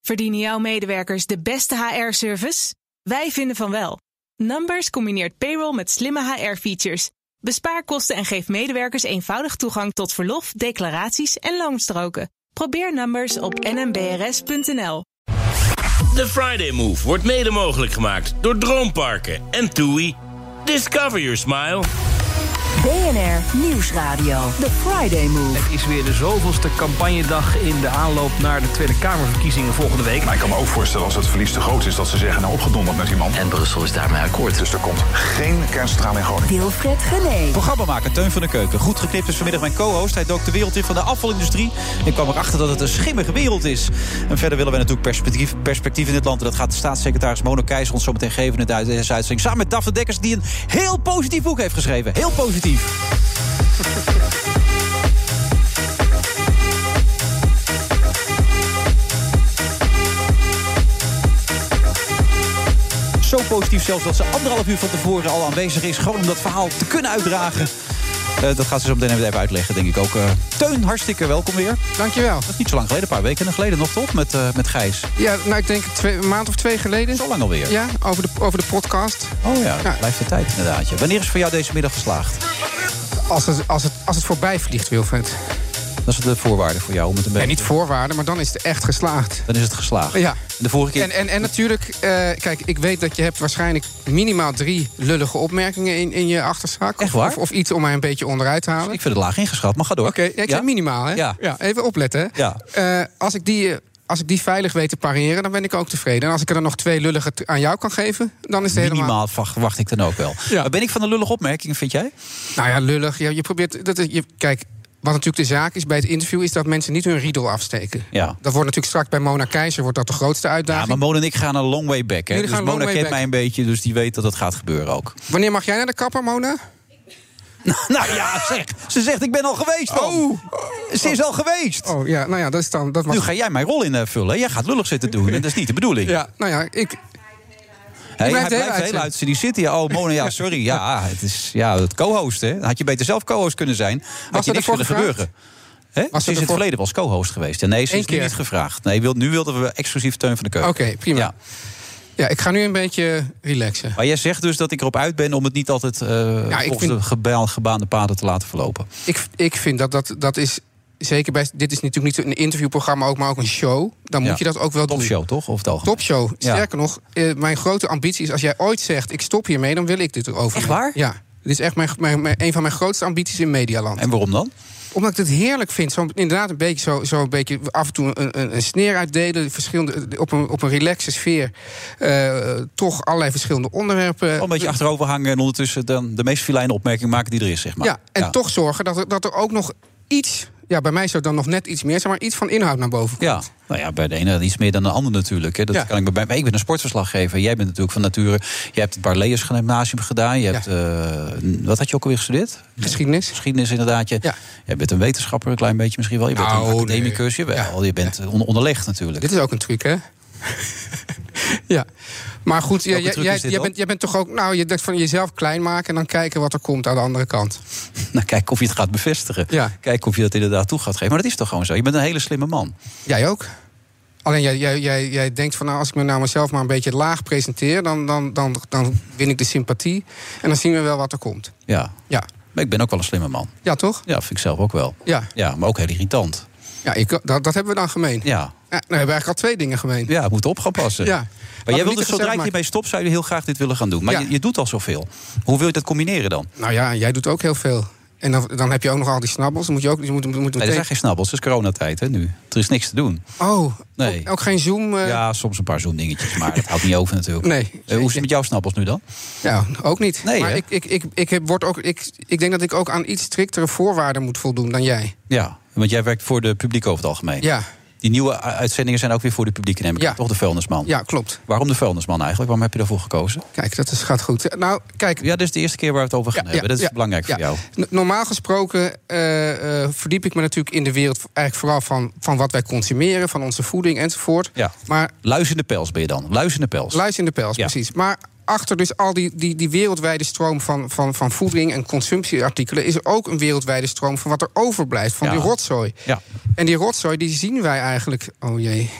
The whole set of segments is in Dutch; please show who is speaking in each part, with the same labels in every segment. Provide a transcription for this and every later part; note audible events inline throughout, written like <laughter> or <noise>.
Speaker 1: Verdienen jouw medewerkers de beste HR-service? Wij vinden van wel. Numbers combineert payroll met slimme HR-features. Bespaar kosten en geef medewerkers eenvoudig toegang tot verlof, declaraties en loonstroken. Probeer Numbers op nmbrs.nl.
Speaker 2: De Friday Move wordt mede mogelijk gemaakt door Droomparken en TUI. Discover your smile.
Speaker 3: BNR Nieuwsradio. The Friday Move.
Speaker 4: Het is weer de zoveelste campagnedag in de aanloop naar de Tweede Kamerverkiezingen volgende week.
Speaker 5: Maar ik kan me ook voorstellen als het verlies te groot is dat ze zeggen nou opgedonderd met iemand.
Speaker 6: En Brussel is daarmee akkoord.
Speaker 5: Dus er komt geen kerncentrale in Groningen.
Speaker 3: Wilfred Genee.
Speaker 7: Programmamaker Teun van der Keuken. Goed geknipt is vanmiddag mijn co-host. Hij dook de wereld in van de afvalindustrie. En kwam erachter dat het een schimmige wereld is. En verder willen wij natuurlijk perspectief, perspectief in dit land. En dat gaat de staatssecretaris Mona Keizer ons zo meteen geven in de deze uitzending. Samen met Daphne Dekkers die een heel positief boek heeft geschreven. Heel positief. Zo positief zelfs dat ze anderhalf uur van tevoren al aanwezig is. Gewoon om dat verhaal te kunnen uitdragen. Eh, dat gaat ze zo meteen even uitleggen, denk ik ook. Eh, Teun, hartstikke welkom weer.
Speaker 8: Dankjewel.
Speaker 7: Dat is niet zo lang geleden, een paar weken geleden nog toch? Met, eh, met Gijs.
Speaker 8: Ja, nou ik denk twee, een maand of twee geleden.
Speaker 7: Zo lang alweer.
Speaker 8: Ja, over de, over de podcast. Nou,
Speaker 7: Oh ja, dat
Speaker 8: Ja.
Speaker 7: blijft de tijd inderdaad. ja. Wanneer is voor jou deze middag geslaagd?
Speaker 8: Als het, als het, als het voorbij vliegt, Wilfred.
Speaker 7: Dat is de voorwaarde voor jou om het een
Speaker 8: En
Speaker 7: beetje...
Speaker 8: niet voorwaarden, maar dan is het echt geslaagd.
Speaker 7: Dan is het geslaagd.
Speaker 8: Ja.
Speaker 7: De vorige keer...
Speaker 8: En, en, en natuurlijk, eh, kijk, ik weet dat je hebt waarschijnlijk minimaal drie lullige opmerkingen in, in je achterzak.
Speaker 7: Echt waar?
Speaker 8: Of, of iets om mij een beetje onderuit te halen.
Speaker 7: Ik vind het laag ingeschat, maar ga door.
Speaker 8: Oké, ja, ik
Speaker 7: Ja?
Speaker 8: zeg minimaal, hè?
Speaker 7: Ja.
Speaker 8: even opletten, hè?
Speaker 7: Ja.
Speaker 8: Eh, als, ik die, eh, als ik die veilig weet te pareren, dan ben ik ook tevreden. En als ik er dan nog twee lullige t- aan jou kan geven, dan is het helemaal...
Speaker 7: Minimaal va- verwacht ik dan ook wel.
Speaker 8: Ja.
Speaker 7: Maar ben ik van de lullige opmerking, vind jij?
Speaker 8: Nou ja, lullig. Ja, je probeert, dat is, je, kijk, wat natuurlijk de zaak is bij het interview... is dat mensen niet hun riedel afsteken.
Speaker 7: Ja.
Speaker 8: Dat wordt natuurlijk straks bij Mona Keizer wordt dat de grootste
Speaker 7: Ja,
Speaker 8: uitdaging.
Speaker 7: maar Mona en ik gaan een long way back. Hè?
Speaker 8: Jullie
Speaker 7: Dus
Speaker 8: gaan een long
Speaker 7: Mona
Speaker 8: way
Speaker 7: kent
Speaker 8: back.
Speaker 7: mij een beetje, dus die weet dat het gaat gebeuren ook.
Speaker 8: Wanneer mag jij naar de kapper, Mona?
Speaker 7: <laughs> nou ja, zeg. Ze zegt, ik ben al geweest dan.
Speaker 8: Oh.
Speaker 7: Ze is al geweest.
Speaker 8: Oh ja, nou ja, dat is dan... Dat mag,
Speaker 7: Nu ga jij mijn rol invullen. Jij gaat lullig zitten
Speaker 8: <laughs>
Speaker 7: doen. En dat is niet de bedoeling.
Speaker 8: ja, nou ja, ik,
Speaker 7: Hey,
Speaker 8: blijft
Speaker 7: hij
Speaker 8: heel
Speaker 7: blijft
Speaker 8: uit,
Speaker 7: heel
Speaker 8: hè?
Speaker 7: uit die City. Oh, Mona, ja, sorry.
Speaker 8: <laughs>
Speaker 7: Ja, het is ja, het co-host, hè. Had je beter zelf co-host kunnen zijn, had
Speaker 8: Was
Speaker 7: je
Speaker 8: er
Speaker 7: niks
Speaker 8: ervoor
Speaker 7: kunnen
Speaker 8: gevraagd?
Speaker 7: gebeuren. Hè? Ze is in het
Speaker 8: ervoor-
Speaker 7: verleden wel eens co-host geweest. En nee, ze
Speaker 8: Eén
Speaker 7: is nu
Speaker 8: keer.
Speaker 7: niet gevraagd. Nee, wil- nu wilden we exclusief Teun van de Keuken.
Speaker 8: Oké, prima.
Speaker 7: Ja.
Speaker 8: ja, ik ga nu een beetje relaxen.
Speaker 7: Maar jij zegt dus dat ik erop uit ben om het niet altijd eh volgens
Speaker 8: vind-
Speaker 7: de geba- gebaande paden te laten verlopen.
Speaker 8: Ik, ik vind dat dat, dat is... Zeker bij... Dit is natuurlijk niet een interviewprogramma ook, maar ook een show. Dan
Speaker 7: Ja.
Speaker 8: moet je dat ook wel doen.
Speaker 7: Topshow, toch? Of het algemeen?
Speaker 8: Topshow.
Speaker 7: Ja.
Speaker 8: Sterker nog, eh, mijn grote ambitie is... als jij ooit zegt, ik stop hiermee, dan wil ik dit over.
Speaker 7: Echt waar?
Speaker 8: Ja. Dit is echt mijn, mijn, mijn- een van mijn grootste ambities in Medialand.
Speaker 7: En waarom dan?
Speaker 8: Omdat ik het heerlijk vind. Zo, inderdaad, een beetje, zo, zo een beetje af en toe een, een, een sneer uitdelen. Verschillende, op, een, op een relaxe sfeer. eh, toch allerlei verschillende onderwerpen.
Speaker 7: Al Oh, een beetje achterover hangen en ondertussen dan de meest filijne opmerking maken die er is, zeg maar.
Speaker 8: Ja, en toch zorgen dat er, dat er ook nog iets... Ja, bij mij zou dan nog net iets meer zijn, maar iets van inhoud naar boven komt.
Speaker 7: Ja, nou ja, bij de ene iets meer dan de ander natuurlijk. Hè. Dat
Speaker 8: Ja.
Speaker 7: kan ik, bij, maar ik ben een sportverslaggever. Jij bent natuurlijk van nature. Je hebt het Barleyers Gymnasium gedaan. Je hebt, eh, wat had je ook alweer gestudeerd?
Speaker 8: Geschiedenis.
Speaker 7: Geschiedenis inderdaad. Je,
Speaker 8: Ja.
Speaker 7: jij bent een wetenschapper, een klein beetje misschien wel. Je bent
Speaker 8: Nou,
Speaker 7: een
Speaker 8: nee.
Speaker 7: academicus. Je, wel. je bent on- onderlegd natuurlijk.
Speaker 8: Dit is ook een truc, hè? <laughs> ja. Maar goed, ja,
Speaker 7: Welke
Speaker 8: jij,
Speaker 7: truc
Speaker 8: jij,
Speaker 7: is dit
Speaker 8: jij
Speaker 7: dan?
Speaker 8: bent, jij bent toch ook... Nou, je denkt van jezelf klein maken en dan kijken wat er komt aan de andere kant.
Speaker 7: Nou, kijk of je het gaat bevestigen.
Speaker 8: Ja.
Speaker 7: Kijk of je dat inderdaad toe gaat geven. Maar dat is toch gewoon zo. Je bent een hele slimme man.
Speaker 8: Jij ook. Alleen jij, jij, jij, jij denkt van, nou, als ik me nou mezelf maar een beetje laag presenteer... Dan, dan, dan, dan win ik de sympathie en dan zien we wel wat er komt.
Speaker 7: Ja.
Speaker 8: Ja,
Speaker 7: Maar ik ben ook wel een slimme man.
Speaker 8: ja toch?
Speaker 7: Ja, vind ik zelf ook wel.
Speaker 8: Ja,
Speaker 7: Ja, maar ook heel irritant.
Speaker 8: ja ik, dat, dat hebben we dan gemeen. Ja.
Speaker 7: Ja,
Speaker 8: nou hebben we eigenlijk al twee dingen gemeen.
Speaker 7: ja moet op gaan passen.
Speaker 8: Ja.
Speaker 7: Maar
Speaker 8: Laten
Speaker 7: jij
Speaker 8: we
Speaker 7: wilde
Speaker 8: niet
Speaker 7: dus
Speaker 8: te
Speaker 7: zodra
Speaker 8: gezellig
Speaker 7: je
Speaker 8: maken.
Speaker 7: hiermee stopt, zou je heel graag dit willen gaan doen. Maar
Speaker 8: Ja.
Speaker 7: je, je doet al zoveel. Hoe wil je dat combineren dan? Nee,
Speaker 8: Nou ja, jij doet ook heel veel. En dan, dan heb je ook nog al die snabbels. Dan moet je ook... Je moet, moet, moet
Speaker 7: er zijn geen snabbels, het is coronatijd hè, nu. Er is niks te doen.
Speaker 8: Oh,
Speaker 7: Nee.
Speaker 8: ook, ook geen Zoom... eh,
Speaker 7: Ja, soms een paar zo'n dingetjes, maar dat houdt niet over natuurlijk.
Speaker 8: Nee.
Speaker 7: Eh, hoe is het met jouw snabbels nu dan?
Speaker 8: Ja, ook niet.
Speaker 7: Nee,
Speaker 8: maar
Speaker 7: hè?
Speaker 8: ik, ik, ik, ik, heb, word ook, ik, ik denk dat ik ook aan iets striktere voorwaarden moet voldoen dan jij.
Speaker 7: Ja, want jij werkt voor de publiek over het algemeen.
Speaker 8: Ja,
Speaker 7: Die nieuwe uh, uitzendingen zijn ook weer voor de publiek, neem ik
Speaker 8: Ja.
Speaker 7: aan, toch de vuilnisman.
Speaker 8: ja klopt.
Speaker 7: Waarom de vuilnisman eigenlijk? Waarom heb je daarvoor gekozen?
Speaker 8: Kijk, dat is, gaat goed. Nou, kijk.
Speaker 7: Ja, dit is de eerste keer waar we het over gaan
Speaker 8: ja,
Speaker 7: hebben. Dat is
Speaker 8: ja,
Speaker 7: belangrijk
Speaker 8: ja.
Speaker 7: voor jou.
Speaker 8: N- Normaal gesproken eh, eh, verdiep ik me natuurlijk in de wereld... eigenlijk vooral van, van wat wij consumeren, van onze voeding enzovoort.
Speaker 7: Ja.
Speaker 8: Maar
Speaker 7: Luis in de pels ben je dan. Luis in de pels.
Speaker 8: Luis in de pels,
Speaker 7: Ja.
Speaker 8: precies. Maar achter dus al die, die, die wereldwijde stroom van, van, van voeding en consumptieartikelen... is er ook een wereldwijde stroom van wat er overblijft, van
Speaker 7: Ja.
Speaker 8: die rotzooi.
Speaker 7: Ja.
Speaker 8: En die rotzooi, die zien wij eigenlijk... Oh jee,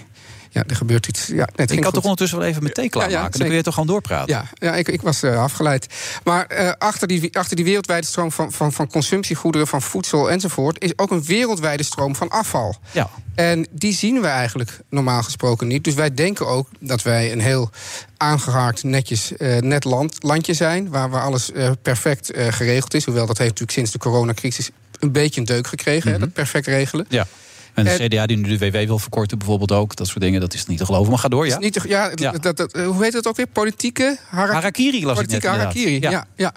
Speaker 8: ja, er gebeurt iets. Ja, nee, het
Speaker 7: Ik
Speaker 8: ging
Speaker 7: kan toch
Speaker 8: goed.
Speaker 7: ondertussen wel even mijn thee klaarmaken. dan
Speaker 8: zeker.
Speaker 7: kun je toch gewoon doorpraten.
Speaker 8: Ja, ja ik, ik was eh, afgeleid. Maar eh, achter, die, achter die wereldwijde stroom van, van, van consumptiegoederen, van voedsel enzovoort, is ook een wereldwijde stroom van afval.
Speaker 7: Ja.
Speaker 8: En die zien we eigenlijk normaal gesproken niet. Dus wij denken ook dat wij een heel aangehaakt, netjes, eh, net land, landje zijn. Waar, waar alles eh, perfect eh, geregeld is. Hoewel dat heeft natuurlijk sinds de coronacrisis een beetje een deuk gekregen. hè,
Speaker 7: Mhm.
Speaker 8: dat perfect regelen.
Speaker 7: Ja. En de
Speaker 8: En-
Speaker 7: CDA die nu de WW wil verkorten bijvoorbeeld ook. Dat soort dingen, dat is niet te geloven. Maar ga door, ja.
Speaker 8: Is niet te- ja,
Speaker 7: Ja.
Speaker 8: Dat, dat, dat- hoe heet dat ook weer? Politieke hara-
Speaker 7: Harakiri las ik net
Speaker 8: Politieke harakiri.
Speaker 7: inderdaad.
Speaker 8: Ja,
Speaker 7: Ja.
Speaker 8: ja.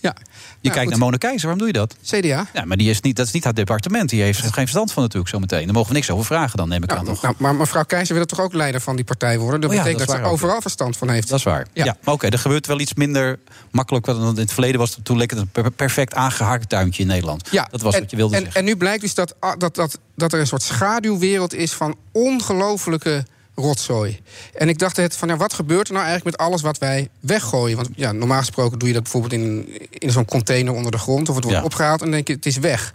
Speaker 8: ja. Je
Speaker 7: Je kijkt naar Mona Keizer, waarom doe je dat?
Speaker 8: CDA.
Speaker 7: Ja, maar die is niet, dat is niet haar departement. Die heeft er geen verstand van natuurlijk zometeen. Daar mogen we niks over vragen dan, neem ik aan
Speaker 8: Nou,
Speaker 7: toch?
Speaker 8: nou, maar mevrouw Keizer wil toch ook leider van die partij worden? Dat
Speaker 7: Oh ja,
Speaker 8: betekent
Speaker 7: dat
Speaker 8: dat,
Speaker 7: is
Speaker 8: ze
Speaker 7: waar ook, ja.
Speaker 8: overal verstand van heeft.
Speaker 7: Dat is waar. Ja.
Speaker 8: Ja.
Speaker 7: Maar oké, er gebeurt wel iets minder makkelijk dan het in het verleden was. Toen leek het een per- perfect aangehaakt tuintje in Nederland.
Speaker 8: Ja,
Speaker 7: dat was
Speaker 8: en,
Speaker 7: wat je wilde
Speaker 8: en,
Speaker 7: zeggen.
Speaker 8: En nu blijkt dus dat, ah, dat, dat, dat er een soort schaduwwereld is van ongelofelijke rotzooi. En ik dacht het van, ja, wat gebeurt er nou eigenlijk met alles wat wij weggooien? Want ja, normaal gesproken doe je dat bijvoorbeeld in, in zo'n container onder de grond... of het wordt
Speaker 7: Ja.
Speaker 8: opgehaald en dan denk je, het is weg.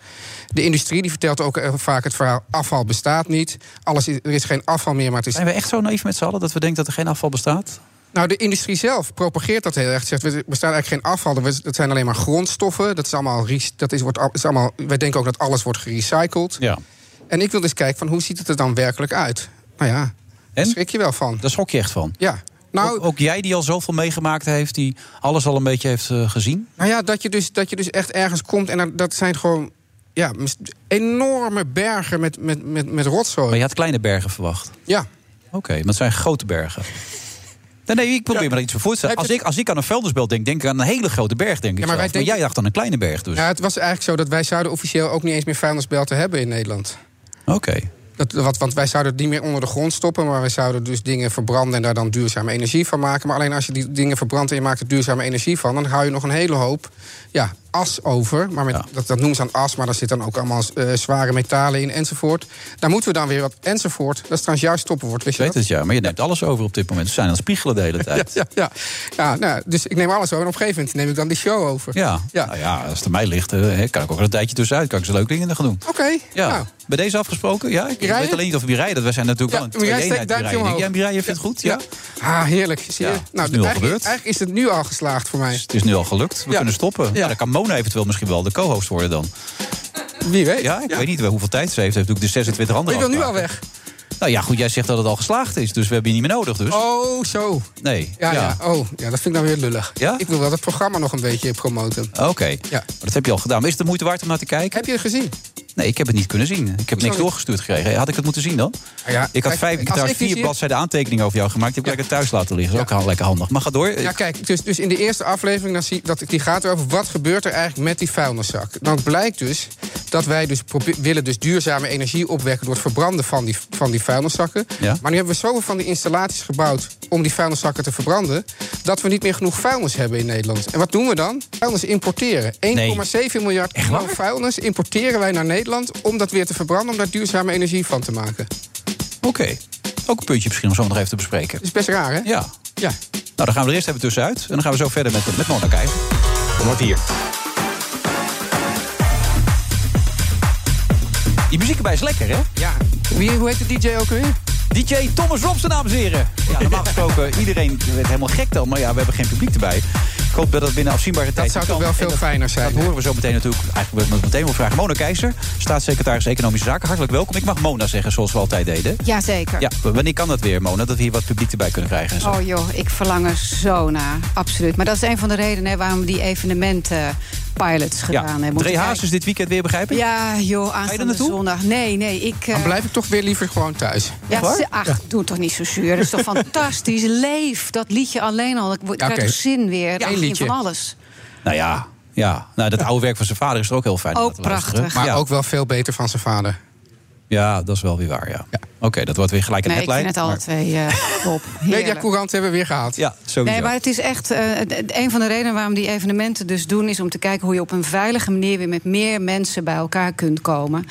Speaker 8: De industrie die vertelt ook eh, vaak het verhaal, afval bestaat niet. Alles is, er is geen afval meer, maar het is
Speaker 7: Zijn we echt zo naïef met z'n allen dat we denken dat er geen afval bestaat?
Speaker 8: Nou, de industrie zelf propageert dat heel erg. Zegt, er bestaat eigenlijk geen afval. Er- Dat zijn alleen maar grondstoffen. Dat is allemaal, re- dat is, wordt, al- is allemaal, wij denken ook dat alles wordt gerecycled.
Speaker 7: Ja.
Speaker 8: En ik wil dus kijken van hoe ziet het er dan werkelijk uit? Nou ja,
Speaker 7: En?
Speaker 8: daar schrik je wel van.
Speaker 7: Daar schok je echt van.
Speaker 8: Ja. Nou,
Speaker 7: ook, ook jij die al zoveel meegemaakt heeft, die alles al een beetje heeft eh, gezien.
Speaker 8: nou ja, dat je, dus, dat je dus echt ergens komt en dan- dat zijn gewoon ja, mis- enorme bergen met, met, met, met
Speaker 7: Maar
Speaker 8: rotzooi.
Speaker 7: je had kleine bergen verwacht.
Speaker 8: Ja.
Speaker 7: Oké, maar het zijn grote bergen. Nee, nee, ik probeer me daar iets voor voor te stellen. Als ik, als ik aan een vuilnisbelt denk, denk ik aan een hele grote berg. Denk ik
Speaker 8: maar
Speaker 7: zelf. maar,
Speaker 8: wij denken-
Speaker 7: jij dacht aan een kleine berg dus.
Speaker 8: ja, het was eigenlijk zo dat wij zouden officieel ook niet eens meer vuilnisbelten hebben in Nederland.
Speaker 7: Oké.
Speaker 8: Dat, wat, want wij zouden het niet meer onder de grond stoppen, maar wij zouden dus dingen verbranden en daar dan duurzame energie van maken. Maar alleen als je die dingen verbrandt en je maakt er duurzame energie van, dan hou je nog een hele hoop ja, as over. Maar met,
Speaker 7: Ja.
Speaker 8: dat, dat noemen ze dan as, maar daar zit dan ook allemaal eh, zware metalen in enzovoort. Daar moeten we dan weer wat enzovoort. Dat is trouwens juist stopwoord, wist
Speaker 7: Ik
Speaker 8: je
Speaker 7: weet
Speaker 8: dat?
Speaker 7: het ja, maar je neemt alles over op dit moment. We zijn aan het spiegelen de hele tijd.
Speaker 8: Ja, ja. ja nou, dus ik neem alles over en op een gegeven moment neem ik dan die show over.
Speaker 7: Ja,
Speaker 8: ja.
Speaker 7: Nou ja als het aan mij ligt, eh, hè, kan ik ook wel een tijdje tussenuit. Kan ik ze leuke dingen gaan doen.
Speaker 8: Oké,
Speaker 7: Ja,
Speaker 8: nou,
Speaker 7: bij deze afgesproken. Ja, ik
Speaker 8: Mireille?
Speaker 7: weet alleen niet of Mireille dat. Wij zijn natuurlijk
Speaker 8: Ja,
Speaker 7: wel een
Speaker 8: Mireille,
Speaker 7: twee-eenheid
Speaker 8: steek duimpje
Speaker 7: Mireille. Denk
Speaker 8: omhoog.
Speaker 7: jij Mireille vindt het goed? Ja.
Speaker 8: ah, heerlijk. Zie je?
Speaker 7: Ja, dat is nu al
Speaker 8: nou, eigenlijk,
Speaker 7: gebeurd.
Speaker 8: eigenlijk is het nu al geslaagd voor mij.
Speaker 7: Het is nu al gelukt. We
Speaker 8: Ja.
Speaker 7: kunnen stoppen. Ja.
Speaker 8: Ja.
Speaker 7: dan kan Mona eventueel misschien wel de co-host worden dan.
Speaker 8: Wie weet.
Speaker 7: Ja, ik weet niet wel hoeveel tijd ze heeft. Ze heeft natuurlijk de 26 andere
Speaker 8: Ik wil nu al
Speaker 7: afspraken.
Speaker 8: weg.
Speaker 7: Nou ja, goed, jij zegt dat het al geslaagd is. Dus we hebben je niet meer nodig. Dus.
Speaker 8: Oh, zo.
Speaker 7: Nee.
Speaker 8: Ja, ja. Oh, ja, dat vind ik nou weer lullig.
Speaker 7: Ja?
Speaker 8: Ik wil wel dat programma nog een beetje promoten.
Speaker 7: Oké,
Speaker 8: Ja.
Speaker 7: Maar dat heb je al gedaan. Maar is het de moeite waard om naar te kijken?
Speaker 8: Heb je het gezien?
Speaker 7: Nee, ik heb het niet kunnen zien. Ik heb niks
Speaker 8: niet?
Speaker 7: doorgestuurd gekregen. Had ik het moeten zien dan?
Speaker 8: Ah ja,
Speaker 7: ik had
Speaker 8: kijk,
Speaker 7: vijf, ik
Speaker 8: als
Speaker 7: heb trouwens
Speaker 8: ik die
Speaker 7: vier
Speaker 8: zie-
Speaker 7: bladzijden aantekeningen over jou gemaakt. Die heb ik lekker thuis laten liggen. Dat is ook al lekker handig. Maar ga door.
Speaker 8: Ja, kijk, dus, dus in de eerste aflevering dan zie, dat, die gaat erover... wat gebeurt er eigenlijk met die vuilniszak? Dan blijkt dus dat wij dus probe- willen dus duurzame energie opwekken... door het verbranden van die, van die vuilniszakken.
Speaker 7: Ja.
Speaker 8: Maar nu hebben we zoveel van die installaties gebouwd... om die vuilniszakken te verbranden... dat we niet meer genoeg vuilnis hebben in Nederland. En wat doen we dan? Vuilnis importeren. 1,7 miljard kilo vuilnis importeren wij naar Nederland... om dat weer te verbranden, om daar duurzame energie van te maken.
Speaker 7: Oké. Ook een puntje misschien om zo nog even te bespreken.
Speaker 8: Dat is best raar, hè?
Speaker 7: Ja.
Speaker 8: Ja.
Speaker 7: Nou, dan gaan we er eerst even tussenuit. En dan gaan we zo verder met, met Mona Keizer.
Speaker 6: Wat hier?
Speaker 7: Die muziek erbij is lekker, hè?
Speaker 8: ja. Wie, hoe heet de DJ ook weer?
Speaker 7: DJ Thomas Robson, dames en heren. Ja,
Speaker 8: <laughs>
Speaker 7: normaal gesproken, iedereen werd helemaal gek dan. Maar ja, we hebben geen publiek erbij. Ik hoop dat dat binnen afzienbare tijd
Speaker 8: Dat zou toch
Speaker 7: kan.
Speaker 8: wel
Speaker 7: En
Speaker 8: veel
Speaker 7: dat-
Speaker 8: fijner zijn.
Speaker 7: Dat horen we zo meteen natuurlijk. Eigenlijk wil ik het meteen wel vragen. Mona Keizer, staatssecretaris Economische Zaken. Hartelijk welkom. Ik mag Mona zeggen, zoals we altijd deden.
Speaker 9: Jazeker.
Speaker 7: Ja, w- wanneer kan dat weer, Mona? Dat we hier wat publiek erbij kunnen krijgen en zo.
Speaker 9: Oh joh, ik verlang er zo naar. Absoluut. Maar dat is een van de redenen hè, waarom we die evenementen eh, pilots gedaan
Speaker 7: ja,
Speaker 9: hebben. Moeten
Speaker 7: Dre Haas
Speaker 9: kijken.
Speaker 7: is dit weekend weer, begrijp ik?
Speaker 9: Ja, joh,
Speaker 7: er
Speaker 9: aanstaande
Speaker 7: naartoe?
Speaker 9: zondag. Nee, nee, ik... eh,
Speaker 8: Dan blijf ik toch weer liever gewoon thuis.
Speaker 9: ja,
Speaker 7: waar?
Speaker 9: ze- ach, doe toch niet zo zuur. Dat is toch fantastisch. Leef, dat liedje alleen al. Ik word-
Speaker 8: Ja,
Speaker 9: krijg
Speaker 8: oké.
Speaker 9: toch zin weer.
Speaker 8: Eén
Speaker 9: Ach,
Speaker 8: liedje.
Speaker 9: Van alles.
Speaker 7: Nou ja, ja. Nou, dat oude werk van zijn vader is er ook heel fijn. om
Speaker 9: Ook
Speaker 7: naar te luisteren.
Speaker 9: prachtig.
Speaker 8: Maar
Speaker 7: ja.
Speaker 8: ook wel veel beter van zijn vader.
Speaker 7: ja, dat is wel weer waar, ja. Oké, dat wordt weer gelijk een
Speaker 9: Nee, ik
Speaker 7: headline.
Speaker 9: vind het alle
Speaker 7: maar-
Speaker 9: twee
Speaker 8: <laughs>
Speaker 9: eh top.
Speaker 8: Media
Speaker 9: Heerlijk.
Speaker 8: Courant hebben we weer gehaald.
Speaker 7: Ja, sowieso.
Speaker 9: Nee, maar het is echt. eh, d- d- een van de redenen waarom die evenementen dus doen. is om te kijken hoe je op een veilige manier. weer met meer mensen bij elkaar kunt komen.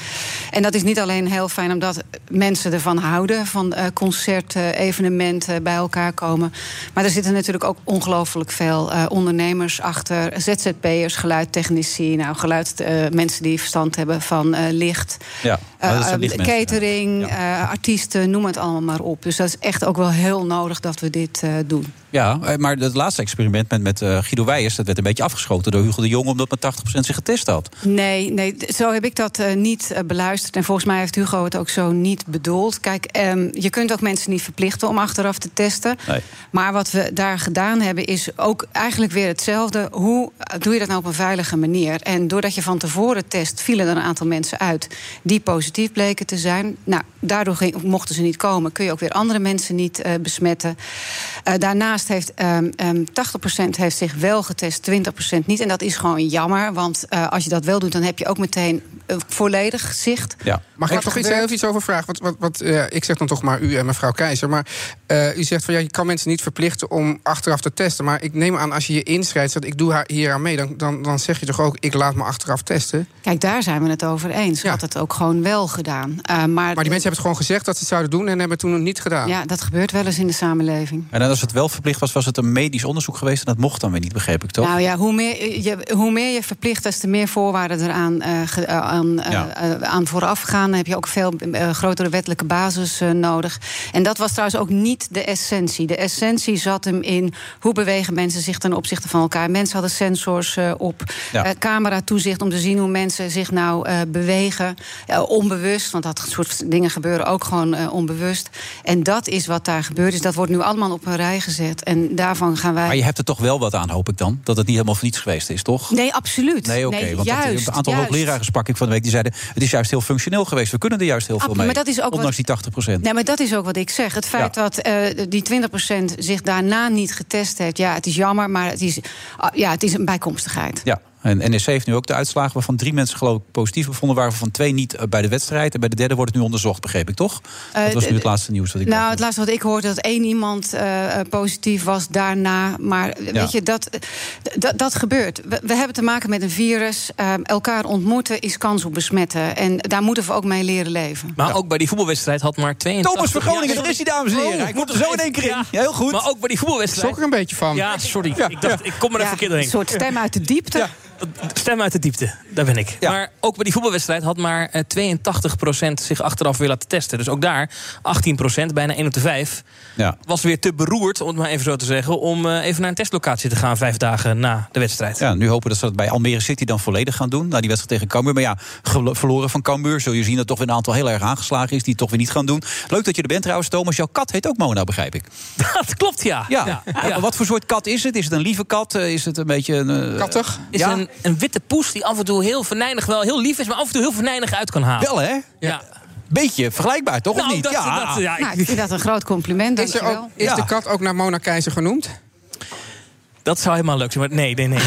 Speaker 9: En dat is niet alleen heel fijn omdat mensen ervan houden. van eh, concerten, evenementen bij elkaar komen. Maar er zitten natuurlijk ook ongelooflijk veel eh, ondernemers achter. ZZP'ers, geluidtechnici. Nou, geluid. eh, mensen die verstand hebben van eh, licht.
Speaker 7: Ja, maar Oh, dat zijn
Speaker 9: Eh,
Speaker 7: lichtmensen,
Speaker 9: catering,
Speaker 7: ja.
Speaker 9: eh, artiesten, noem het allemaal maar op. Dus dat is echt ook wel heel nodig dat we dit eh, doen.
Speaker 7: Ja, eh, maar het laatste experiment met, met eh, Guido Weijers... dat werd een beetje afgeschoten door Hugo de Jong... omdat maar 80% zich getest had.
Speaker 9: Nee, nee, d- zo heb ik dat eh, niet eh, beluisterd. En volgens mij heeft Hugo het ook zo niet bedoeld. Kijk, ehm, je kunt ook mensen niet verplichten om achteraf te testen.
Speaker 7: Nee.
Speaker 9: Maar wat we daar gedaan hebben is ook eigenlijk weer hetzelfde. Hoe doe je dat nou op een veilige manier? En doordat je van tevoren test, vielen er een aantal mensen uit... die positief bleken te zijn. Nou, daardoor ging- mochten ze niet komen. Kun je ook weer andere mensen niet eh, besmetten. Eh, daarnaast heeft ehm, ehm, 80% heeft zich wel getest, 20% niet. En dat is gewoon jammer, want eh, als je dat wel doet... dan heb je ook meteen eh, volledig zicht.
Speaker 7: Ja.
Speaker 8: Mag ik
Speaker 9: Wat
Speaker 8: daar toch
Speaker 9: er
Speaker 8: iets,
Speaker 9: gebeurt-
Speaker 8: heel iets over vragen? Want, wat, wat, eh, ik zeg dan toch maar u en mevrouw Keizer. Maar eh, u zegt van ja, je kan mensen niet verplichten om achteraf te testen. Maar ik neem aan, als je je inschrijft, dat ik doe haar hier aan mee, dan, dan, dan zeg je toch ook, ik laat me achteraf testen.
Speaker 9: Kijk, daar zijn we het over eens.
Speaker 8: Ja.
Speaker 9: Had het ook gewoon wel gedaan. Eh, maar,
Speaker 8: Maar die mensen hebben het gewoon gezegd dat ze het zouden doen en hebben het toen nog niet gedaan.
Speaker 9: Ja, dat gebeurt wel eens in de samenleving.
Speaker 7: En dan als het wel verplicht was, was het een medisch onderzoek geweest... en dat mocht dan weer niet, begreep ik toch?
Speaker 9: Nou ja, hoe meer je, hoe meer je verplicht, des te meer voorwaarden eraan eh, ge- eh, aan, eh,
Speaker 7: Ja.
Speaker 9: eh, aan vooraf gaan. Dan heb je ook veel eh, grotere wettelijke basis eh, nodig. En dat was trouwens ook niet de essentie. De essentie zat hem in hoe bewegen mensen zich ten opzichte van elkaar. Mensen hadden sensors eh, op,
Speaker 7: Ja.
Speaker 9: eh, camera-toezicht om te zien hoe mensen zich nou eh, bewegen. Eh, onbewust, want dat soort dingen gebeuren ook gewoon eh, onbewust. En dat is wat daar gebeurd is. Dat wordt nu allemaal op een rij gezet. En daarvan gaan wij.
Speaker 7: Maar je hebt er toch wel wat aan, hoop ik dan? Dat het niet helemaal voor niets geweest is, toch?
Speaker 9: Nee, absoluut.
Speaker 7: Nee, oké. want dat-
Speaker 9: juist,
Speaker 7: een aantal
Speaker 9: juist.
Speaker 7: hoogleraren sprak ik van de week. Die zeiden, het is juist heel functioneel geweest. We kunnen er juist heel
Speaker 9: Ah,
Speaker 7: veel mee.
Speaker 9: maar dat is ook
Speaker 7: Ondanks
Speaker 9: wat-
Speaker 7: die 80
Speaker 9: Nee, maar dat is ook wat ik zeg. Het feit
Speaker 7: Ja.
Speaker 9: dat eh, die 20% zich daarna niet getest heeft... ja, het is jammer, maar het is, ah, ja, het is een bijkomstigheid.
Speaker 7: Ja, en NEC heeft nu ook de uitslagen... waarvan drie mensen geloof ik positief bevonden waren... van twee niet eh, bij de wedstrijd. En bij de derde wordt het nu onderzocht, begreep ik toch?
Speaker 9: Eh,
Speaker 7: Dat was nu
Speaker 9: d-
Speaker 7: het laatste nieuws dat ik
Speaker 9: Nou,
Speaker 7: dacht.
Speaker 9: het laatste wat ik hoorde, dat één iemand eh, eh, positief was daarna. Maar eh, weet je, dat, eh, dat, dat gebeurt. We, we hebben te maken met een virus. Eh, elkaar ontmoeten is kans op besmetten. En daar moeten we ook mee leren leven.
Speaker 6: Maar ook bij die voetbalwedstrijd had maar 82...
Speaker 7: Thomas van Groningen,
Speaker 6: Ja,
Speaker 7: daar is hij, dames en heren.
Speaker 6: Oh,
Speaker 7: Hij komt er zo in één keer in. Ja, heel goed.
Speaker 6: Maar ook bij die
Speaker 8: Ik
Speaker 6: voetbalwedstrijd...
Speaker 8: schrok er een beetje van.
Speaker 6: Ja, sorry. Ik, dacht, ik kom er
Speaker 9: Ja,
Speaker 6: even een keer
Speaker 9: een
Speaker 6: doorheen.
Speaker 9: soort stem uit de diepte.
Speaker 6: Stem uit de diepte, daar ben ik.
Speaker 7: Ja.
Speaker 6: Maar ook bij die voetbalwedstrijd had maar eh, 82% zich achteraf weer laten testen. Dus ook daar 18%, bijna 1 op de 5,
Speaker 7: Ja.
Speaker 6: was weer te beroerd, om het maar even zo te zeggen, om eh, even naar een testlocatie te gaan vijf dagen na <laughs> de wedstrijd.
Speaker 7: Ja, nu hopen dat ze dat bij Almere City dan volledig gaan doen. Nou, die wedstrijd tegen Cambuur. Maar ja, gelo- verloren van Cambuur. Zul je zien dat toch weer een aantal heel erg aangeslagen is... die het toch weer niet gaan doen. Leuk dat je er bent trouwens, Thomas. Jouw kat heet ook Mona, begrijp ik.
Speaker 6: Dat klopt, ja.
Speaker 7: Ja.
Speaker 6: Ja.
Speaker 7: Ja, Wat voor soort kat is het? Is het een lieve kat? Eh, Is het een beetje een... eh,
Speaker 8: Kattig?
Speaker 6: Is
Speaker 7: Ja?
Speaker 6: een, een witte poes die af en toe heel venijnig, wel heel lief is, maar af en toe heel venijnig uit kan halen.
Speaker 7: Wel, hè?
Speaker 6: Ja.
Speaker 7: Beetje vergelijkbaar, toch? of
Speaker 6: Nou,
Speaker 7: niet?
Speaker 6: dat,
Speaker 7: ja.
Speaker 6: dat- ja, ik-
Speaker 9: Nou, ik vind dat een groot compliment,
Speaker 8: Is, er
Speaker 9: dankjewel.
Speaker 8: ook, is
Speaker 7: Ja.
Speaker 8: de kat ook naar Mona Keizer genoemd?
Speaker 6: dat zou helemaal leuk zijn, maar nee, nee, nee.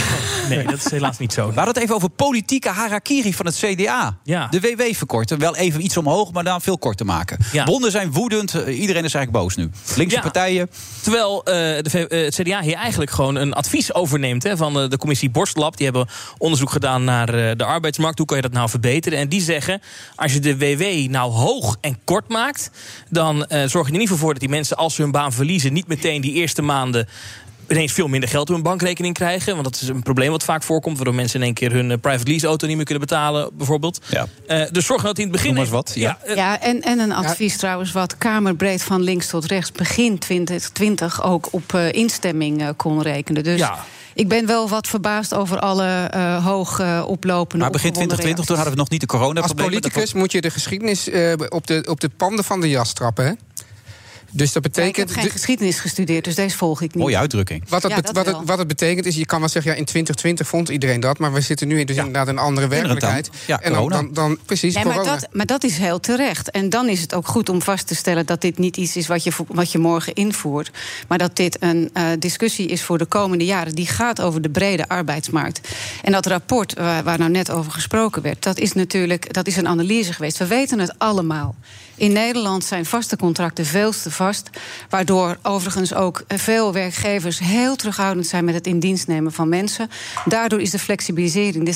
Speaker 6: Nee, dat is helaas niet zo.
Speaker 7: We hadden het even over politieke harakiri van het CDA.
Speaker 6: Ja.
Speaker 7: De WW verkorten. Wel even iets omhoog, maar dan veel korter maken.
Speaker 6: Ja.
Speaker 7: Bonden zijn woedend. Eh, Iedereen is eigenlijk boos nu. Linkse
Speaker 6: Ja.
Speaker 7: partijen.
Speaker 6: Terwijl eh, de, V- eh, het CDA hier eigenlijk gewoon een advies overneemt hè, van eh, de commissie Borstlab. Die hebben onderzoek gedaan naar eh, de arbeidsmarkt. Hoe kan je dat nou verbeteren? En die zeggen, als je de WW nou hoog en kort maakt... dan eh, zorg je er niet voor voor dat die mensen als ze hun baan verliezen... niet meteen die eerste maanden ineens veel minder geld op hun bankrekening krijgen. Want dat is een probleem wat vaak voorkomt... waardoor mensen in één keer hun eh, private lease auto niet meer kunnen betalen, bijvoorbeeld.
Speaker 7: Ja.
Speaker 6: Eh, dus zorg dat in het begin...
Speaker 7: Noem maar eens wat, ja.
Speaker 6: eh,
Speaker 9: Ja, en, en een advies trouwens, wat Kamerbreed van links tot rechts begin 2020 ook op eh, instemming eh, kon rekenen. Dus
Speaker 6: Ja.
Speaker 9: ik ben wel wat verbaasd over alle eh, hoog eh, oplopende.
Speaker 7: Maar begin
Speaker 9: opgewonden
Speaker 7: 2020, toen hadden we nog niet de
Speaker 8: Als
Speaker 7: coronaproblemen. Dat
Speaker 8: politicus moet je de geschiedenis eh, op, de, op de panden van de jas trappen. Hè? Dus dat
Speaker 9: Ja, ik
Speaker 8: betekent.
Speaker 9: heb geen geschiedenis gestudeerd, dus deze volg ik
Speaker 7: was-
Speaker 9: niet.
Speaker 7: Mooie uitdrukking.
Speaker 8: Wat het,
Speaker 9: Ja,
Speaker 8: bet-
Speaker 9: dat
Speaker 8: wat,
Speaker 9: wel.
Speaker 8: het, wat het betekent is, je kan wel zeggen, ja, in 2020 vond iedereen dat, maar we zitten nu in, dus inderdaad in een andere
Speaker 7: Inderdaad.
Speaker 8: werkelijkheid.
Speaker 7: Ja,
Speaker 8: en dan,
Speaker 7: corona.
Speaker 8: dan, dan precies
Speaker 9: Nee, maar,
Speaker 8: corona.
Speaker 9: dat, maar dat is heel terecht. En dan is het ook goed om vast te stellen dat dit niet iets is wat je, vo- wat je morgen invoert. Maar dat dit een eh, discussie is voor de komende jaren. Die gaat over de brede arbeidsmarkt. En dat rapport waar, waar nou net over gesproken werd, dat is natuurlijk dat is een analyse geweest. We weten het allemaal. In Nederland zijn vaste contracten veel te vast. Waardoor overigens ook veel werkgevers heel terughoudend zijn met het in dienst nemen van mensen. Daardoor is de flexibilisering, de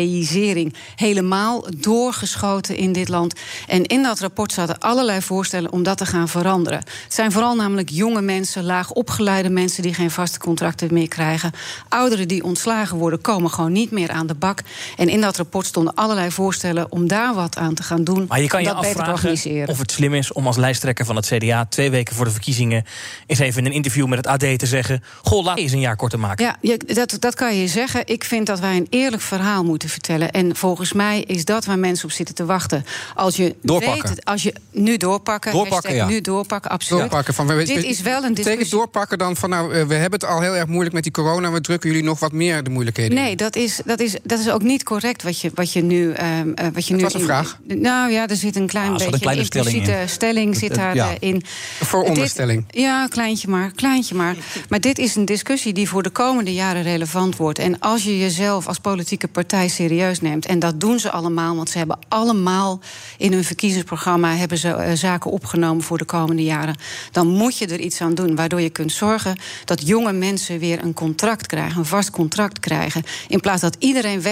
Speaker 9: ZZP'isering helemaal doorgeschoten in dit land. En in dat rapport zaten allerlei voorstellen om dat te gaan veranderen. Het zijn vooral namelijk jonge mensen, laag opgeleide mensen die geen vaste contracten meer krijgen. Ouderen die ontslagen worden, komen gewoon niet meer aan de bak. En in dat rapport stonden allerlei voorstellen om daar wat aan te gaan doen.
Speaker 6: Maar je kan
Speaker 9: om
Speaker 6: je
Speaker 9: dat beter te
Speaker 6: afvragen,
Speaker 9: organiseren. organiseren.
Speaker 6: Of het slim is om als lijsttrekker van het CDA twee weken voor de verkiezingen eens even in een interview met het AD te zeggen: Goh, laat eens een jaar korter maken.
Speaker 9: Ja, je- dat, dat kan je zeggen. Ik vind dat wij een eerlijk verhaal moeten vertellen. En volgens mij is dat waar mensen op zitten te wachten. Als je
Speaker 7: Doorpakken.
Speaker 9: Weet, het- als je nu doorpakken.
Speaker 7: Doorpakken,
Speaker 9: hashtag
Speaker 7: ja.
Speaker 9: Nu doorpakken, absoluut.
Speaker 8: Doorpakken van, we-
Speaker 9: Dit is wel een
Speaker 8: Betekent
Speaker 9: discussie.
Speaker 8: doorpakken dan van, nou, eh, we hebben het al heel erg moeilijk met die corona... we drukken jullie nog wat meer de moeilijkheden in.
Speaker 9: Nee, dat is, dat, is, dat is ook niet correct wat je, wat je nu. ehm, eh, wat je nu
Speaker 8: was een
Speaker 9: in-
Speaker 8: vraag.
Speaker 9: nou ja, er zit een klein
Speaker 7: Ah, er zat
Speaker 9: beetje
Speaker 7: een kleine stelling
Speaker 9: impliciete stelling, zit
Speaker 7: Het- het-
Speaker 9: daar
Speaker 7: ja.
Speaker 9: eh, in.
Speaker 8: vooronderstelling.
Speaker 9: Dit- ja, kleintje maar, kleintje maar. Maar dit is een discussie die voor de komende jaren relevant wordt. En als je jezelf als politieke partij serieus neemt, en dat doen ze allemaal, want ze hebben allemaal in hun verkiezingsprogramma hebben ze, eh, zaken opgenomen voor de komende jaren, dan moet je er iets aan doen, waardoor je kunt zorgen dat jonge mensen weer een contract krijgen, een vast contract krijgen, in plaats dat iedereen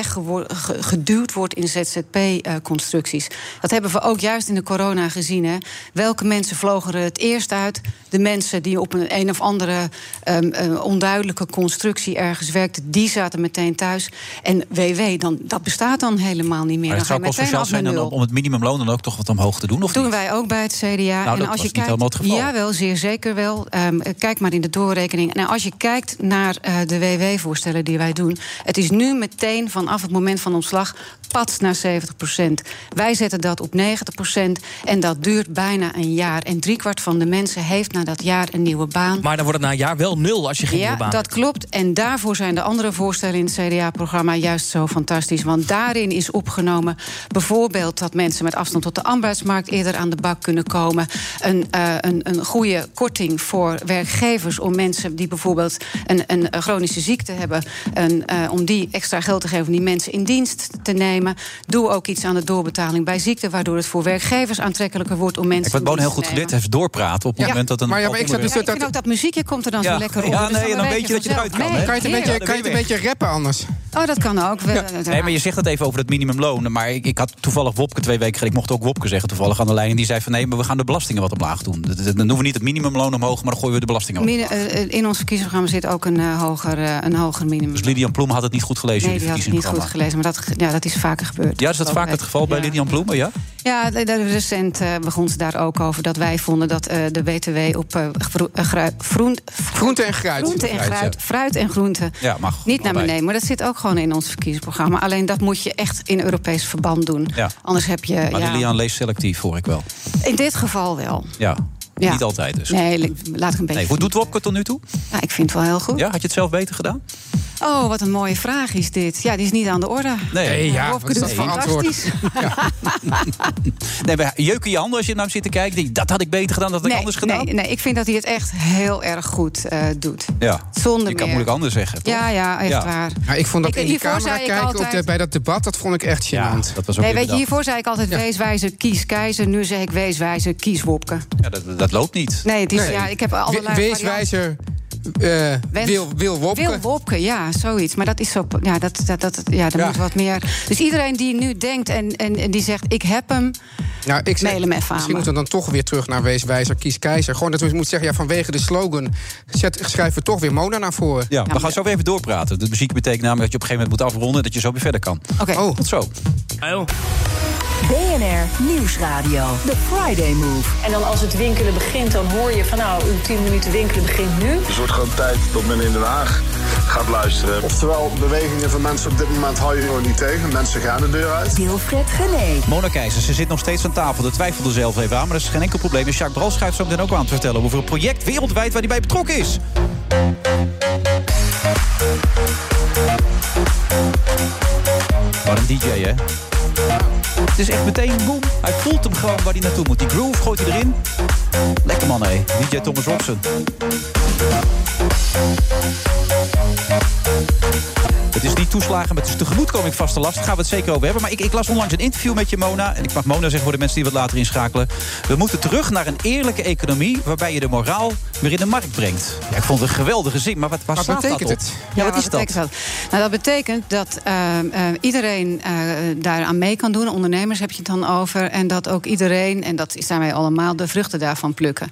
Speaker 9: weggeduwd wordt in ZZP-constructies. eh, Dat hebben we ook juist in de corona gezien. Hè. Welke mensen vlogen er het eerst uit? De mensen die op een, een of andere ehm, eh, onduidelijke constructie ergens werkten, die zaten meteen thuis. En WW, dan, dat bestaat dan helemaal niet meer.
Speaker 7: Maar
Speaker 9: Dan
Speaker 7: het
Speaker 9: ga
Speaker 7: zou
Speaker 9: je
Speaker 7: ook wel
Speaker 9: meteen
Speaker 7: sociaal
Speaker 9: af naar
Speaker 7: zijn dan
Speaker 9: nul.
Speaker 7: om, om het minimumloon dan ook toch wat omhoog te doen, of
Speaker 9: Doen
Speaker 7: niet? Nou,
Speaker 9: wij ook bij het CDA.
Speaker 7: dat was niet helemaal het geval.
Speaker 9: Jawel, zeer zeker wel. Ehm, eh, kijk maar in de doorrekening. Nou, als je kijkt naar eh, de WW-voorstellen die wij doen... het is nu meteen vanaf het moment van ontslag pats naar 70 Wij zetten dat op 90 en dat duurt bijna een jaar. En driekwart van de mensen heeft na dat jaar een nieuwe baan.
Speaker 6: Maar dan wordt het na een jaar wel nul als je geen nieuwe
Speaker 9: Ja,
Speaker 6: baan
Speaker 9: dat klopt. En daarvoor zijn de andere voorstellen in het CDA-programma juist zo fantastisch. Want daarin is opgenomen bijvoorbeeld dat mensen met afstand tot de arbeidsmarkt eerder aan de bak kunnen komen. Een, eh, een, een goede korting voor werkgevers om mensen die bijvoorbeeld een, een chronische ziekte hebben, een, eh, om die extra geld te geven om die mensen in dienst te nemen. Doe ook iets aan de doorbetaling bij ziekte, waardoor het voor werkgevers aantrekkelijker wordt om mensen.
Speaker 7: Ik word
Speaker 9: in
Speaker 7: Boon heel
Speaker 9: dienst
Speaker 7: goed
Speaker 9: te
Speaker 7: geleerd,
Speaker 9: nemen.
Speaker 7: even doorpraten op het
Speaker 8: Ja,
Speaker 7: moment dat een
Speaker 8: maar ja, maar
Speaker 7: bepaald onderwerp-
Speaker 8: ik snap dus
Speaker 9: Ja, ik
Speaker 8: dat-
Speaker 9: vind ook dat muziekje komt er dan
Speaker 7: Ja.
Speaker 9: zo lekker op.
Speaker 7: Ja,
Speaker 9: Dus
Speaker 7: nee,
Speaker 9: dan
Speaker 7: en dan weet je dat je
Speaker 9: vanzelf.
Speaker 7: eruit kan,
Speaker 9: Nee,
Speaker 7: hè?
Speaker 8: Kan je het een beetje,
Speaker 9: heerlijk.
Speaker 8: kan je het een beetje rappen anders?
Speaker 9: Oh, dat kan ook. We- dat-
Speaker 7: Nee, maar je zegt het even over het minimumloon. Maar ik, ik had toevallig Wopke twee weken geleden. Ik mocht ook Wopke zeggen toevallig aan de lijn. En die zei van nee, maar we gaan de belastingen wat omlaag doen. Dat- dat- Dan doen we niet het minimumloon omhoog, maar dan gooien we de belastingen wat omlaag.
Speaker 9: Min- eh, eh, In ons verkiezingsprogramma zit ook een, eh, hoger, eh, een hoger minimum.
Speaker 7: Dus Lilian Ploem had het niet goed gelezen
Speaker 9: Nee,
Speaker 7: in
Speaker 9: die
Speaker 7: het
Speaker 9: had ik niet goed
Speaker 7: verkiezingsprogramma.
Speaker 9: gelezen, maar dat, ge- ja, dat is vaker gebeurd.
Speaker 7: Ja, is dat vaak het geval bij
Speaker 9: Ja.
Speaker 7: Lilian Ploemen, ja?
Speaker 9: Ja, de- de- recent eh, begon ze daar ook over dat wij vonden dat eh, de BTW op eh, gro- eh, grui- vroen-
Speaker 8: Groente en fruit.
Speaker 9: groente en
Speaker 7: Fruit,
Speaker 9: fruit,
Speaker 7: ja.
Speaker 9: fruit en groente
Speaker 7: Ja, mag.
Speaker 9: niet naar
Speaker 7: Allebei.
Speaker 9: beneden. Maar dat zit ook gewoon in ons verkiezingsprogramma. Alleen dat moet je echt in Europees verband doen.
Speaker 7: Ja.
Speaker 9: Anders heb je...
Speaker 7: Maar
Speaker 9: ja,
Speaker 7: Lilian leest selectief, hoor ik wel.
Speaker 9: In dit geval wel.
Speaker 7: Ja.
Speaker 9: Ja.
Speaker 7: Niet altijd dus. Nee.
Speaker 9: Nee, laat ik een beetje...
Speaker 7: hoe doet Wopke tot nu toe?
Speaker 9: Nou, ik vind het wel heel goed.
Speaker 7: Ja, had je het zelf beter gedaan?
Speaker 9: Oh, wat een mooie vraag is dit. Ja, die is niet aan de orde.
Speaker 8: Nee, ja,
Speaker 9: Hofke
Speaker 8: wat is
Speaker 9: doet
Speaker 8: dat voor antwoord?
Speaker 9: fantastisch.
Speaker 7: Nee, maar jeuken je handen als je naar hem zit te kijken. Denk, je, dat had ik beter gedaan, dat had ik anders gedaan.
Speaker 9: Nee, nee, ik vind dat hij het echt heel erg goed eh, doet.
Speaker 7: Ja.
Speaker 9: Zonder
Speaker 7: je kan
Speaker 9: meer.
Speaker 7: moeilijk anders zeggen, toch?
Speaker 9: Ja, ja, echt
Speaker 7: Ja.
Speaker 9: waar.
Speaker 8: Ja, ik vond dat
Speaker 9: Ik-
Speaker 8: in die
Speaker 9: hiervoor
Speaker 8: camera
Speaker 9: zei ik
Speaker 8: kijken op de,
Speaker 9: altijd-
Speaker 8: bij dat debat, dat vond ik echt gênant.
Speaker 7: Ja, dat was ook weer
Speaker 9: Nee, weet je,
Speaker 7: bedacht.
Speaker 9: hievoor zei ik altijd weeswijzer, kies keizer. Nu zeg ik weeswijzer, kies Wopke.
Speaker 7: Ja, dat, dat loopt niet.
Speaker 9: Nee, het is,
Speaker 8: Nee.
Speaker 9: ja, ik heb
Speaker 8: We-
Speaker 9: allerlei
Speaker 8: Wees
Speaker 9: varianten.
Speaker 8: wijzer, eh,
Speaker 9: Wens-
Speaker 8: Wil, Wil Wopke.
Speaker 9: Wil Wopke, ja, zoiets. Maar dat is zo. Ja, dat, dat, dat, ja daar
Speaker 8: Ja.
Speaker 9: moet wat meer. Dus iedereen die nu denkt en, en, en die zegt: ik heb hem.
Speaker 8: Nou, ik zeg,
Speaker 9: Mail hem even aan
Speaker 8: misschien
Speaker 9: me.
Speaker 8: moeten we dan toch weer terug naar Wees Wijzer, Kies Keizer. Gewoon dat we moeten zeggen, ja, vanwege de slogan zet, schrijven we toch weer Mona naar voren.
Speaker 7: Ja,
Speaker 9: Nou,
Speaker 7: we gaan zo weer even doorpraten. De muziek betekent namelijk dat je op een gegeven moment moet afronden... en dat je zo weer verder kan.
Speaker 9: Oké.
Speaker 8: Oh.
Speaker 7: Tot zo.
Speaker 2: Uil.
Speaker 3: BNR Nieuwsradio. The Friday Move.
Speaker 10: En dan als het winkelen begint, dan hoor je van nou, uw 10 minuten winkelen begint nu.
Speaker 11: Dus het wordt gewoon tijd dat men in Den Haag gaat luisteren. Oftewel, bewegingen van mensen op dit moment hou je gewoon niet tegen. Mensen gaan de deur uit.
Speaker 3: Wilfred Genee.
Speaker 7: Mona Keijzer, ze zit nog steeds aan tafel. Dat twijfelde zelf even aan, maar dat is geen enkel probleem. En Jacques Bral schuift zo meteen ook aan te vertellen... over een project wereldwijd waar hij bij betrokken is. Wat een DJ, hè? Het is echt meteen boem. Hij voelt hem gewoon waar hij naartoe moet. Die groove gooit hij erin. Lekker man, hé. DJ Thomas Robson. Het is niet toeslagen, maar het is tegemoetkoming vaste last. Daar gaan we het zeker over hebben. Maar ik, ik las onlangs een interview met je, Mona. En ik mag Mona zeggen voor de mensen die wat later inschakelen. We moeten terug naar een eerlijke economie... waarbij je de moraal weer in de markt brengt. Ja, ik vond het een geweldige zin, maar wat, waar
Speaker 8: Wat
Speaker 7: slaat dat
Speaker 8: betekent
Speaker 7: op?
Speaker 8: het?
Speaker 7: Ja, wat is dat?
Speaker 9: betekent Nou, dat betekent dat eh, eh, iedereen eh, daaraan mee kan doen. Ondernemers heb je het dan over. En dat ook iedereen, en dat zijn wij allemaal, de vruchten daarvan plukken.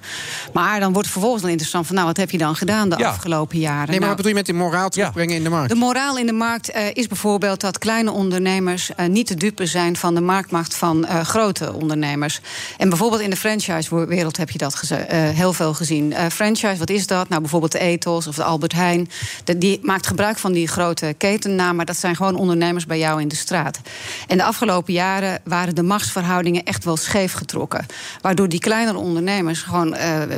Speaker 9: Maar dan wordt het vervolgens dan interessant van... nou, wat heb je dan gedaan de
Speaker 8: Ja.
Speaker 9: afgelopen jaren?
Speaker 8: Nee, maar
Speaker 9: Nou,
Speaker 8: wat bedoel je met die moraal terugbrengen in de markt?
Speaker 9: de moraal in de markt eh, is bijvoorbeeld dat kleine ondernemers eh, niet te dupe zijn van de marktmacht van eh, grote ondernemers. En bijvoorbeeld in de franchise-wereld heb je dat geze- eh, heel veel gezien. Eh, franchise, wat is dat? Nou, bijvoorbeeld de Ethos of de Albert Heijn. De- die maakt gebruik van die grote ketennaam, maar dat zijn gewoon ondernemers bij jou in de straat. En de afgelopen jaren waren de machtsverhoudingen echt wel scheef getrokken. Waardoor die kleinere ondernemers gewoon eh, eh,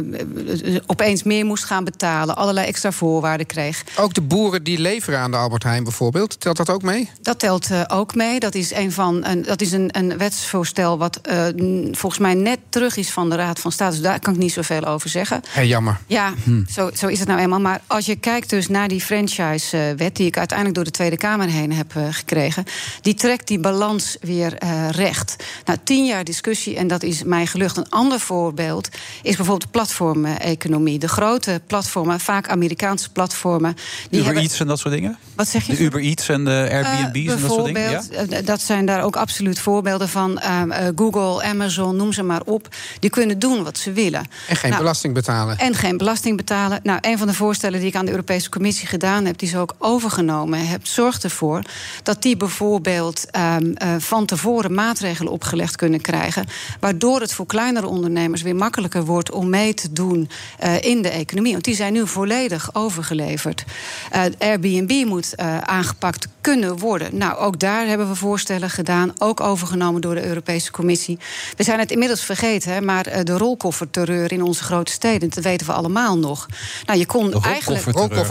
Speaker 9: eh, opeens meer moest gaan betalen, allerlei extra voorwaarden kreeg.
Speaker 8: Ook de boeren die leveren aan de Albert Heijn bijvoorbeeld, telt dat ook mee?
Speaker 9: Dat telt eh, ook mee. Dat is een, van, een, dat is een, een wetsvoorstel wat eh, n- volgens mij net terug is van de Raad van State. Dus daar kan ik niet zoveel over zeggen.
Speaker 8: Hé, jammer.
Speaker 9: Ja,
Speaker 8: Hm.
Speaker 9: zo, zo is het nou eenmaal. Maar als je kijkt dus naar die franchise-wet... die ik uiteindelijk door de Tweede Kamer heen heb eh, gekregen... die trekt die balans weer eh, recht. Nou, tien jaar discussie, en dat is mij gelucht. Een ander voorbeeld is bijvoorbeeld de platformeconomie. De grote platformen, vaak Amerikaanse platformen... die
Speaker 7: Uber
Speaker 9: hebben-
Speaker 7: Eats en dat soort dingen?
Speaker 9: Wat zeg je?
Speaker 7: De Uber Eats en de Airbnb's
Speaker 9: eh,
Speaker 7: en dat soort dingen? Ja?
Speaker 9: bijvoorbeeld, eh, Dat zijn daar ook absoluut voorbeelden van. Ehm, eh, Google, Amazon, noem ze maar op. Die kunnen doen wat ze willen.
Speaker 8: En geen
Speaker 9: Nou,
Speaker 8: belasting betalen.
Speaker 9: En geen belasting betalen. Nou, een van de voorstellen die ik aan de Europese Commissie gedaan heb, die ze ook overgenomen heb, zorgt ervoor dat die bijvoorbeeld ehm, eh, van tevoren maatregelen opgelegd kunnen krijgen. Waardoor het voor kleinere ondernemers weer makkelijker wordt om mee te doen eh, in de economie. Want die zijn nu volledig overgeleverd. Eh, Airbnb moet eh, aangepakt kunnen worden. Nou, ook daar hebben we voorstellen gedaan, ook overgenomen door de Europese Commissie. We zijn het inmiddels vergeten, hè, maar eh, de rolkofferterreur in onze grote steden, dat weten we allemaal nog. Nou, je kon eigenlijk.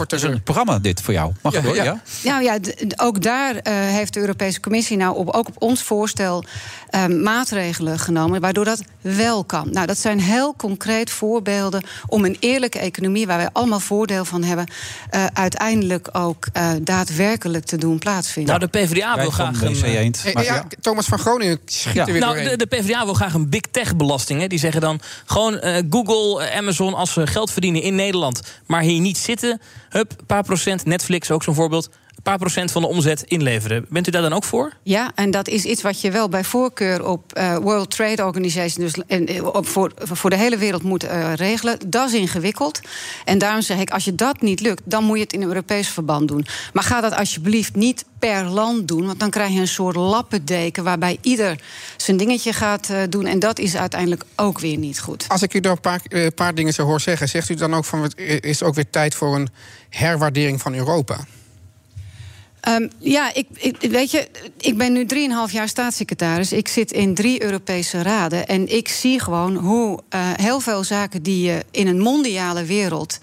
Speaker 7: Het is een programma dit voor jou. Mag ik hoor, ja?
Speaker 9: Nou ja, d- d- ook daar eh, heeft de Europese Commissie nou op, ook op ons voorstel eh, maatregelen genomen, waardoor dat wel kan. Nou, dat zijn heel concreet voorbeelden om een eerlijke economie, waar wij allemaal voordeel van hebben, eh, uiteindelijk ook eh, daadwerkelijk te doen plaatsvinden.
Speaker 6: Nou, de PvdA wil graag een...
Speaker 8: Eh, ja, Thomas van Groningen schiet er weer
Speaker 6: Nou,
Speaker 8: doorheen.
Speaker 6: de, de PvdA wil graag een big tech belasting. Hè. Die zeggen dan gewoon eh, Google, eh, Amazon als ze geld verdienen in Nederland, maar hier niet zitten. Hup, een paar procent, Netflix ook zo'n voorbeeld. Een paar procent van de omzet inleveren. Bent u daar dan ook voor?
Speaker 9: Ja, en dat is iets wat je wel bij voorkeur op eh, World Trade Organization, dus en, eh, op, voor, voor de hele wereld moet eh, regelen. Dat is ingewikkeld. En daarom zeg ik, als je dat niet lukt, dan moet je het in een Europees verband doen. Maar ga dat alsjeblieft niet per land doen, want dan krijg je een soort lappendeken waarbij ieder zijn dingetje gaat eh, doen. En dat is uiteindelijk ook weer niet goed.
Speaker 8: Als ik u dan een paar, eh, paar dingen zo hoor zeggen, zegt u dan ook van het is ook weer tijd voor een herwaardering van Europa?
Speaker 9: Ehm, ja, ik, ik, weet je, ik ben nu 3,5 jaar staatssecretaris. Ik zit in drie Europese raden. En ik zie gewoon hoe eh, heel veel zaken die je in een mondiale wereld...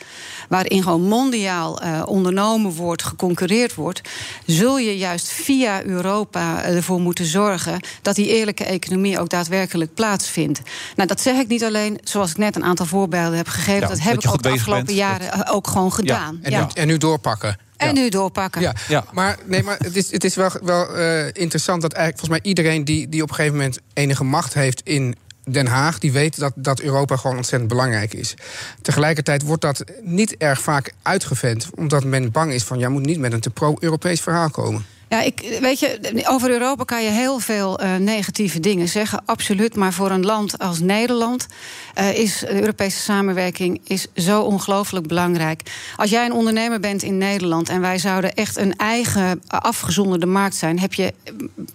Speaker 9: waarin gewoon mondiaal eh, ondernomen wordt, geconcurreerd wordt... zul je juist via Europa ervoor moeten zorgen... dat die eerlijke economie ook daadwerkelijk plaatsvindt. Nou, dat zeg ik niet alleen. Zoals ik net een aantal voorbeelden heb gegeven...
Speaker 8: Ja,
Speaker 9: dat heb
Speaker 8: dat je
Speaker 9: ik ook
Speaker 8: goed
Speaker 9: de
Speaker 8: bezig
Speaker 9: afgelopen
Speaker 8: bent.
Speaker 9: jaren eh, ook gewoon gedaan.
Speaker 8: En,
Speaker 9: Ja.
Speaker 8: Nu, en nu doorpakken.
Speaker 9: En nu doorpakken.
Speaker 8: Ja. Maar, nee, maar het is, het is wel, wel eh, interessant dat eigenlijk volgens mij iedereen die, die op een gegeven moment enige macht heeft in Den Haag, die weet dat, dat Europa gewoon ontzettend belangrijk is. Tegelijkertijd wordt dat niet erg vaak uitgevent, omdat men bang is van ja, moet niet met een te pro-Europees verhaal komen.
Speaker 9: Ja, ik, weet je, over Europa kan je heel veel eh, negatieve dingen zeggen, absoluut. Maar voor een land als Nederland eh, is de Europese samenwerking is zo ongelooflijk belangrijk. Als jij een ondernemer bent in Nederland en wij zouden echt een eigen eh, afgezonderde markt zijn, heb je eh,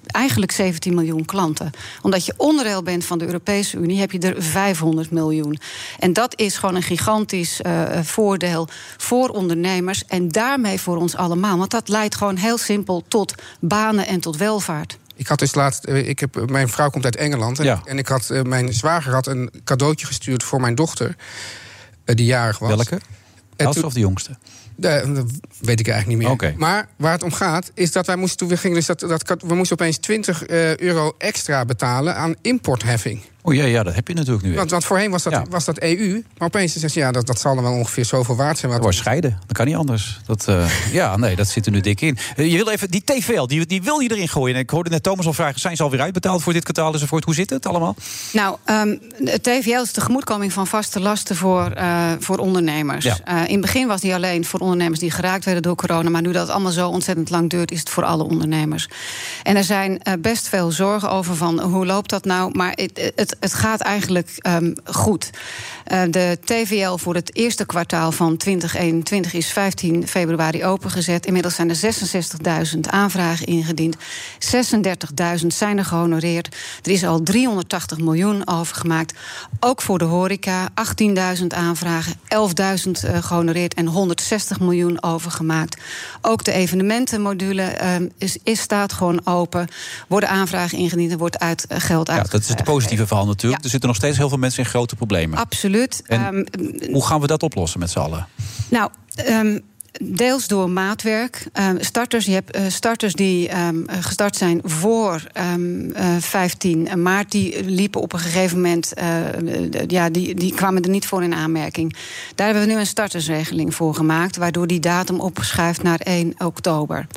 Speaker 9: eigenlijk 17 miljoen klanten. Omdat je onderdeel bent van de Europese Unie, heb je er 500 miljoen. En dat is gewoon een gigantisch eh, voordeel voor ondernemers en daarmee voor ons allemaal. Want dat leidt gewoon heel simpel tot banen en tot welvaart.
Speaker 8: Ik had dus laatst, eh, ik heb, mijn vrouw komt uit Engeland. En, en ik had, eh, mijn zwager had een cadeautje gestuurd voor mijn dochter. eh, die jarig was.
Speaker 7: Welke?
Speaker 8: En
Speaker 7: Oudste
Speaker 8: toen-
Speaker 7: of de jongste?
Speaker 8: Eh, dat weet ik eigenlijk niet meer.
Speaker 7: Oké.
Speaker 8: Maar waar het om gaat, is dat wij moesten, toen we gingen dus dat, dat, we moesten opeens 20 eh, euro extra betalen aan importheffing.
Speaker 7: O Oh ja, ja, dat heb je natuurlijk nu.
Speaker 8: Want, want voorheen was dat,
Speaker 7: Ja.
Speaker 8: was dat EU. Maar opeens zegt ze, ja, dat, dat zal dan wel ongeveer zoveel waard zijn. Wat...
Speaker 7: Wordt scheiden. Dat kan niet anders. Dat, eh, ja, nee, dat zit er nu dik in. Eh, je wil even die TVL, die, die wil je erin gooien. En ik hoorde net Thomas al vragen: zijn ze alweer uitbetaald voor dit kwartaal enzovoort? Hoe zit het allemaal?
Speaker 9: Nou, ehm het TVL is de tegemoetkoming van vaste lasten voor, eh, voor ondernemers.
Speaker 7: Ja.
Speaker 9: Eh, in het begin was die alleen voor ondernemers die geraakt werden door corona. Maar nu dat het allemaal zo ontzettend lang duurt, is het voor alle ondernemers. En er zijn eh, best veel zorgen over van hoe loopt dat nou? Maar het, het, het gaat eigenlijk ehm, goed. Eh, de TVL voor het eerste kwartaal van 2021 is 15 februari opengezet. Inmiddels zijn er 66.000 aanvragen ingediend. 36.000 zijn er gehonoreerd. Er is al 380 miljoen overgemaakt. Ook voor de horeca. 18.000 aanvragen, 11.000 eh, gehonoreerd en 160 miljoen overgemaakt. Ook de evenementenmodule ehm, is, is, staat gewoon open. Worden aanvragen ingediend en wordt uit, eh, geld
Speaker 7: Ja,
Speaker 9: uit.
Speaker 7: dat is het positieve verhaal natuurlijk. Er zitten nog steeds heel veel mensen in grote problemen.
Speaker 9: Absoluut.
Speaker 7: En
Speaker 9: Ehm,
Speaker 7: Hoe gaan we dat oplossen met z'n allen?
Speaker 9: Nou, ehm, deels door maatwerk. Ehm, starters, je hebt eh, starters die ehm, gestart zijn voor ehm, eh, 15 maart, die liepen op een gegeven moment, eh, d- ja, die, die kwamen er niet voor in aanmerking. Daar hebben we nu een startersregeling voor gemaakt, waardoor die datum opschuift naar 1 oktober.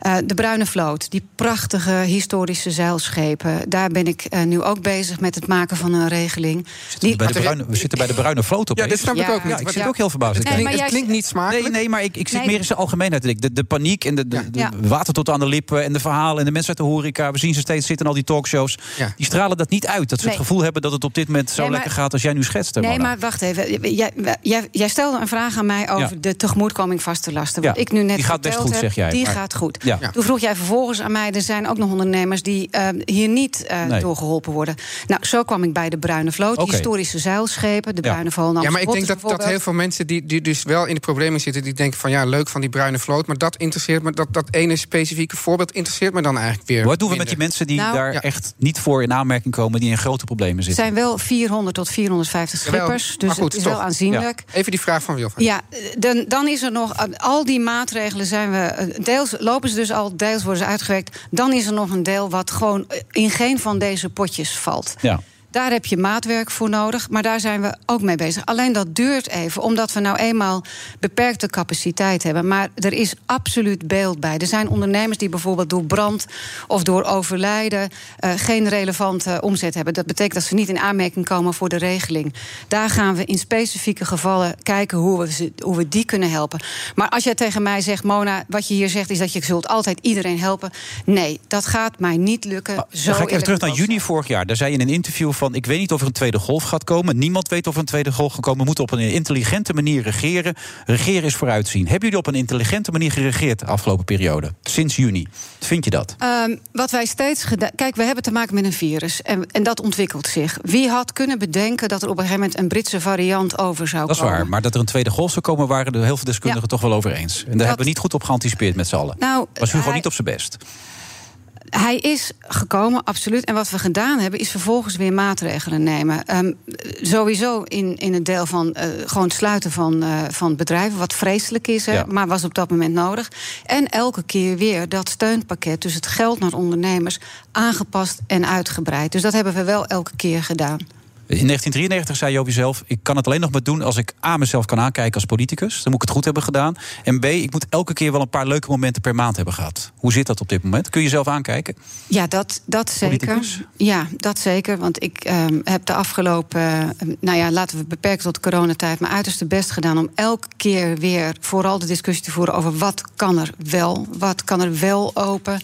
Speaker 9: Eh, de Bruine Vloot, die prachtige historische zeilschepen, daar ben ik eh, nu ook bezig met het maken van een regeling. Die-
Speaker 7: Bij de bruine, we zitten bij de bruine vloot op.
Speaker 9: Ja, dit snap ik Ja. ook niet.
Speaker 7: Ja, ik zit
Speaker 9: Ja.
Speaker 7: ook heel verbaasd.
Speaker 9: Het
Speaker 7: te kijken.
Speaker 9: klinkt- het klinkt niet smakelijk.
Speaker 7: Nee, nee maar ik, ik zit
Speaker 9: Nee. dus
Speaker 7: meer in zijn algemeenheid. te denken. De, de paniek en de, de, de
Speaker 9: Ja.
Speaker 7: water tot aan de lippen... en de verhalen en de mensen uit de horeca. We zien ze steeds zitten in al die talkshows. Die stralen dat niet uit. Dat ze het
Speaker 9: Nee.
Speaker 7: gevoel hebben dat het op dit moment zo
Speaker 9: Nee, maar-
Speaker 7: lekker gaat... als jij nu schetst. hè,
Speaker 9: Nee,
Speaker 7: Mona.
Speaker 9: maar wacht even. Jij, jij, jij stelde een vraag aan mij over
Speaker 7: Ja.
Speaker 9: de tegemoetkoming vaste lasten. Wat
Speaker 7: Ja.
Speaker 9: ik nu net
Speaker 7: Die gaat best
Speaker 9: verteld
Speaker 7: goed,
Speaker 9: heb,
Speaker 7: zeg jij,
Speaker 9: Die
Speaker 7: maar-
Speaker 9: gaat goed.
Speaker 7: Ja.
Speaker 9: Toen vroeg jij vervolgens aan mij... er zijn ook nog ondernemers die eh, hier niet eh,
Speaker 8: Nee.
Speaker 9: door geholpen worden. Nou, zo kwam ik bij de Bruine Vloot. die
Speaker 8: Oké.
Speaker 9: historische zeilschepen, de Bruine Vloot. en
Speaker 8: Ja, maar ik
Speaker 9: Amsterdam
Speaker 8: denk dat, dat
Speaker 9: bijvoorbeeld.
Speaker 8: heel veel mensen die, die dus wel in de problemen zitten, die denken van ja, leuk van die bruine vloot. Maar dat interesseert me. Dat, dat ene specifieke voorbeeld interesseert me dan eigenlijk weer.
Speaker 7: Wat doen we met die mensen die
Speaker 9: Nou-
Speaker 7: daar
Speaker 9: Ja.
Speaker 7: echt niet voor in aanmerking komen... die in grote problemen
Speaker 9: Het
Speaker 7: zitten?
Speaker 9: zijn wel 400 tot 450
Speaker 8: Jawel,
Speaker 9: schippers.
Speaker 8: maar
Speaker 9: dus
Speaker 8: goed,
Speaker 9: het is
Speaker 8: toch.
Speaker 9: wel aanzienlijk.
Speaker 8: Even die vraag van Wilfred.
Speaker 9: Ja, dan, dan is er nog al die maatregelen zijn we eh, deels lopen ze dus al, deels worden ze uitgewerkt. Dan is er nog een deel wat gewoon eh, in geen van deze potjes valt.
Speaker 7: Ja.
Speaker 9: Daar heb je maatwerk voor nodig, maar daar zijn we ook mee bezig. Alleen dat duurt even, omdat we nou eenmaal beperkte capaciteit hebben. Maar er is absoluut beeld bij. Er zijn ondernemers die bijvoorbeeld door brand of door overlijden eh, geen relevante omzet hebben. Dat betekent dat ze niet in aanmerking komen voor de regeling. Daar gaan we in specifieke gevallen kijken hoe we, ze, hoe we die kunnen helpen. Maar als jij tegen mij zegt, Mona, wat je hier zegt is dat je zult altijd iedereen helpen. Nee, dat gaat mij niet lukken. zo
Speaker 7: Ah, Dan ga ik even
Speaker 9: eerlijk
Speaker 7: terug naar juni vorig jaar. Daar zei je in een interview van... ik weet niet of er een tweede golf gaat komen. Niemand weet of er een tweede golf gaat komen. We moeten op een intelligente manier regeren. Regeren is vooruitzien. Hebben jullie op een intelligente manier geregeerd de afgelopen periode? Sinds juni. Vind je dat?
Speaker 9: Ehm, wat wij steeds gedaan. Kijk, we hebben te maken met een virus. En, en dat ontwikkelt zich. Wie had kunnen bedenken dat er op een gegeven moment een Britse variant over zou
Speaker 7: Dat is
Speaker 9: komen?
Speaker 7: waar. Maar dat er een tweede golf zou komen... waren er heel veel deskundigen
Speaker 9: Ja.
Speaker 7: toch wel over eens. En daar
Speaker 9: Dat-
Speaker 7: hebben we niet goed op geanticipeerd met z'n allen.
Speaker 9: Nou,
Speaker 7: Was Hugo
Speaker 9: hij-
Speaker 7: niet op zijn best.
Speaker 9: Hij is gekomen, absoluut. En wat we gedaan hebben, is vervolgens weer maatregelen nemen. Ehm, sowieso in, in het deel van eh, gewoon het sluiten van, eh, van bedrijven, wat vreselijk is, hè,
Speaker 12: Ja.
Speaker 9: maar was op dat moment nodig. En elke keer weer dat steunpakket, dus het geld naar ondernemers, aangepast en uitgebreid. Dus dat hebben we wel elke keer gedaan.
Speaker 7: In 1993 zei je op jezelf: ik kan het alleen nog maar doen als ik A mezelf kan aankijken als politicus. Dan moet ik het goed hebben gedaan. En B, ik moet elke keer wel een paar leuke momenten per maand hebben gehad. Hoe zit dat op dit moment? Kun je jezelf aankijken?
Speaker 9: Ja, dat, dat zeker. Ja, dat zeker. Want ik ehm, heb de afgelopen, ehm, nou ja, laten we het beperken tot coronatijd, mijn uiterste best gedaan om elke keer weer vooral de discussie te voeren over wat kan er wel, wat kan er wel open.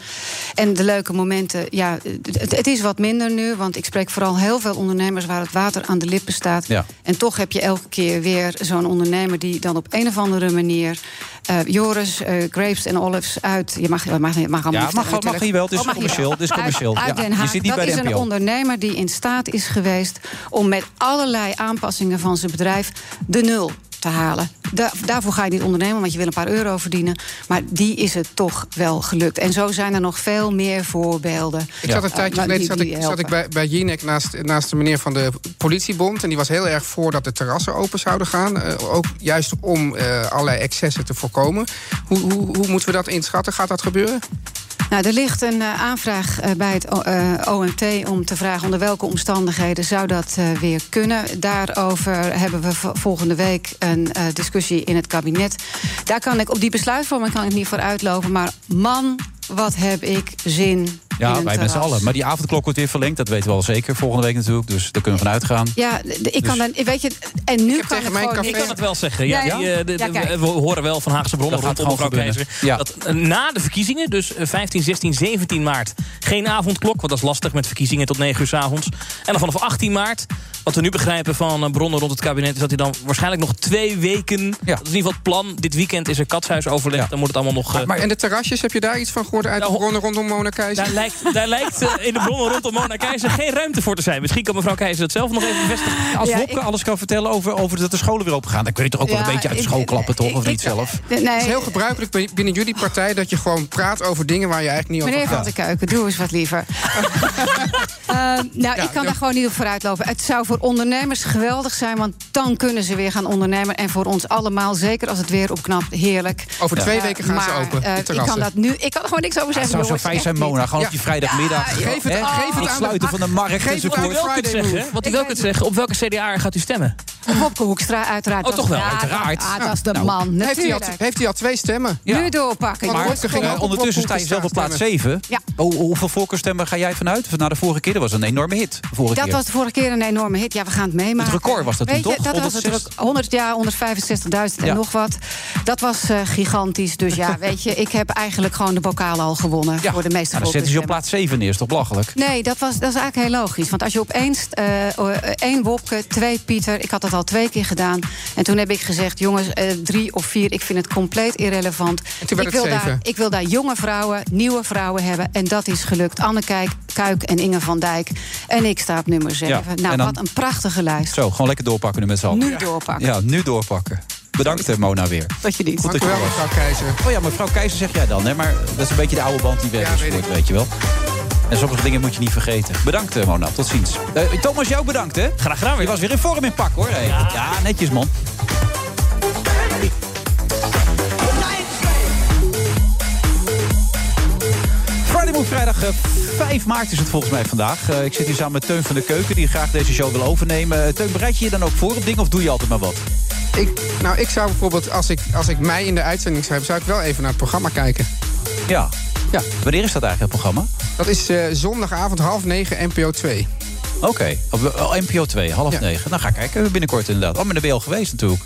Speaker 9: En de leuke momenten, ja, het, het is wat minder nu, want ik spreek vooral heel veel ondernemers waar het water aan de lippen staat.
Speaker 7: Ja.
Speaker 9: En toch heb je elke keer weer zo'n ondernemer die dan op een of andere manier eh, Joris, eh, Grapes en Olives uit. Je mag, je mag, je mag allemaal
Speaker 7: Ja,
Speaker 9: niet
Speaker 7: mag-
Speaker 9: vertellen
Speaker 7: mag
Speaker 9: natuurlijk.
Speaker 7: hier wel, het is
Speaker 9: mag hier
Speaker 7: commercieel,
Speaker 9: wel.
Speaker 7: het is commercieel.
Speaker 9: Uit, uit
Speaker 7: Ja,
Speaker 9: Den
Speaker 7: je
Speaker 9: Haag.
Speaker 7: zit niet
Speaker 9: dat
Speaker 7: bij de
Speaker 9: is een
Speaker 7: NPO.
Speaker 9: ondernemer die in staat is geweest om met allerlei aanpassingen van zijn bedrijf de nul te halen. Da- daarvoor ga je niet ondernemen, want je wil een paar euro verdienen. Maar die is het toch wel gelukt. En zo zijn er nog veel meer voorbeelden.
Speaker 8: Ik zat een
Speaker 9: eh,
Speaker 8: tijdje
Speaker 9: maar die-
Speaker 8: geleden zat
Speaker 9: die
Speaker 8: ik, zat
Speaker 9: helpen.
Speaker 8: ik bij, bij Jinek naast, naast de meneer van de politiebond. En die was heel erg voor dat de terrassen open zouden gaan. Eh, ook juist om eh, allerlei excessen te voorkomen. Hoe, hoe, hoe moeten we dat inschatten? Gaat dat gebeuren?
Speaker 9: Nou, er ligt een eh, aanvraag eh, bij het O- eh, OMT om te vragen onder welke omstandigheden zou dat eh, weer kunnen. Daarover hebben we v- volgende week een eh, discussie in het kabinet. Daar kan ik op die besluitvorming kan ik niet voor uitlopen, maar man, wat heb ik zin. in
Speaker 7: Ja,
Speaker 9: een
Speaker 7: wij met
Speaker 9: terras.
Speaker 7: z'n allen. Maar die avondklok wordt weer verlengd. Dat weten we al zeker. Volgende week natuurlijk. Dus daar kunnen we van uitgaan.
Speaker 9: Ja, de- de- ik kan
Speaker 7: Dus-
Speaker 9: dan, weet je, en nu kan
Speaker 8: tegen
Speaker 9: het
Speaker 8: mijn
Speaker 9: gewoon
Speaker 8: café-
Speaker 9: niet.
Speaker 6: Ik kan het wel zeggen. Ja,
Speaker 9: Ja, ja.
Speaker 6: die, eh, de-
Speaker 9: Ja,
Speaker 6: de-
Speaker 9: kijk.
Speaker 6: we horen wel van Haagse bronnen
Speaker 7: Dat gaat
Speaker 6: rondom mevrouw
Speaker 7: gewoon
Speaker 6: Keizer.
Speaker 7: gebeuren. Ja.
Speaker 6: Dat eh, na de verkiezingen, dus eh, 15, 16, 17 maart... geen avondklok, want dat is lastig met verkiezingen tot 9 uur s avonds. En dan vanaf 18 maart, wat we nu begrijpen van eh, bronnen rond het kabinet... is dat hij dan waarschijnlijk nog twee weken... dat is in ieder geval het plan, dit weekend is er katshuisoverleg... dan moet het allemaal nog... eh,
Speaker 8: Maar en de terrasjes, heb je daar iets van gehoord uit de
Speaker 6: Nou,
Speaker 8: bronnen rondom Mona Keizer?
Speaker 6: daar lijkt, <laughs> daar lijkt eh, in de bronnen rondom Mona Keizer geen ruimte voor te zijn. Misschien kan mevrouw Keizer dat zelf nog even bevestigen.
Speaker 7: Als
Speaker 9: Ja,
Speaker 7: Wopke
Speaker 9: ik-
Speaker 7: alles kan vertellen over, over dat de scholen weer open gaan... dan kun je toch ook wel
Speaker 9: Ja,
Speaker 7: een beetje uit de
Speaker 9: ik-
Speaker 7: school klappen, toch? Of
Speaker 9: ik-
Speaker 7: niet zelf?
Speaker 9: Nee,
Speaker 8: Het is heel gebruikelijk bij- binnen jullie partij dat je gewoon praat over dingen waar je eigenlijk niet over
Speaker 9: Meneer Van
Speaker 8: gaat.
Speaker 9: der Keuken, doe eens wat liever. Eh, nou, ik kan
Speaker 8: ja.
Speaker 9: daar gewoon niet op vooruitlopen. Het zou voor ondernemers geweldig zijn, want dan kunnen ze weer gaan ondernemen. En voor ons allemaal, zeker als het weer opknapt, heerlijk.
Speaker 8: Over twee
Speaker 9: Eh,
Speaker 8: weken gaan ze
Speaker 9: maar,
Speaker 8: open, de
Speaker 9: eh, ik kan
Speaker 8: terrassen.
Speaker 9: dat nu, ik kan er gewoon niks over
Speaker 7: Ja, het
Speaker 9: zeggen.
Speaker 7: zou zo
Speaker 9: jongens,
Speaker 7: fijn
Speaker 9: echt
Speaker 7: zijn,
Speaker 9: niet.
Speaker 7: Mona. Gewoon op die vrijdagmiddag.
Speaker 8: Geef het,
Speaker 7: hè?
Speaker 8: geef het
Speaker 7: Het
Speaker 8: aan de
Speaker 7: sluiten van de markt dus
Speaker 8: Geef het aan
Speaker 7: enzovoort.
Speaker 8: de
Speaker 6: Wat u wel kunt
Speaker 8: Friday Move.
Speaker 6: zeggen, wat u wel kunt zeggen, op welke CDA gaat u stemmen?
Speaker 9: Wopke Hoekstra, uiteraard.
Speaker 6: Oh,
Speaker 9: Dat-
Speaker 6: toch wel,
Speaker 9: ja,
Speaker 7: uiteraard.
Speaker 9: dat- ah, dat is de
Speaker 7: Nou,
Speaker 9: man,
Speaker 8: Heeft hij,
Speaker 9: natuurlijk.
Speaker 8: al, heeft hij al twee stemmen?
Speaker 7: Ja.
Speaker 9: Nu doorpakken.
Speaker 8: Maar-
Speaker 9: jongens.
Speaker 8: Wopke ging
Speaker 7: Eh,
Speaker 8: ook op
Speaker 7: ondertussen sta
Speaker 8: Wopke
Speaker 7: je zelf op plaats
Speaker 8: stemmen.
Speaker 7: 7.
Speaker 9: Ja.
Speaker 7: Hoe- hoeveel voorkeurstemmen ga jij vanuit? Na de vorige keer, dat was een enorme hit. de Vorige
Speaker 9: Dat
Speaker 7: keer.
Speaker 9: was de vorige keer een enorme hit. Ja, we gaan het meemaken.
Speaker 7: Het record was dat toen,
Speaker 9: Weet je,
Speaker 7: toch?
Speaker 9: Dat was het
Speaker 7: 160.
Speaker 9: record. 100 jaar, 165.000 en
Speaker 7: Ja.
Speaker 9: nog wat. Dat was eh, gigantisch. Dus
Speaker 7: <laughs>
Speaker 9: ja, weet je, ik heb eigenlijk gewoon de bokalen al gewonnen voor de meeste
Speaker 7: Nou, dan zetten ze je op plaats 7 neer, is toch belachelijk?
Speaker 9: Nee, dat, was, dat is eigenlijk heel logisch. Want als je op één, st- eh, eh, één Wopke, twee Pieter... ik had dat al twee keer gedaan. En toen heb ik gezegd, jongens, eh, drie of vier... ik vind het compleet irrelevant.
Speaker 8: toen werd
Speaker 9: ik,
Speaker 8: het
Speaker 9: wil daar,
Speaker 8: zeven.
Speaker 9: ik wil daar jonge vrouwen, nieuwe vrouwen hebben. En dat is gelukt. Anne Kijk, Kuik en Inge van Dijk. En ik sta op nummer zeven. nou,
Speaker 7: en dan-
Speaker 9: wat een prachtige lijst.
Speaker 7: Zo, gewoon lekker doorpakken nu met z'n allen.
Speaker 9: Nu doorpakken.
Speaker 7: Ja, nu doorpakken. Bedankt, hè, Mona, weer.
Speaker 9: Dat je niet.
Speaker 7: Goed dat
Speaker 8: Dank
Speaker 7: je
Speaker 8: u wel,
Speaker 7: er was.
Speaker 8: mevrouw Keizer.
Speaker 7: Oh ja, mevrouw Keizer zeg jij dan, hè? Maar dat is een beetje de oude band die weg
Speaker 8: Ja,
Speaker 7: is
Speaker 8: weet
Speaker 7: voort,
Speaker 8: ik.
Speaker 7: weet je wel. En sommige dingen moet je niet vergeten. Bedankt, eh, Mona. Tot ziens. Eh, Thomas, jou bedankt, hè?
Speaker 6: Graag gedaan
Speaker 7: Je
Speaker 6: weer.
Speaker 7: was weer in vorm in pak, hoor. hè? Ja, netjes, man. Friday Move vrijdag eh, 5 maart is het volgens mij vandaag. Eh, ik zit hier samen met Teun van de Keuken, die graag deze show wil overnemen. Eh, Teun, bereid je je dan ook voor op dingen of doe je altijd maar wat?
Speaker 8: Ik, nou, ik zou bijvoorbeeld, als ik, als ik mij in de uitzending zou hebben... zou ik wel even naar het programma kijken.
Speaker 7: Ja.
Speaker 8: Ja.
Speaker 7: Wanneer is dat eigenlijk, het programma?
Speaker 8: Dat is eh, zondagavond half negen NPO 2.
Speaker 7: Oké, Op, eh, NPO 2, half
Speaker 8: Ja.
Speaker 7: 9. Nou, ga ik kijken binnenkort inderdaad. Oh, maar dan ben je al geweest natuurlijk.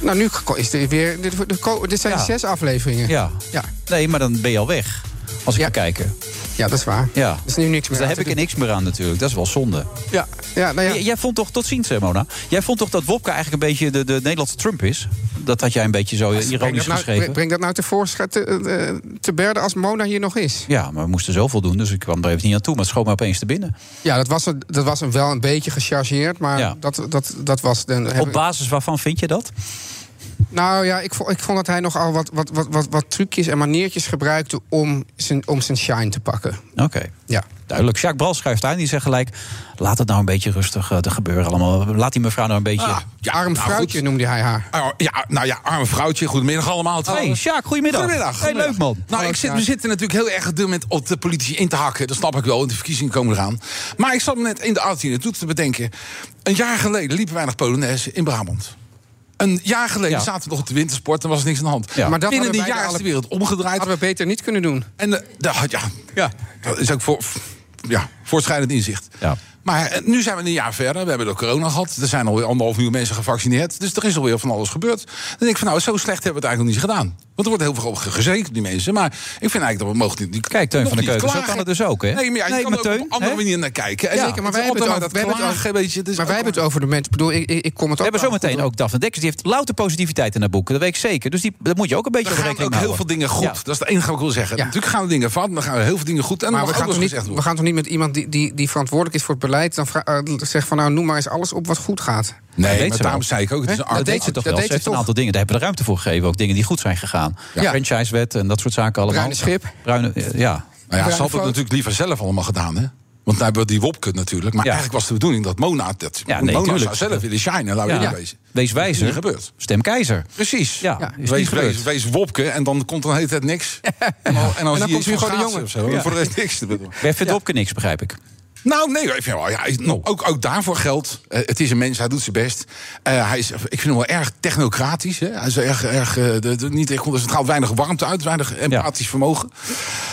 Speaker 8: Nou, nu ko- is er weer... Dit, de ko- dit zijn
Speaker 7: Ja.
Speaker 8: zes afleveringen.
Speaker 7: Ja.
Speaker 8: Ja.
Speaker 7: Nee, maar dan ben je al weg. Als ik
Speaker 8: Ja.
Speaker 7: ga kijken.
Speaker 8: Ja, dat is waar.
Speaker 7: Ja.
Speaker 8: Er is nu niks
Speaker 7: Dus
Speaker 8: meer
Speaker 7: daar
Speaker 8: aan
Speaker 7: heb
Speaker 8: te
Speaker 7: ik er
Speaker 8: doen.
Speaker 7: niks meer aan natuurlijk. Dat is wel zonde.
Speaker 8: Ja, ja nou ja.
Speaker 7: J- Jij vond toch, tot ziens hè, Mona. Jij vond toch dat Wopke eigenlijk een beetje de, de Nederlandse Trump is? Dat had jij een beetje zo eh,
Speaker 8: breng,
Speaker 7: ironisch
Speaker 8: dat nou,
Speaker 7: geschreven.
Speaker 8: breng- breng dat nou tevoorschijn te, eh, te berden als Mona hier nog is.
Speaker 7: Ja, maar we moesten zoveel doen, dus ik kwam er even niet aan toe. Maar het schoot me opeens te binnen.
Speaker 8: Ja, dat was, een- dat was een wel een beetje gechargeerd, maar
Speaker 7: Ja.
Speaker 8: dat, dat, dat was... De, heb
Speaker 7: Op
Speaker 8: ik-
Speaker 7: basis waarvan vind je dat?
Speaker 8: Nou ja, ik vond, ik vond dat hij nogal wat, wat, wat, wat, wat trucjes en maniertjes gebruikte om zijn, om zijn shine te pakken.
Speaker 7: Oké.
Speaker 8: Ja.
Speaker 7: Duidelijk. Jacques Bral schuift aan. Die zegt gelijk, laat het nou een beetje rustig eh, te gebeuren allemaal. Laat die mevrouw nou een beetje...
Speaker 12: Ah, ja,
Speaker 8: Arm
Speaker 12: nou,
Speaker 8: vrouwtje
Speaker 12: goed.
Speaker 8: noemde hij haar.
Speaker 12: Ah, ja, nou ja, arme vrouwtje. Goedemiddag allemaal.
Speaker 7: hey, Jacques, Oh, goedemiddag.
Speaker 12: Goedemiddag.
Speaker 7: Hey, leuk man.
Speaker 12: Nou,
Speaker 8: Hallo,
Speaker 12: ik zit, we
Speaker 8: Sjaak.
Speaker 12: zitten natuurlijk heel erg op dit moment op de politici in te hakken. Dat snap ik wel, want de verkiezingen komen eraan. Maar ik zat me net in de auto hier naartoe te bedenken. Een jaar geleden liepen wij naar Polonaise in Brabant. Een jaar geleden
Speaker 7: Ja.
Speaker 12: zaten we nog op de wintersport en was er niks aan de hand.
Speaker 7: Ja.
Speaker 8: Maar dat
Speaker 12: Binnen
Speaker 8: hadden
Speaker 12: een
Speaker 8: wij
Speaker 12: jaar is
Speaker 8: alle-
Speaker 12: de wereld omgedraaid.
Speaker 8: Hadden we beter niet kunnen doen.
Speaker 12: En eh, daar had- ja,
Speaker 7: Ja.
Speaker 12: dat is ook voor, ja, voortschrijdend inzicht.
Speaker 7: Ja.
Speaker 12: Maar eh, nu zijn we een jaar verder. We hebben de corona gehad. Er zijn alweer anderhalf miljoen mensen gevaccineerd. Dus er is alweer van alles gebeurd. Dan denk ik van nou, zo slecht hebben we het eigenlijk nog niet gedaan. Want er wordt heel veel over gezeken op die mensen. Maar ik vind eigenlijk dat we mogen niet... niet-
Speaker 7: Kijk, Teun
Speaker 12: nog
Speaker 7: van der
Speaker 12: niet
Speaker 7: Keuken, zo
Speaker 12: klagen.
Speaker 7: kan het dus ook, hè?
Speaker 12: Nee, maar ja, je
Speaker 7: Nee,
Speaker 12: kan
Speaker 7: maar
Speaker 12: er
Speaker 7: Teun,
Speaker 12: ook op andere
Speaker 7: hè?
Speaker 12: manieren naar kijken. En
Speaker 7: Ja,
Speaker 12: zeker, maar
Speaker 8: wij
Speaker 12: wij
Speaker 8: hebben
Speaker 12: hebben maar
Speaker 8: het over-
Speaker 12: dat
Speaker 8: wij hebben het
Speaker 12: klagen, weet je. het is
Speaker 8: Maar wij
Speaker 12: ook-
Speaker 8: hebben het over de mensen. Ik bedoel, ik, ik, ik kom het
Speaker 7: We
Speaker 8: ook
Speaker 7: hebben
Speaker 8: wel
Speaker 7: zometeen
Speaker 8: goed
Speaker 7: ook Daphne Dekkers. Die heeft louter positiviteit in haar boeken. Dat weet ik zeker. Dus die, daar moet je ook een beetje
Speaker 12: Er
Speaker 7: voor
Speaker 12: gaan ook
Speaker 7: rekening
Speaker 12: heel veel
Speaker 7: houden.
Speaker 12: dingen goed.
Speaker 7: Ja.
Speaker 12: Dat is het enige wat ik wil zeggen.
Speaker 8: Ja.
Speaker 12: Natuurlijk gaan er dingen fout, maar dan gaan er heel veel dingen goed. En
Speaker 8: Maar
Speaker 12: dan
Speaker 8: we
Speaker 12: mag ook
Speaker 8: gaan,
Speaker 12: wel
Speaker 8: toch
Speaker 12: eens gezegd
Speaker 8: niet, we
Speaker 12: worden.
Speaker 8: gaan toch niet met iemand die, die, die verantwoordelijk is voor het beleid... dan vra- eh, zeggen van nou, noem maar eens alles op wat goed gaat.
Speaker 7: Dat
Speaker 12: Nee,
Speaker 7: deed
Speaker 12: maar
Speaker 7: ze
Speaker 12: daarom
Speaker 7: wel.
Speaker 12: zei ik ook, het is een
Speaker 8: Dat
Speaker 7: Dat
Speaker 12: arbeid.
Speaker 7: deed ze toch
Speaker 8: dat
Speaker 7: wel.
Speaker 8: deed
Speaker 7: Ze
Speaker 8: ze
Speaker 7: heeft een
Speaker 8: toch?
Speaker 7: aantal dingen. Daar hebben we ruimte voor gegeven. Ook dingen die goed zijn gegaan.
Speaker 8: Ja.
Speaker 7: Franchisewet en dat soort zaken allemaal.
Speaker 8: Bruine schip.
Speaker 7: Bruine, eh, ja.
Speaker 12: Nou ja,
Speaker 8: Bruine
Speaker 12: ze had het
Speaker 8: foto.
Speaker 12: natuurlijk liever zelf allemaal gedaan, hè? Want daar wordt die Wopke natuurlijk. Maar eigenlijk was de bedoeling dat Mona... Dat,
Speaker 7: Ja, nee,
Speaker 12: Mona
Speaker 7: tuurlijk.
Speaker 12: zou zelf willen shinen, laten we
Speaker 7: Ja.
Speaker 12: ja. wezen.
Speaker 7: Wees wijzer.
Speaker 12: Dat is niet gebeurd.
Speaker 7: Stem keizer.
Speaker 12: Precies.
Speaker 7: Ja, is niet
Speaker 12: wees,
Speaker 7: gebeurd.
Speaker 12: wees, wees Wopke en dan komt dan de hele tijd
Speaker 7: <laughs>
Speaker 12: niks. En, dan- en
Speaker 7: dan
Speaker 12: dan, zie je
Speaker 7: komt
Speaker 12: iets
Speaker 7: Hugo
Speaker 12: van
Speaker 7: de
Speaker 12: gaatsen
Speaker 7: Jonge.
Speaker 12: of zo. En
Speaker 7: Ja.
Speaker 12: Voor de rest niks. te bedoelen.
Speaker 7: Wij vindt Wopke niks, begrijp ik.
Speaker 12: Nou, nee, ik vind wel, ja, hij is- nou, ook, ook daarvoor geldt. eh, het is een mens, hij doet zijn best. Eh, hij is, ik vind hem wel erg technocratisch. Hè? Hij is erg, erg, eh, de- de- niet, echt- er gaat weinig warmte uit, weinig empathisch vermogen.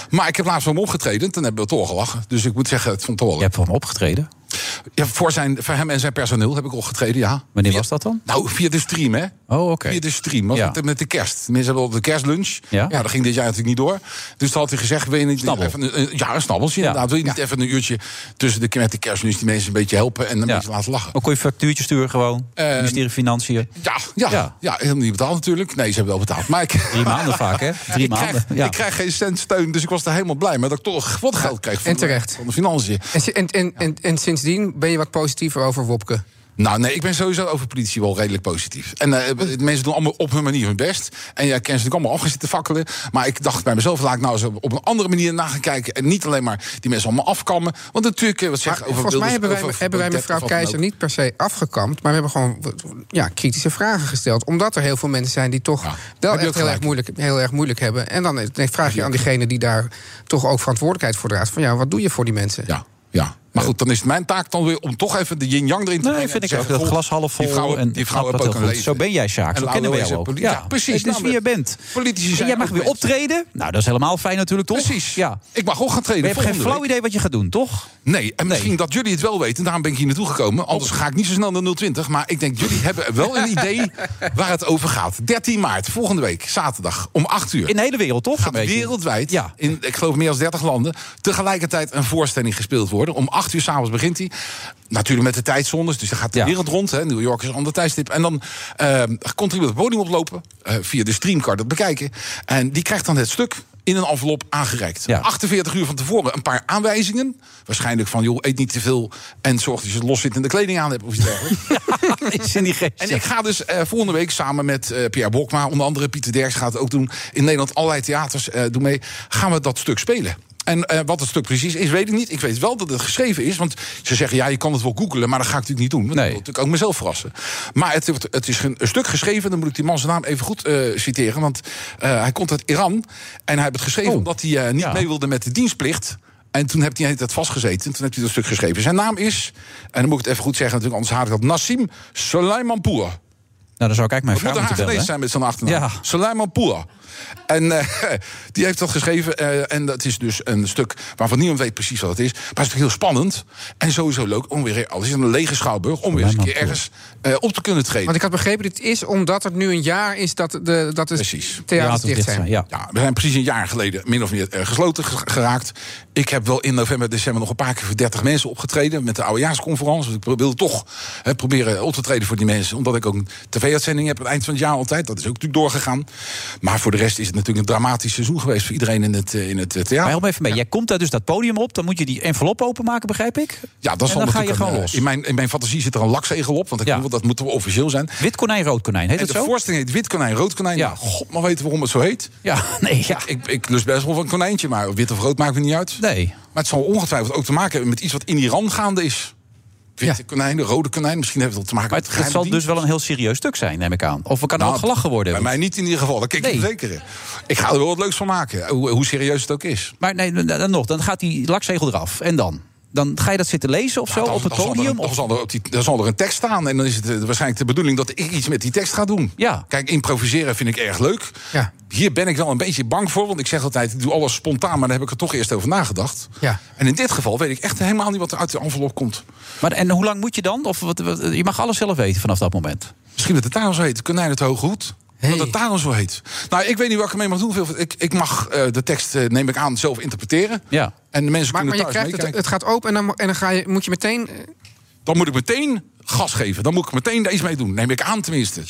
Speaker 12: Maar ik heb laatst van hem opgetreden, toen hebben we toch gelachen. Dus ik moet zeggen, het vond ik toch wel. Je hebt
Speaker 7: van hem opgetreden?
Speaker 12: Ja, voor, zijn, voor hem en zijn personeel heb ik opgetreden, ja.
Speaker 7: Wanneer was dat dan?
Speaker 12: Nou, via de stream, hè?
Speaker 7: Oh, oké.
Speaker 12: Via de stream, was
Speaker 7: Ja.
Speaker 12: het met de kerst. Mensen hebben op de kerstlunch.
Speaker 7: Ja.
Speaker 12: Ja. dat ging dit jaar natuurlijk niet door. Dus toen had hij gezegd, wil je niet
Speaker 7: Snabbel.
Speaker 12: even... een- een- Ja, een snabbeltje inderdaad. Wil je niet even een uurtje tussen de, met de kerstlunch die mensen een beetje helpen... en de mensen laten lachen? Ehm,
Speaker 7: Ook kon je factuurtje sturen gewoon. Ministerie van Financiën.
Speaker 12: Ja, ja, ja. helemaal niet betaald natuurlijk. Nee, ze hebben wel betaald. Maar ik, Drie
Speaker 7: maanden vaak, hè? Drie
Speaker 12: ik
Speaker 7: maanden,
Speaker 12: Krijg,
Speaker 7: ja.
Speaker 12: Ik krijg geen cent steun, dus ik was er helemaal blij mee... dat ik toch wat geld kreeg van,
Speaker 8: en terecht.
Speaker 12: De, van de financiën.
Speaker 8: En, si- en, en, en, en sindsdien ben je wat positiever over Wopke.
Speaker 12: Nou, nee, ik ben sowieso over politie wel redelijk positief. En eh, de mensen doen allemaal op hun manier hun best. En jij kent ze natuurlijk allemaal af gaan zitten fakkelen. Maar ik dacht bij mezelf, laat ik nou eens op een andere manier naar gaan kijken. En niet alleen maar die mensen allemaal afkammen. Want natuurlijk, eh, wat zeg je over
Speaker 8: Volgens mij
Speaker 12: Wilders,
Speaker 8: hebben wij,
Speaker 12: over- over
Speaker 8: hebben wij
Speaker 12: Baudet of wat
Speaker 8: mevrouw
Speaker 12: dan
Speaker 8: Keizer
Speaker 12: ook.
Speaker 8: niet per se afgekampt. Maar we hebben gewoon ja, kritische vragen gesteld. Omdat er heel veel mensen zijn die toch wel
Speaker 12: heb je
Speaker 8: echt
Speaker 12: ook
Speaker 8: heel erg,
Speaker 12: gelijk.
Speaker 8: moeilijk, heel erg moeilijk hebben. En dan eh, vraag je aan diegene die daar toch ook verantwoordelijkheid voor draagt. Van ja, wat doe je voor die mensen?
Speaker 12: Ja, ja. Maar goed, dan is het mijn taak dan weer om toch even de yin-yang erin te brengen.
Speaker 7: Nee, vind
Speaker 12: En
Speaker 7: ik
Speaker 12: te
Speaker 7: ook.
Speaker 12: zeggen,
Speaker 7: Dat
Speaker 12: goh,
Speaker 7: glas half vol.
Speaker 12: Die vrouw,
Speaker 7: en
Speaker 12: die
Speaker 7: ik
Speaker 12: vrouw
Speaker 7: snap
Speaker 12: hebben
Speaker 7: dat
Speaker 12: ook een
Speaker 7: heel goed.
Speaker 12: leven.
Speaker 7: Zo ben jij, Sjaak.
Speaker 12: En
Speaker 7: Zo kennen we
Speaker 12: laten
Speaker 7: jou
Speaker 12: we
Speaker 7: ook.
Speaker 12: eens, eh, poli- ja, precies,
Speaker 7: Het is wie je
Speaker 12: namelijk.
Speaker 7: bent.
Speaker 12: Politici
Speaker 7: En
Speaker 12: zijn
Speaker 7: jij mag
Speaker 12: ook
Speaker 7: weer
Speaker 12: mensen.
Speaker 7: optreden. Nou, dat is helemaal fijn natuurlijk, toch?
Speaker 12: Precies.
Speaker 7: Ja.
Speaker 12: Ik mag ook gaan treden.
Speaker 7: Maar je hebt geen
Speaker 12: volgende
Speaker 7: flauw
Speaker 12: week.
Speaker 7: idee wat je gaat doen, toch?
Speaker 12: Nee, en misschien dat jullie het wel weten. Daarom ben ik hier naartoe gekomen. Anders
Speaker 7: Oh.
Speaker 12: ga ik niet zo snel naar 020. Maar ik denk, jullie hebben wel een
Speaker 7: <laughs>
Speaker 12: idee waar het over gaat. 13 maart, volgende week, zaterdag, om 8 uur.
Speaker 7: In de hele wereld, toch?
Speaker 12: Gaat
Speaker 7: Een beetje.
Speaker 12: wereldwijd, in, ik geloof meer dan 30 landen... tegelijkertijd een voorstelling gespeeld worden. Om 8 uur s'avonds begint hij. Natuurlijk met de tijdzones, dus dan gaat de wereld rond. Hè. New York is een ander tijdstip. En dan eh, komt er iemand het podium oplopen. eh, via de streamcard dat bekijken. En die krijgt dan het stuk in een envelop aangereikt. 48 uur van tevoren een paar aanwijzingen. Waarschijnlijk van, joh, eet niet te veel... en zorg dat je loszittende kleding aan hebt of iets
Speaker 7: <laughs>
Speaker 12: dergelijks.
Speaker 7: Is in die geest.
Speaker 12: En ik ga dus eh, volgende week samen met eh, Pierre Bokma, onder andere Pieter Derks gaat het ook doen. In Nederland allerlei theaters eh, doen mee. Gaan we dat stuk spelen? En eh, wat het stuk precies is, weet ik niet. Ik weet wel dat het geschreven is. Want ze zeggen, ja, je kan het wel googelen. Maar dat ga ik natuurlijk niet doen. Want Ik wil natuurlijk ook mezelf verrassen. Maar het, wordt- het is een, een stuk geschreven. Dan moet ik die man zijn naam even goed eh, citeren. Want eh, hij komt uit Iran. En hij heeft het geschreven
Speaker 7: Oh.
Speaker 12: omdat hij eh, niet mee wilde met de dienstplicht. En toen heeft hij het vastgezeten. En toen heeft hij dat stuk geschreven. Zijn naam is, en dan moet ik het even goed zeggen, natuurlijk, anders haat ik dat. Nassim Soleimanpour.
Speaker 7: Nou, dan zou ik eigenlijk mijn
Speaker 12: Dat moet
Speaker 7: vrouw
Speaker 12: een
Speaker 7: moeten bellen.
Speaker 12: Hagenees
Speaker 7: hè?
Speaker 12: zijn met zijn achternaam.
Speaker 7: Ja.
Speaker 12: Soleimanpour. En eh, <laughs> die heeft dat geschreven. eh, en dat is dus een stuk waarvan niemand weet precies wat het is. Maar het is natuurlijk heel spannend. En sowieso leuk om weer alles in een lege schouwburg. om weer eens een keer ergens eh, op te kunnen treden.
Speaker 8: Want ik had begrepen, dit is omdat het nu een jaar is dat de, dat de theaters dicht zijn.
Speaker 7: Ja.
Speaker 12: we zijn precies een jaar geleden min of meer eh, gesloten ge- geraakt. Ik heb wel in november, december nog een paar keer voor 30 mensen opgetreden met de oudejaarsconferentie. Want ik wilde toch hè, proberen op te treden voor die mensen. Omdat ik ook een tv-uitzending heb aan het eind van het jaar altijd. Dat is ook natuurlijk doorgegaan. Maar voor de rest is het natuurlijk een dramatisch seizoen geweest voor iedereen in het, eh, in het eh,
Speaker 7: Maar
Speaker 12: theater.
Speaker 7: help me even mee. Jij komt daar dus dat podium op. Dan moet je die envelop openmaken, begrijp ik?
Speaker 12: Ja, dat
Speaker 7: en
Speaker 12: zal
Speaker 7: dan ga
Speaker 12: natuurlijk
Speaker 7: je gewoon
Speaker 12: een, eh,
Speaker 7: los.
Speaker 12: In mijn, in mijn fantasie zit er een lakzegel op, want ik bedoel, dat moet wel officieel zijn.
Speaker 7: Wit konijn, rood konijn. Heet
Speaker 12: en
Speaker 7: het
Speaker 12: de
Speaker 7: zo?
Speaker 12: voorstelling heet Wit Konijn, Rood Konijn. Nou, Ja. God, maar weten waarom het zo heet.
Speaker 7: Ja, <laughs> nee, ja.
Speaker 12: Ik, ik lust best wel van een konijntje, maar wit of rood maakt me niet uit.
Speaker 7: Nee.
Speaker 12: Maar het zal ongetwijfeld ook te maken hebben met iets wat in Iran gaande is. Witte konijn, de rode konijn, misschien heeft het wel te maken
Speaker 7: Maar
Speaker 12: met
Speaker 7: het, het zal dus wel een heel serieus stuk zijn, neem ik aan. Of we kan
Speaker 12: Nou,
Speaker 7: ook gelachen worden.
Speaker 12: Bij mij niet in ieder geval, dat kan ik je verzekeren. Ik ga er wel wat leuks van maken, hoe, hoe serieus het ook is.
Speaker 7: Maar nee, dan nog, dan gaat die lakzegel eraf. En dan? Dan ga je dat zitten lezen of zo
Speaker 12: Dan-
Speaker 7: op het
Speaker 12: dan zal er-
Speaker 7: podium?
Speaker 12: Dan
Speaker 7: Of...
Speaker 12: zal, er op die, dan zal er een tekst staan. En dan is het eh, waarschijnlijk de bedoeling dat ik iets met die tekst ga doen.
Speaker 7: Ja.
Speaker 12: Kijk, improviseren vind ik erg leuk.
Speaker 8: Ja.
Speaker 12: Hier ben ik wel een beetje bang voor. Want ik zeg altijd, ik doe alles spontaan. Maar daar heb ik er toch eerst over nagedacht.
Speaker 8: Ja.
Speaker 12: En in dit geval weet ik echt helemaal niet wat er uit de envelop komt.
Speaker 7: Maar, en hoe lang moet je dan? Of wat, wat- je mag alles zelf weten vanaf dat moment.
Speaker 12: Misschien dat het daarom zo heet. Konijn het hoge hoed. Dat het daarom zo heet. Nou, ik weet niet wat ik ermee mag doen. Veel- Ik, ik mag eh, de tekst, eh, neem ik aan, zelf interpreteren.
Speaker 7: Ja.
Speaker 12: En de mensen
Speaker 8: Maar,
Speaker 12: kunnen
Speaker 8: maar
Speaker 12: thuis
Speaker 8: je krijgt het,
Speaker 12: meekijken.
Speaker 8: het gaat open en dan, mo- en dan ga je, moet je meteen... eh,
Speaker 12: Dan moet ik meteen gas geven. Dan moet ik meteen deze mee doen. Neem ik aan tenminste.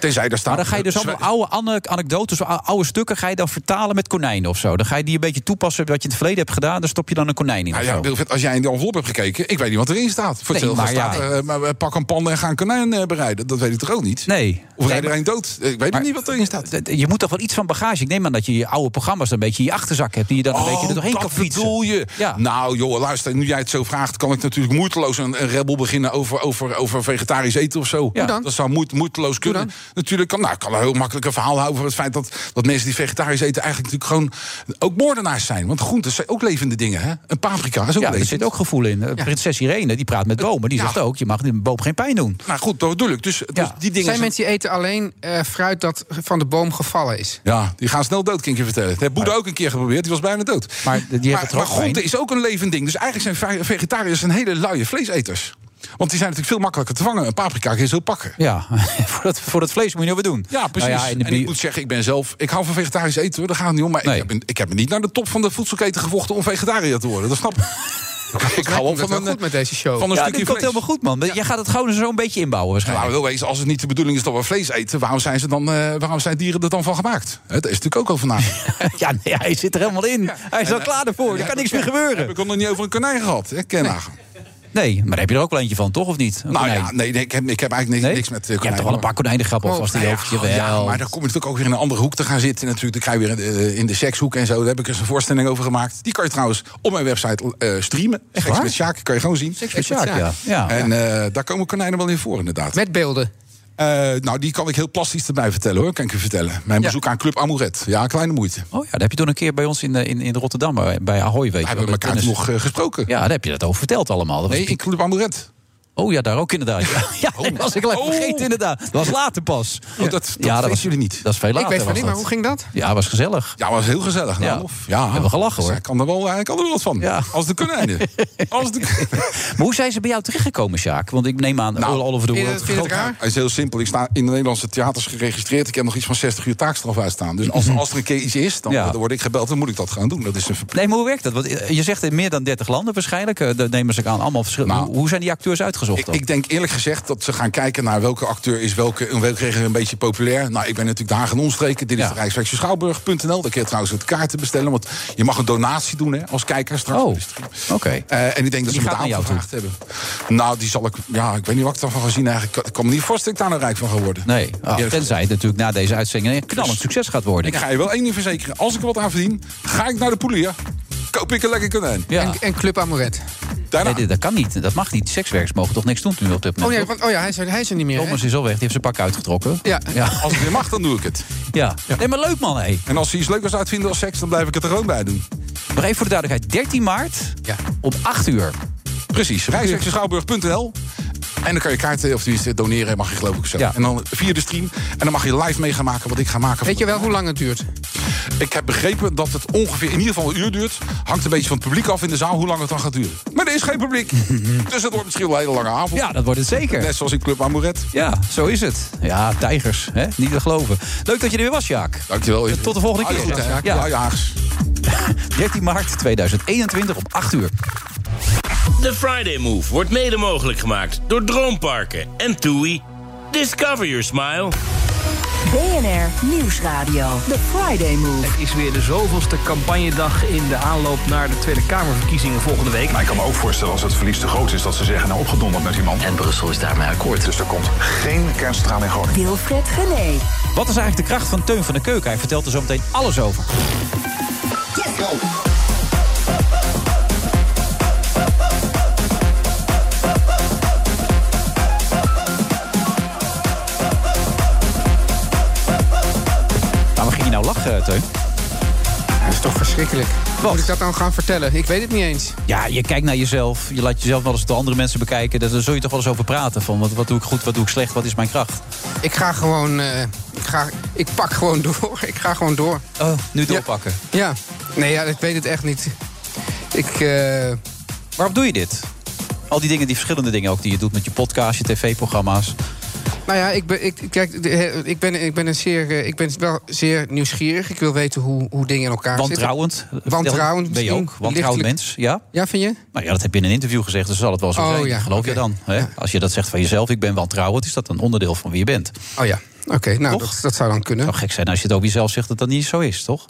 Speaker 12: Tenzij daar staat... eh,
Speaker 7: Maar dan ga je dus allemaal oude ane- anekdotes, ou- oude stukken... ga je dan vertalen met konijnen of zo. Dan ga je die een beetje toepassen wat je in het verleden hebt gedaan. Dan stop je dan een konijn in
Speaker 12: Nou
Speaker 7: of
Speaker 12: ja,
Speaker 7: zo.
Speaker 12: Wilfred, als jij in de envelop hebt gekeken, ik weet niet wat erin staat. Voor
Speaker 7: Nee,
Speaker 12: nee, maar
Speaker 7: maar ja.
Speaker 12: staat, eh, maar we pak een panda en gaan konijn eh, bereiden. Dat weet ik toch ook niet?
Speaker 7: Nee.
Speaker 12: Of
Speaker 7: Nee,
Speaker 12: rijden er
Speaker 7: maar-
Speaker 12: een dood? Ik weet
Speaker 7: Maar-
Speaker 12: niet wat erin staat.
Speaker 7: Je moet toch wel iets van bagage. Ik neem aan dat je je oude programma's dan een beetje in je achterzak hebt... die je dan
Speaker 12: Oh,
Speaker 7: een beetje er doorheen
Speaker 12: dat
Speaker 7: kan fietsen.
Speaker 12: bedoel je?
Speaker 7: Ja.
Speaker 12: Nou joh, luister, nu jij het zo vraagt... kan ik natuurlijk moeiteloos een, een rebel beginnen over, over, over vegetarisch eten of zo.
Speaker 8: Doe dan.
Speaker 12: Dat zou moe- moeiteloos kunnen. Natuurlijk kan nou, ik kan er heel makkelijk een verhaal houden... over het feit dat, dat mensen die vegetarisch eten... eigenlijk natuurlijk gewoon ook moordenaars zijn. Want groenten zijn ook levende dingen, hè? Een paprika is ook
Speaker 7: Ja, er
Speaker 12: levend.
Speaker 7: zit ook gevoel in. Eh, Prinses Irene, die praat met bomen. Die
Speaker 12: Ja.
Speaker 7: zegt ook, je mag een boom geen pijn doen.
Speaker 12: Nou goed, dat bedoel ik. Dus, dus die dingen
Speaker 8: zijn mensen die eten alleen eh, fruit dat van de boom gevallen is.
Speaker 12: Ja, die gaan snel dood, kan ik je vertellen. Dat heeft Boeddha ook een keer geprobeerd, die was bijna dood.
Speaker 7: Maar die heeft
Speaker 12: maar,
Speaker 7: het er ook
Speaker 12: maar groente
Speaker 7: bij.
Speaker 12: is ook een levend ding. Dus eigenlijk zijn ve- vegetariërs een hele luie vleeseters. Want die zijn natuurlijk veel makkelijker te vangen. Een paprika kun je zo pakken.
Speaker 7: Ja, <laughs> voor dat, voor dat vlees moet je nou weer doen.
Speaker 12: Ja, precies.
Speaker 7: Nou ja, in de
Speaker 12: en ik
Speaker 7: bio-
Speaker 12: moet zeggen, ik ben zelf... Ik hou van vegetarisch eten, hoor. Daar gaat het niet om. Maar ik, heb, een- ik heb me niet naar de top van de voedselketen gevochten... om vegetariër te worden. Dat
Speaker 8: <laughs>
Speaker 12: snap ik. ik hou wel
Speaker 8: Komt
Speaker 12: van
Speaker 8: het wel
Speaker 12: een, eh,
Speaker 8: goed met deze show.
Speaker 12: van een
Speaker 7: ja,
Speaker 12: stukje
Speaker 7: dit komt
Speaker 12: vlees.
Speaker 7: helemaal goed, man. Jij gaat het gewoon zo een beetje inbouwen
Speaker 12: Ja,
Speaker 7: waarschijnlijk.
Speaker 12: laten we wel wezen, als het niet de bedoeling is dat we vlees eten... waarom zijn, ze dan, eh, waarom zijn dieren er dan van gemaakt? Hè, Daar is natuurlijk ook al vanavond.
Speaker 7: <laughs> Ja, nee, hij zit er helemaal in. Hij is al
Speaker 12: eh,
Speaker 7: klaar ervoor. Er kan niks meer gebeuren.
Speaker 12: Heb ik al nog niet over een konijn gehad, hè, Kenhagen?
Speaker 7: Nee, maar daar heb je er ook wel eentje van, toch? Of niet? Een
Speaker 12: Nou
Speaker 7: konijn.
Speaker 12: ja, nee, nee, ik, heb, ik heb eigenlijk niks,
Speaker 7: Nee?
Speaker 12: niks met eh, nou
Speaker 7: Je hebt toch wel een paar konijnengrappen
Speaker 8: Oh,
Speaker 7: alvast in je hoofdje
Speaker 12: Ja, ja,
Speaker 7: wel.
Speaker 12: maar dan kom je natuurlijk ook weer in een andere hoek te gaan zitten. Natuurlijk, dan ga je weer eh, in de sekshoek en zo. Daar heb ik eens een voorstelling over gemaakt. Die kan je trouwens op mijn website eh, streamen. Seks
Speaker 7: waar?
Speaker 12: met Sjaak, kan je gewoon zien.
Speaker 8: Seks
Speaker 7: Ja,
Speaker 8: met Sjaak,
Speaker 7: ja. ja.
Speaker 12: En eh, daar komen konijnen wel in voor, inderdaad.
Speaker 8: Met beelden.
Speaker 12: Eh, nou, die kan ik heel plastisch erbij vertellen, hoor. Kan ik u vertellen. Mijn bezoek aan Club Amouret. Ja, kleine moeite.
Speaker 7: Oh ja, daar heb je toen een keer bij ons in, eh, in, in Rotterdam, bij- bij Ahoy, weet je
Speaker 12: We
Speaker 7: wel,
Speaker 12: hebben
Speaker 7: dat
Speaker 12: elkaar
Speaker 7: tennis-
Speaker 12: nog eh, gesproken.
Speaker 7: Ja, daar heb je dat over verteld allemaal. Dat was
Speaker 12: Nee, in Club Amouret.
Speaker 7: Oh ja, daar ook inderdaad.
Speaker 12: <laughs>
Speaker 7: Ja, <laughs> ja dat was ik gelijk
Speaker 12: Oh.
Speaker 7: vergeten inderdaad. Dat was later pas.
Speaker 12: Oh, dat- dat
Speaker 7: ja,
Speaker 12: weten
Speaker 7: was,
Speaker 12: jullie niet.
Speaker 7: Dat is veel
Speaker 8: Ik
Speaker 7: later
Speaker 8: weet van
Speaker 7: was
Speaker 8: niet, maar
Speaker 7: dat.
Speaker 8: hoe ging dat?
Speaker 7: Ja, was gezellig.
Speaker 12: Ja, was heel gezellig.
Speaker 7: Ja.
Speaker 12: Ja. Of, ja.
Speaker 7: Hebben we gelachen, hoor.
Speaker 12: Hij kan er wel hij kan er wel wat van.
Speaker 7: Ja.
Speaker 12: Als de
Speaker 7: <laughs>
Speaker 12: konijnen. Als de
Speaker 7: Maar hoe zijn ze bij jou terechtgekomen, Sjaak? Want ik neem aan,
Speaker 12: Nou,
Speaker 7: all over the
Speaker 8: Vind je
Speaker 7: world.
Speaker 8: dat- vind je het raar?
Speaker 12: Hij is heel simpel. Ik sta in de Nederlandse theaters geregistreerd. Ik heb nog iets van 60 uur taakstraf uitstaan. Dus als, als er een keer iets is, dan,
Speaker 7: Ja.
Speaker 12: dan word ik gebeld. Dan moet ik dat gaan doen. Dat is een verplichting.
Speaker 7: Nee, maar hoe werkt dat? Want eh, je zegt in meer dan 30 landen waarschijnlijk. eh, Daar nemen ze aan allemaal verschillende.
Speaker 12: Nou,
Speaker 7: hoe, hoe zijn die acteurs uitgezocht
Speaker 12: Ik,
Speaker 7: dan?
Speaker 12: ik denk eerlijk gezegd dat ze gaan kijken naar welke acteur is welke, in welke regio een beetje populair. Nou, ik ben natuurlijk de Haag en omstreken. Dit is
Speaker 7: Ja.
Speaker 12: de Rijkswijkse Schouwburg.nl. Daar kun je trouwens het kaarten bestellen. Want je mag een donatie doen hè, als kijker straks.
Speaker 7: Oh,
Speaker 12: Dus-
Speaker 7: oké.
Speaker 12: Eh, en ik denk dat
Speaker 7: Die
Speaker 12: ze me
Speaker 7: gaat naar
Speaker 12: daar
Speaker 7: jou
Speaker 12: gevraagd hebben. Nou, die zal ik... Ja, ik weet niet wat ik daarvan ga zien eigenlijk. Ik kan- Ik kan me niet voorstellen dat ik daar nou rijk van ga worden.
Speaker 7: Nee, ah,
Speaker 12: Eerlijk
Speaker 7: tenzij het natuurlijk na deze uitzending een knallend succes gaat worden.
Speaker 12: Dus Ik ga je wel één ding verzekeren. Als ik er wat aan verdien, ga ik naar de poelier. Koop ik een lekker konijn.
Speaker 7: Ja.
Speaker 8: En, en Club Amoret.
Speaker 12: Daarna.
Speaker 7: Nee, dit- dat kan niet. Dat mag niet. Sekswerkers mogen toch niks doen nu op dit
Speaker 8: Oh
Speaker 7: moment.
Speaker 8: ja,
Speaker 7: toch?
Speaker 8: want, oh ja hij, is er, hij is er niet meer. hè?
Speaker 7: Thomas is al weg. Die heeft zijn pak uitgetrokken.
Speaker 8: Ja.
Speaker 7: ja.
Speaker 12: Als het weer mag, dan doe ik het.
Speaker 7: ja. Nee, maar leuk man, hé.
Speaker 12: En als ze iets leukers uitvinden als seks, dan blijf ik het er gewoon bij doen.
Speaker 7: Nog even voor de duidelijkheid. 13 maart
Speaker 8: Ja.
Speaker 7: om 8 uur.
Speaker 12: Precies. Rijsexenschouwburg.nl en dan kan je kaarten, of tenminste doneren, mag je geloof ik zo.
Speaker 7: Ja.
Speaker 12: En dan via de stream. En dan mag je live mee gaan maken wat ik ga maken.
Speaker 8: Weet je wel hoe lang het duurt?
Speaker 12: Ik heb begrepen dat het ongeveer in ieder geval een uur duurt. Hangt een beetje van het publiek af in de zaal hoe lang het dan gaat duren. Maar er is geen
Speaker 7: <laughs>
Speaker 12: publiek. dus het wordt misschien wel een hele lange avond.
Speaker 7: Ja, dat wordt het zeker.
Speaker 12: Net zoals in Club Amouret.
Speaker 7: Ja, zo is het. Ja, tijgers. Hè? Niet te geloven. Leuk dat je er weer was, Sjaak.
Speaker 12: Dankjewel.
Speaker 7: Tot de volgende
Speaker 12: Hou je
Speaker 7: keer.
Speaker 12: Goed, hè?
Speaker 7: Ja.
Speaker 12: Hou je Haags.
Speaker 7: <laughs> 13 maart 2021 om 8 uur.
Speaker 2: De Friday Move wordt mede mogelijk gemaakt door Droomparken en TUI. Discover your smile.
Speaker 3: BNR Nieuwsradio. The Friday Move.
Speaker 4: Het is weer de zoveelste campagnedag in de aanloop naar de Tweede Kamerverkiezingen volgende week.
Speaker 5: Maar ik kan me ook voorstellen als het verlies te groot is dat ze zeggen nou opgedonderd met iemand. En Brussel is daarmee akkoord. Dus er komt geen kernstraal in Groningen.
Speaker 3: Wilfred Gené.
Speaker 7: Wat is eigenlijk de kracht van Teun van de Keuken? Hij vertelt er zo meteen alles over. Waarom ging je nou lachen, Teun?
Speaker 8: Dat is toch verschrikkelijk. Moet ik dat dan gaan vertellen? Ik weet het niet eens.
Speaker 7: Ja, je kijkt naar jezelf. Je laat jezelf wel eens door andere mensen bekijken. Daar daar zul je toch wel eens over praten. Van wat, wat doe ik goed, wat doe ik slecht, wat is mijn kracht?
Speaker 8: Ik ga gewoon... eh, ik, ga, ik pak gewoon <laughs> door. Ik ga gewoon door.
Speaker 7: Oh, nu doorpakken.
Speaker 8: Ja. Nee, ja, ik weet het echt niet. Ik... eh,
Speaker 7: Waarom doe je dit? Al die dingen, die verschillende dingen ook die je doet met je podcast, je tv-programma's.
Speaker 8: Nou ja, ik ben, ik, kijk, de- he- ik ben, ik ben, een zeer, eh, ik ben wel zeer nieuwsgierig. Ik wil weten hoe, hoe dingen in elkaar
Speaker 7: Wantrouwend.
Speaker 8: zitten. Wantrouwend.
Speaker 7: Ben je ook?
Speaker 8: misschien,
Speaker 7: Wantrouwend
Speaker 8: lichtelijk.
Speaker 7: mens, ja?
Speaker 8: Ja, vind je?
Speaker 7: Nou ja, dat heb je in een interview gezegd, dus zal het wel zo
Speaker 8: Oh,
Speaker 7: zijn.
Speaker 8: ja,
Speaker 7: Geloof je dan? Hè? Als je dat zegt van jezelf, ik ben wantrouwend, is dat een onderdeel van wie je bent.
Speaker 8: Oh ja, oké. nou, dat, dat zou dan kunnen.
Speaker 7: Het zou gek zijn als je het over jezelf zegt dat dat niet zo is, toch?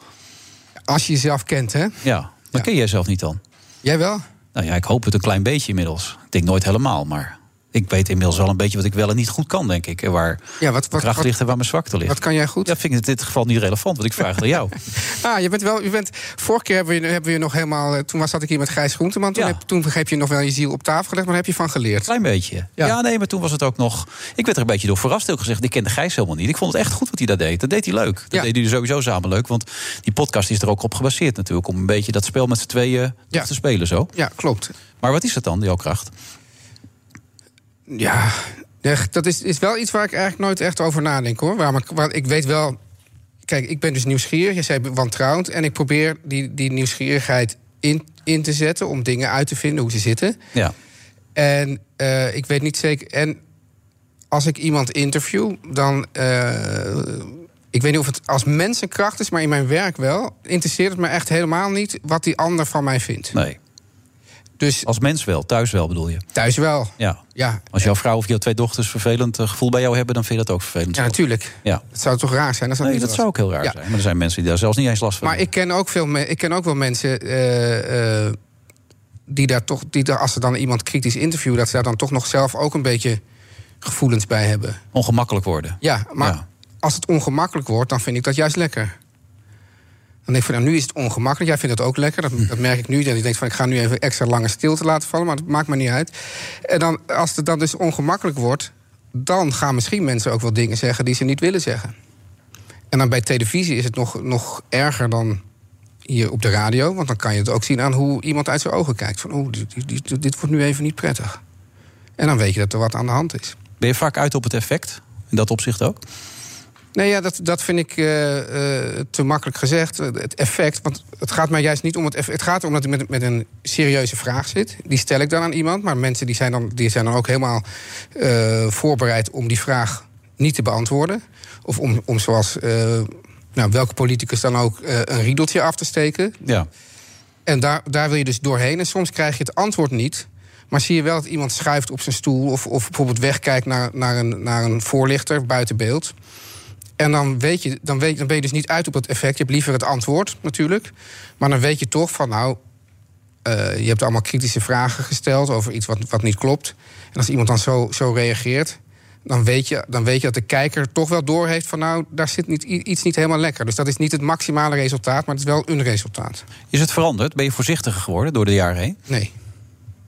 Speaker 8: Als je jezelf kent, hè?
Speaker 7: Ja, maar ken jij zelf niet dan?
Speaker 8: Jij wel?
Speaker 7: Nou ja, ik hoop het een klein beetje inmiddels. Ik denk nooit helemaal, maar ik weet inmiddels wel een beetje wat ik wel en niet goed kan, denk ik. En waar
Speaker 8: ja, wat,
Speaker 7: mijn kracht ligt en waar mijn zwakte ligt. Wat
Speaker 8: kan jij goed?
Speaker 7: Dat vind ik in dit geval niet relevant, want ik vraag het aan
Speaker 8: <laughs>
Speaker 7: jou.
Speaker 8: Ah, je bent wel. Je bent, vorige keer hebben we, je- hebben we je nog helemaal. eh, Toen was, zat ik hier met Gijs Groenteman. Toen, heb, toen heb je nog wel je ziel op tafel gelegd, maar daar heb je van geleerd.
Speaker 7: Klein beetje. Ja. nee, maar toen was het ook nog... Ik werd er een beetje door verrast, heel gezegd. Ik kende Gijs helemaal niet. Ik vond het echt goed wat hij daar deed. Dat deed hij leuk. Dat deed hij sowieso samen leuk. Want die podcast is er ook op gebaseerd natuurlijk... om een beetje dat spel met z'n tweeën toch te spelen zo.
Speaker 8: Ja, klopt.
Speaker 7: Maar wat is dat dan, jouw kracht?
Speaker 8: Ja, echt, dat is, is wel iets waar ik eigenlijk nooit echt over nadenk hoor. Waar, maar, waar, ik weet wel. Kijk, ik ben dus nieuwsgierig. Je zei wantrouwend. En ik probeer die, die nieuwsgierigheid in, in te zetten om dingen uit te vinden hoe ze zitten.
Speaker 7: Ja.
Speaker 8: En eh, ik weet niet zeker. En als ik iemand interview, dan. eh, ik weet niet of het als mens een kracht is, maar in mijn werk wel. Interesseert het me echt helemaal niet wat die ander van mij vindt.
Speaker 7: Nee.
Speaker 8: Dus...
Speaker 7: Als mens wel, thuis wel bedoel je?
Speaker 8: Thuis wel.
Speaker 7: Ja.
Speaker 8: Ja,
Speaker 7: Als jouw vrouw of jouw twee dochters vervelend eh, gevoel bij jou hebben... dan vind je dat ook vervelend.
Speaker 8: Ja, natuurlijk.
Speaker 7: Ja.
Speaker 8: het zou toch raar zijn? als Dat
Speaker 7: Nee,
Speaker 8: niet
Speaker 7: dat
Speaker 8: was.
Speaker 7: zou ook heel raar
Speaker 8: Ja.
Speaker 7: zijn. Maar er zijn mensen die daar zelfs niet eens last van
Speaker 8: Maar ik ken ook, veel me- ik ken ook wel mensen. eh, eh, die daar toch. Die daar, als ze dan iemand kritisch interviewen. dat ze daar dan toch nog zelf ook een beetje gevoelens bij hebben.
Speaker 7: ongemakkelijk worden.
Speaker 8: Ja, maar als het ongemakkelijk wordt, dan vind ik dat juist lekker. Dan denk ik van, nou, nu is het ongemakkelijk. Jij vindt dat ook lekker. Dat, dat merk ik nu. Dat ik denk van, ik ga nu even extra lange stilte laten vallen. Maar dat maakt me niet uit. En dan, als het dan dus ongemakkelijk wordt... dan gaan misschien mensen ook wel dingen zeggen die ze niet willen zeggen. En dan bij televisie is het nog, nog erger dan hier op de radio. Want dan kan je het ook zien aan hoe iemand uit zijn ogen kijkt. Van, oeh, dit, dit, dit- dit wordt nu even niet prettig. En dan weet je dat er wat aan de hand is.
Speaker 7: Ben je vaak uit op het effect? In dat opzicht ook?
Speaker 8: Nee, ja, dat, dat vind ik eh, eh, te makkelijk gezegd. Het effect, want het gaat mij juist niet om het effect. Het gaat erom dat ik met, met een serieuze vraag zit. Die stel ik dan aan iemand. Maar mensen die zijn dan, die zijn dan ook helemaal eh, voorbereid om die vraag niet te beantwoorden. Of om, om zoals eh, nou, welke politicus dan ook eh, een riedeltje af te steken.
Speaker 7: Ja.
Speaker 8: En daar, daar wil je dus doorheen. En soms krijg je het antwoord niet. Maar zie je wel dat iemand schuift op zijn stoel. of, of bijvoorbeeld wegkijkt naar, naar, een, naar een voorlichter buiten beeld. En dan, weet je, dan, weet, dan ben je dus niet uit op het effect. Je hebt liever het antwoord natuurlijk. Maar dan weet je toch van nou. eh, je hebt allemaal kritische vragen gesteld over iets wat, wat niet klopt. En als iemand dan zo, zo reageert. Dan weet, je, dan weet je dat de kijker toch wel doorheeft van nou, daar zit niet, i- iets niet helemaal lekker. Dus dat is niet het maximale resultaat, maar het is wel een resultaat.
Speaker 7: Is het veranderd? Ben je voorzichtiger geworden door de jaren heen?
Speaker 8: Nee.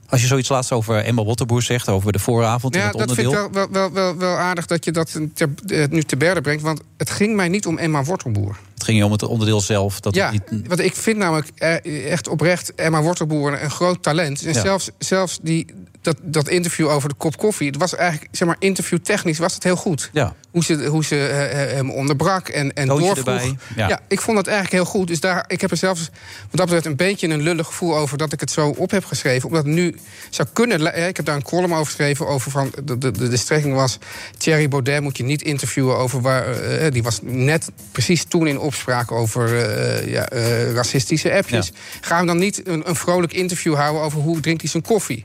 Speaker 7: Als je zoiets laatst over Emma Wattenboer zegt, over de vooravond en
Speaker 8: Ja,
Speaker 7: het
Speaker 8: dat vind ik
Speaker 7: onderdeel.
Speaker 8: wel, wel, wel, wel, wel aardig dat je dat ter- eh, nu te berden brengt. Want het ging mij niet om Emma Wortelboer.
Speaker 7: Het ging je om het onderdeel zelf. Dat
Speaker 8: ja,
Speaker 7: het niet...
Speaker 8: want ik vind namelijk eh, echt oprecht Emma Wortelboer een groot talent. En
Speaker 7: Ja.
Speaker 8: zelfs, zelfs die, dat, dat interview over de kop koffie... het was eigenlijk, zeg maar, interviewtechnisch was het heel goed.
Speaker 7: Ja.
Speaker 8: Hoe ze, hoe ze eh, eh, hem onderbrak en, en
Speaker 7: Toontje
Speaker 8: doorvroeg.
Speaker 7: erbij, ja.
Speaker 8: Ja. ik vond dat eigenlijk heel goed. Dus daar, ik heb er zelfs wat dat betreft een beetje een lullig gevoel over... dat ik het zo op heb geschreven. Omdat het nu zou kunnen... li- eh, Ik heb daar een column over geschreven over van... De, de, de, de strekking was... Thierry Baudet moet je niet interviewen over waar... eh, die was net precies toen in opspraak over eh, ja, eh, racistische appjes. Ga hem dan niet een, een vrolijk interview houden over hoe drinkt hij zijn koffie.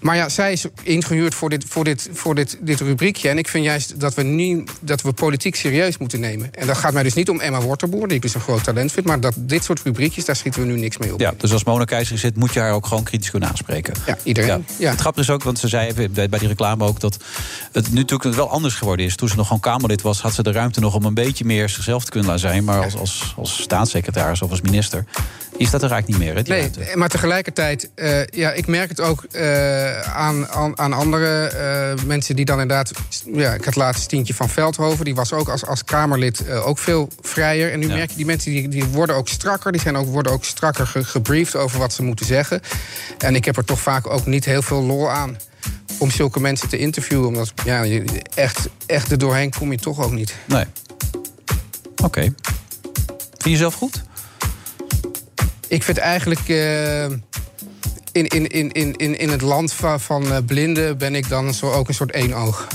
Speaker 8: Maar ja, zij is ingehuurd voor dit, voor dit, voor dit, dit rubriekje. En ik vind juist dat we, niet, dat we politiek serieus moeten nemen. En dat gaat mij dus niet om Emma Wortelboer, die ik dus een groot talent vind. Maar dat dit soort rubriekjes, daar schieten we nu niks mee op.
Speaker 7: Ja, dus als Mona Keizer zit, moet je haar ook gewoon kritisch kunnen aanspreken.
Speaker 8: Ja, iedereen.
Speaker 7: Het grappige is ook, want ze zei even bij bij die reclame ook... dat het nu natuurlijk wel anders geworden is. Toen ze nog gewoon Kamerlid was, had ze de ruimte nog... om een beetje meer zichzelf te kunnen laten zijn. Maar als, als, als staatssecretaris of als minister is dat er eigenlijk niet meer. Hè, die
Speaker 8: Nee,
Speaker 7: ruimte.
Speaker 8: maar tegelijkertijd, eh, ja, ik merk het ook eh, aan, aan, aan andere eh, mensen die dan inderdaad. Ja, ik had laatst Tientje van Veldhoven, die was ook als, als Kamerlid eh, ook veel vrijer. En nu merk je die mensen die, die worden ook strakker, die zijn ook, worden ook strakker ge- gebriefd over wat ze moeten zeggen. En ik heb er toch vaak ook niet heel veel lol aan om zulke mensen te interviewen, omdat ja, je- echt, echt er doorheen kom je toch ook niet.
Speaker 7: Nee. Oké. Vind je zelf goed?
Speaker 8: Ik vind eigenlijk. eh, in, in, in, in, in, in het land van, van eh, blinden ben ik dan zo ook een soort één oog.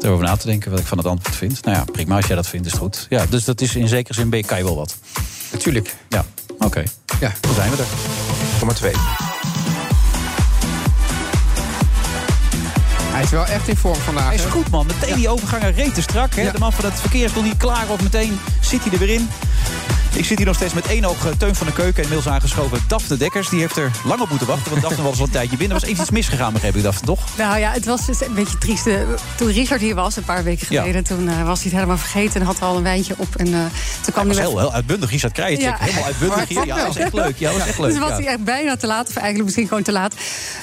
Speaker 7: erover na te denken wat ik van het antwoord vind. Nou ja, prima, als jij dat vindt, is het goed. Ja, dus dat is in zekere zin, ben je- kan je wel wat.
Speaker 8: Natuurlijk.
Speaker 7: Ja, oké.
Speaker 8: Ja.
Speaker 7: Dan zijn we er.
Speaker 13: Nummer twee.
Speaker 8: Hij is wel echt in vorm vandaag.
Speaker 7: Hij is goed, man. Meteen die overgangen reten strak. Hè? De man van het verkeer is nog niet klaar of meteen zit hij er weer in. Ik zit hier nog steeds met één oog eh, Teun van de Keuken... en inmiddels aangeschoven Daphne Dekkers. Die heeft er lang op moeten wachten, want Daphne was al een tijdje binnen. Er was even iets misgegaan, begreep ik, Daphne, toch?
Speaker 14: Nou ja, het was dus een beetje triest. Eh, Toen Richard hier was, een paar weken
Speaker 7: Ja.
Speaker 14: geleden... toen eh, was hij het helemaal vergeten en had al een wijntje op. En, eh, toen kwam
Speaker 7: Dat was
Speaker 14: hij
Speaker 7: heel,
Speaker 14: weer-
Speaker 7: heel uitbundig. Richard Krijtje,
Speaker 14: Ja.
Speaker 7: helemaal uitbundig hier. Ja, dat is echt leuk. Ja, dat is echt leuk.
Speaker 14: Dus was
Speaker 7: ja.
Speaker 14: hij echt bijna te laat, of eigenlijk misschien gewoon te laat.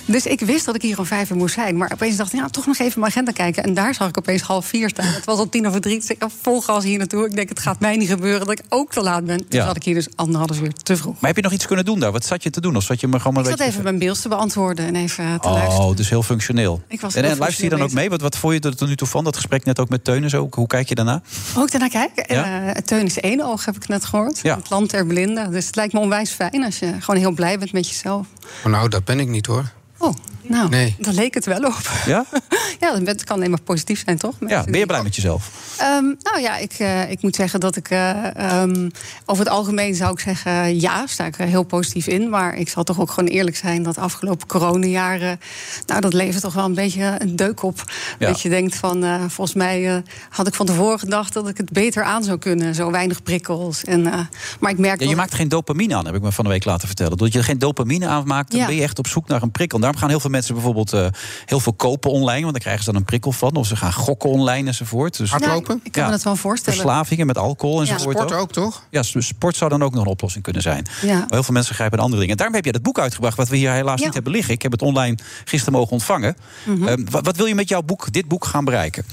Speaker 14: Dus ik wist dat ik hier om vijf uur moest zijn. Maar opeens dacht ik, nou, toch nog even mijn agenda kijken. En daar zag ik opeens half vier staan. Het was al tien over drie. Dus ik had vol gas hier naartoe. Ik denk, het gaat mij niet gebeuren dat ik ook te laat ben. Toen
Speaker 7: Ja.
Speaker 14: zat ik hier dus anderhalf uur te vroeg.
Speaker 7: Maar heb je nog iets kunnen doen daar? Wat zat je te doen? Of zat je me gewoon
Speaker 14: Ik
Speaker 7: maar een
Speaker 14: zat
Speaker 7: beetje...
Speaker 14: even mijn mails te beantwoorden en even te luisteren.
Speaker 7: Oh, dus heel functioneel.
Speaker 14: Ik was
Speaker 7: en
Speaker 14: heel
Speaker 7: en luister je dan ook mee?
Speaker 14: functioneel
Speaker 7: Wat, wat vond je er tot nu toe van? Dat gesprek net ook met Teun en zo. Hoe- Hoe kijk je daarna?
Speaker 14: Hoe ik daarnaar kijk?
Speaker 7: Ja.
Speaker 14: Eh, Teun is één oog, heb ik net gehoord.
Speaker 7: Ja.
Speaker 14: Het land der blinden. Dus het lijkt me onwijs fijn als je gewoon heel blij bent met jezelf.
Speaker 8: Maar nou, dat ben ik niet hoor.
Speaker 14: Oh, nou,
Speaker 8: Nee.
Speaker 14: daar leek het wel op. <laughs>
Speaker 7: Ja?
Speaker 14: ja, dat bent- kan alleen maar positief zijn, toch?
Speaker 7: Ja, ben je blij met jezelf?
Speaker 14: Ehm, nou ja, ik, eh, ik moet zeggen dat ik... eh, ehm, over het algemeen zou ik zeggen eh, ja, sta ik er heel positief in. Maar ik zal toch ook gewoon eerlijk zijn dat afgelopen coronajaren... nou, dat levert toch wel een beetje een deuk op.
Speaker 15: Ja.
Speaker 14: Dat je denkt van, eh, volgens mij eh, had ik van tevoren gedacht... dat ik het beter aan zou kunnen, zo weinig prikkels. En, eh, maar ik merk
Speaker 7: Ja, je maakt geen dopamine aan, heb ik me van de week laten vertellen. Doordat je er geen dopamine aanmaakt, dan
Speaker 14: Ja.
Speaker 7: ben je echt op zoek naar een prikkel. En daarom gaan heel veel mensen bijvoorbeeld eh, heel veel kopen online. Want dan krijgen ze dan een prikkel van. Of ze gaan gokken online enzovoort. Dus,
Speaker 14: Hardlopen? Ja, ik kan me dat wel voorstellen.
Speaker 7: Verslavingen met alcohol
Speaker 14: Ja.
Speaker 7: enzovoort.
Speaker 14: Sport ook,
Speaker 8: toch?
Speaker 7: Ja, s- sport zou dan ook nog een oplossing kunnen zijn.
Speaker 14: Ja.
Speaker 7: Maar heel veel mensen grijpen naar andere dingen. Daarom heb je dat boek uitgebracht, wat we hier helaas niet hebben liggen. Ik heb het online gisteren mogen ontvangen.
Speaker 14: Mhm.
Speaker 7: Eh, wat, wat wil je met jouw boek, dit boek gaan bereiken?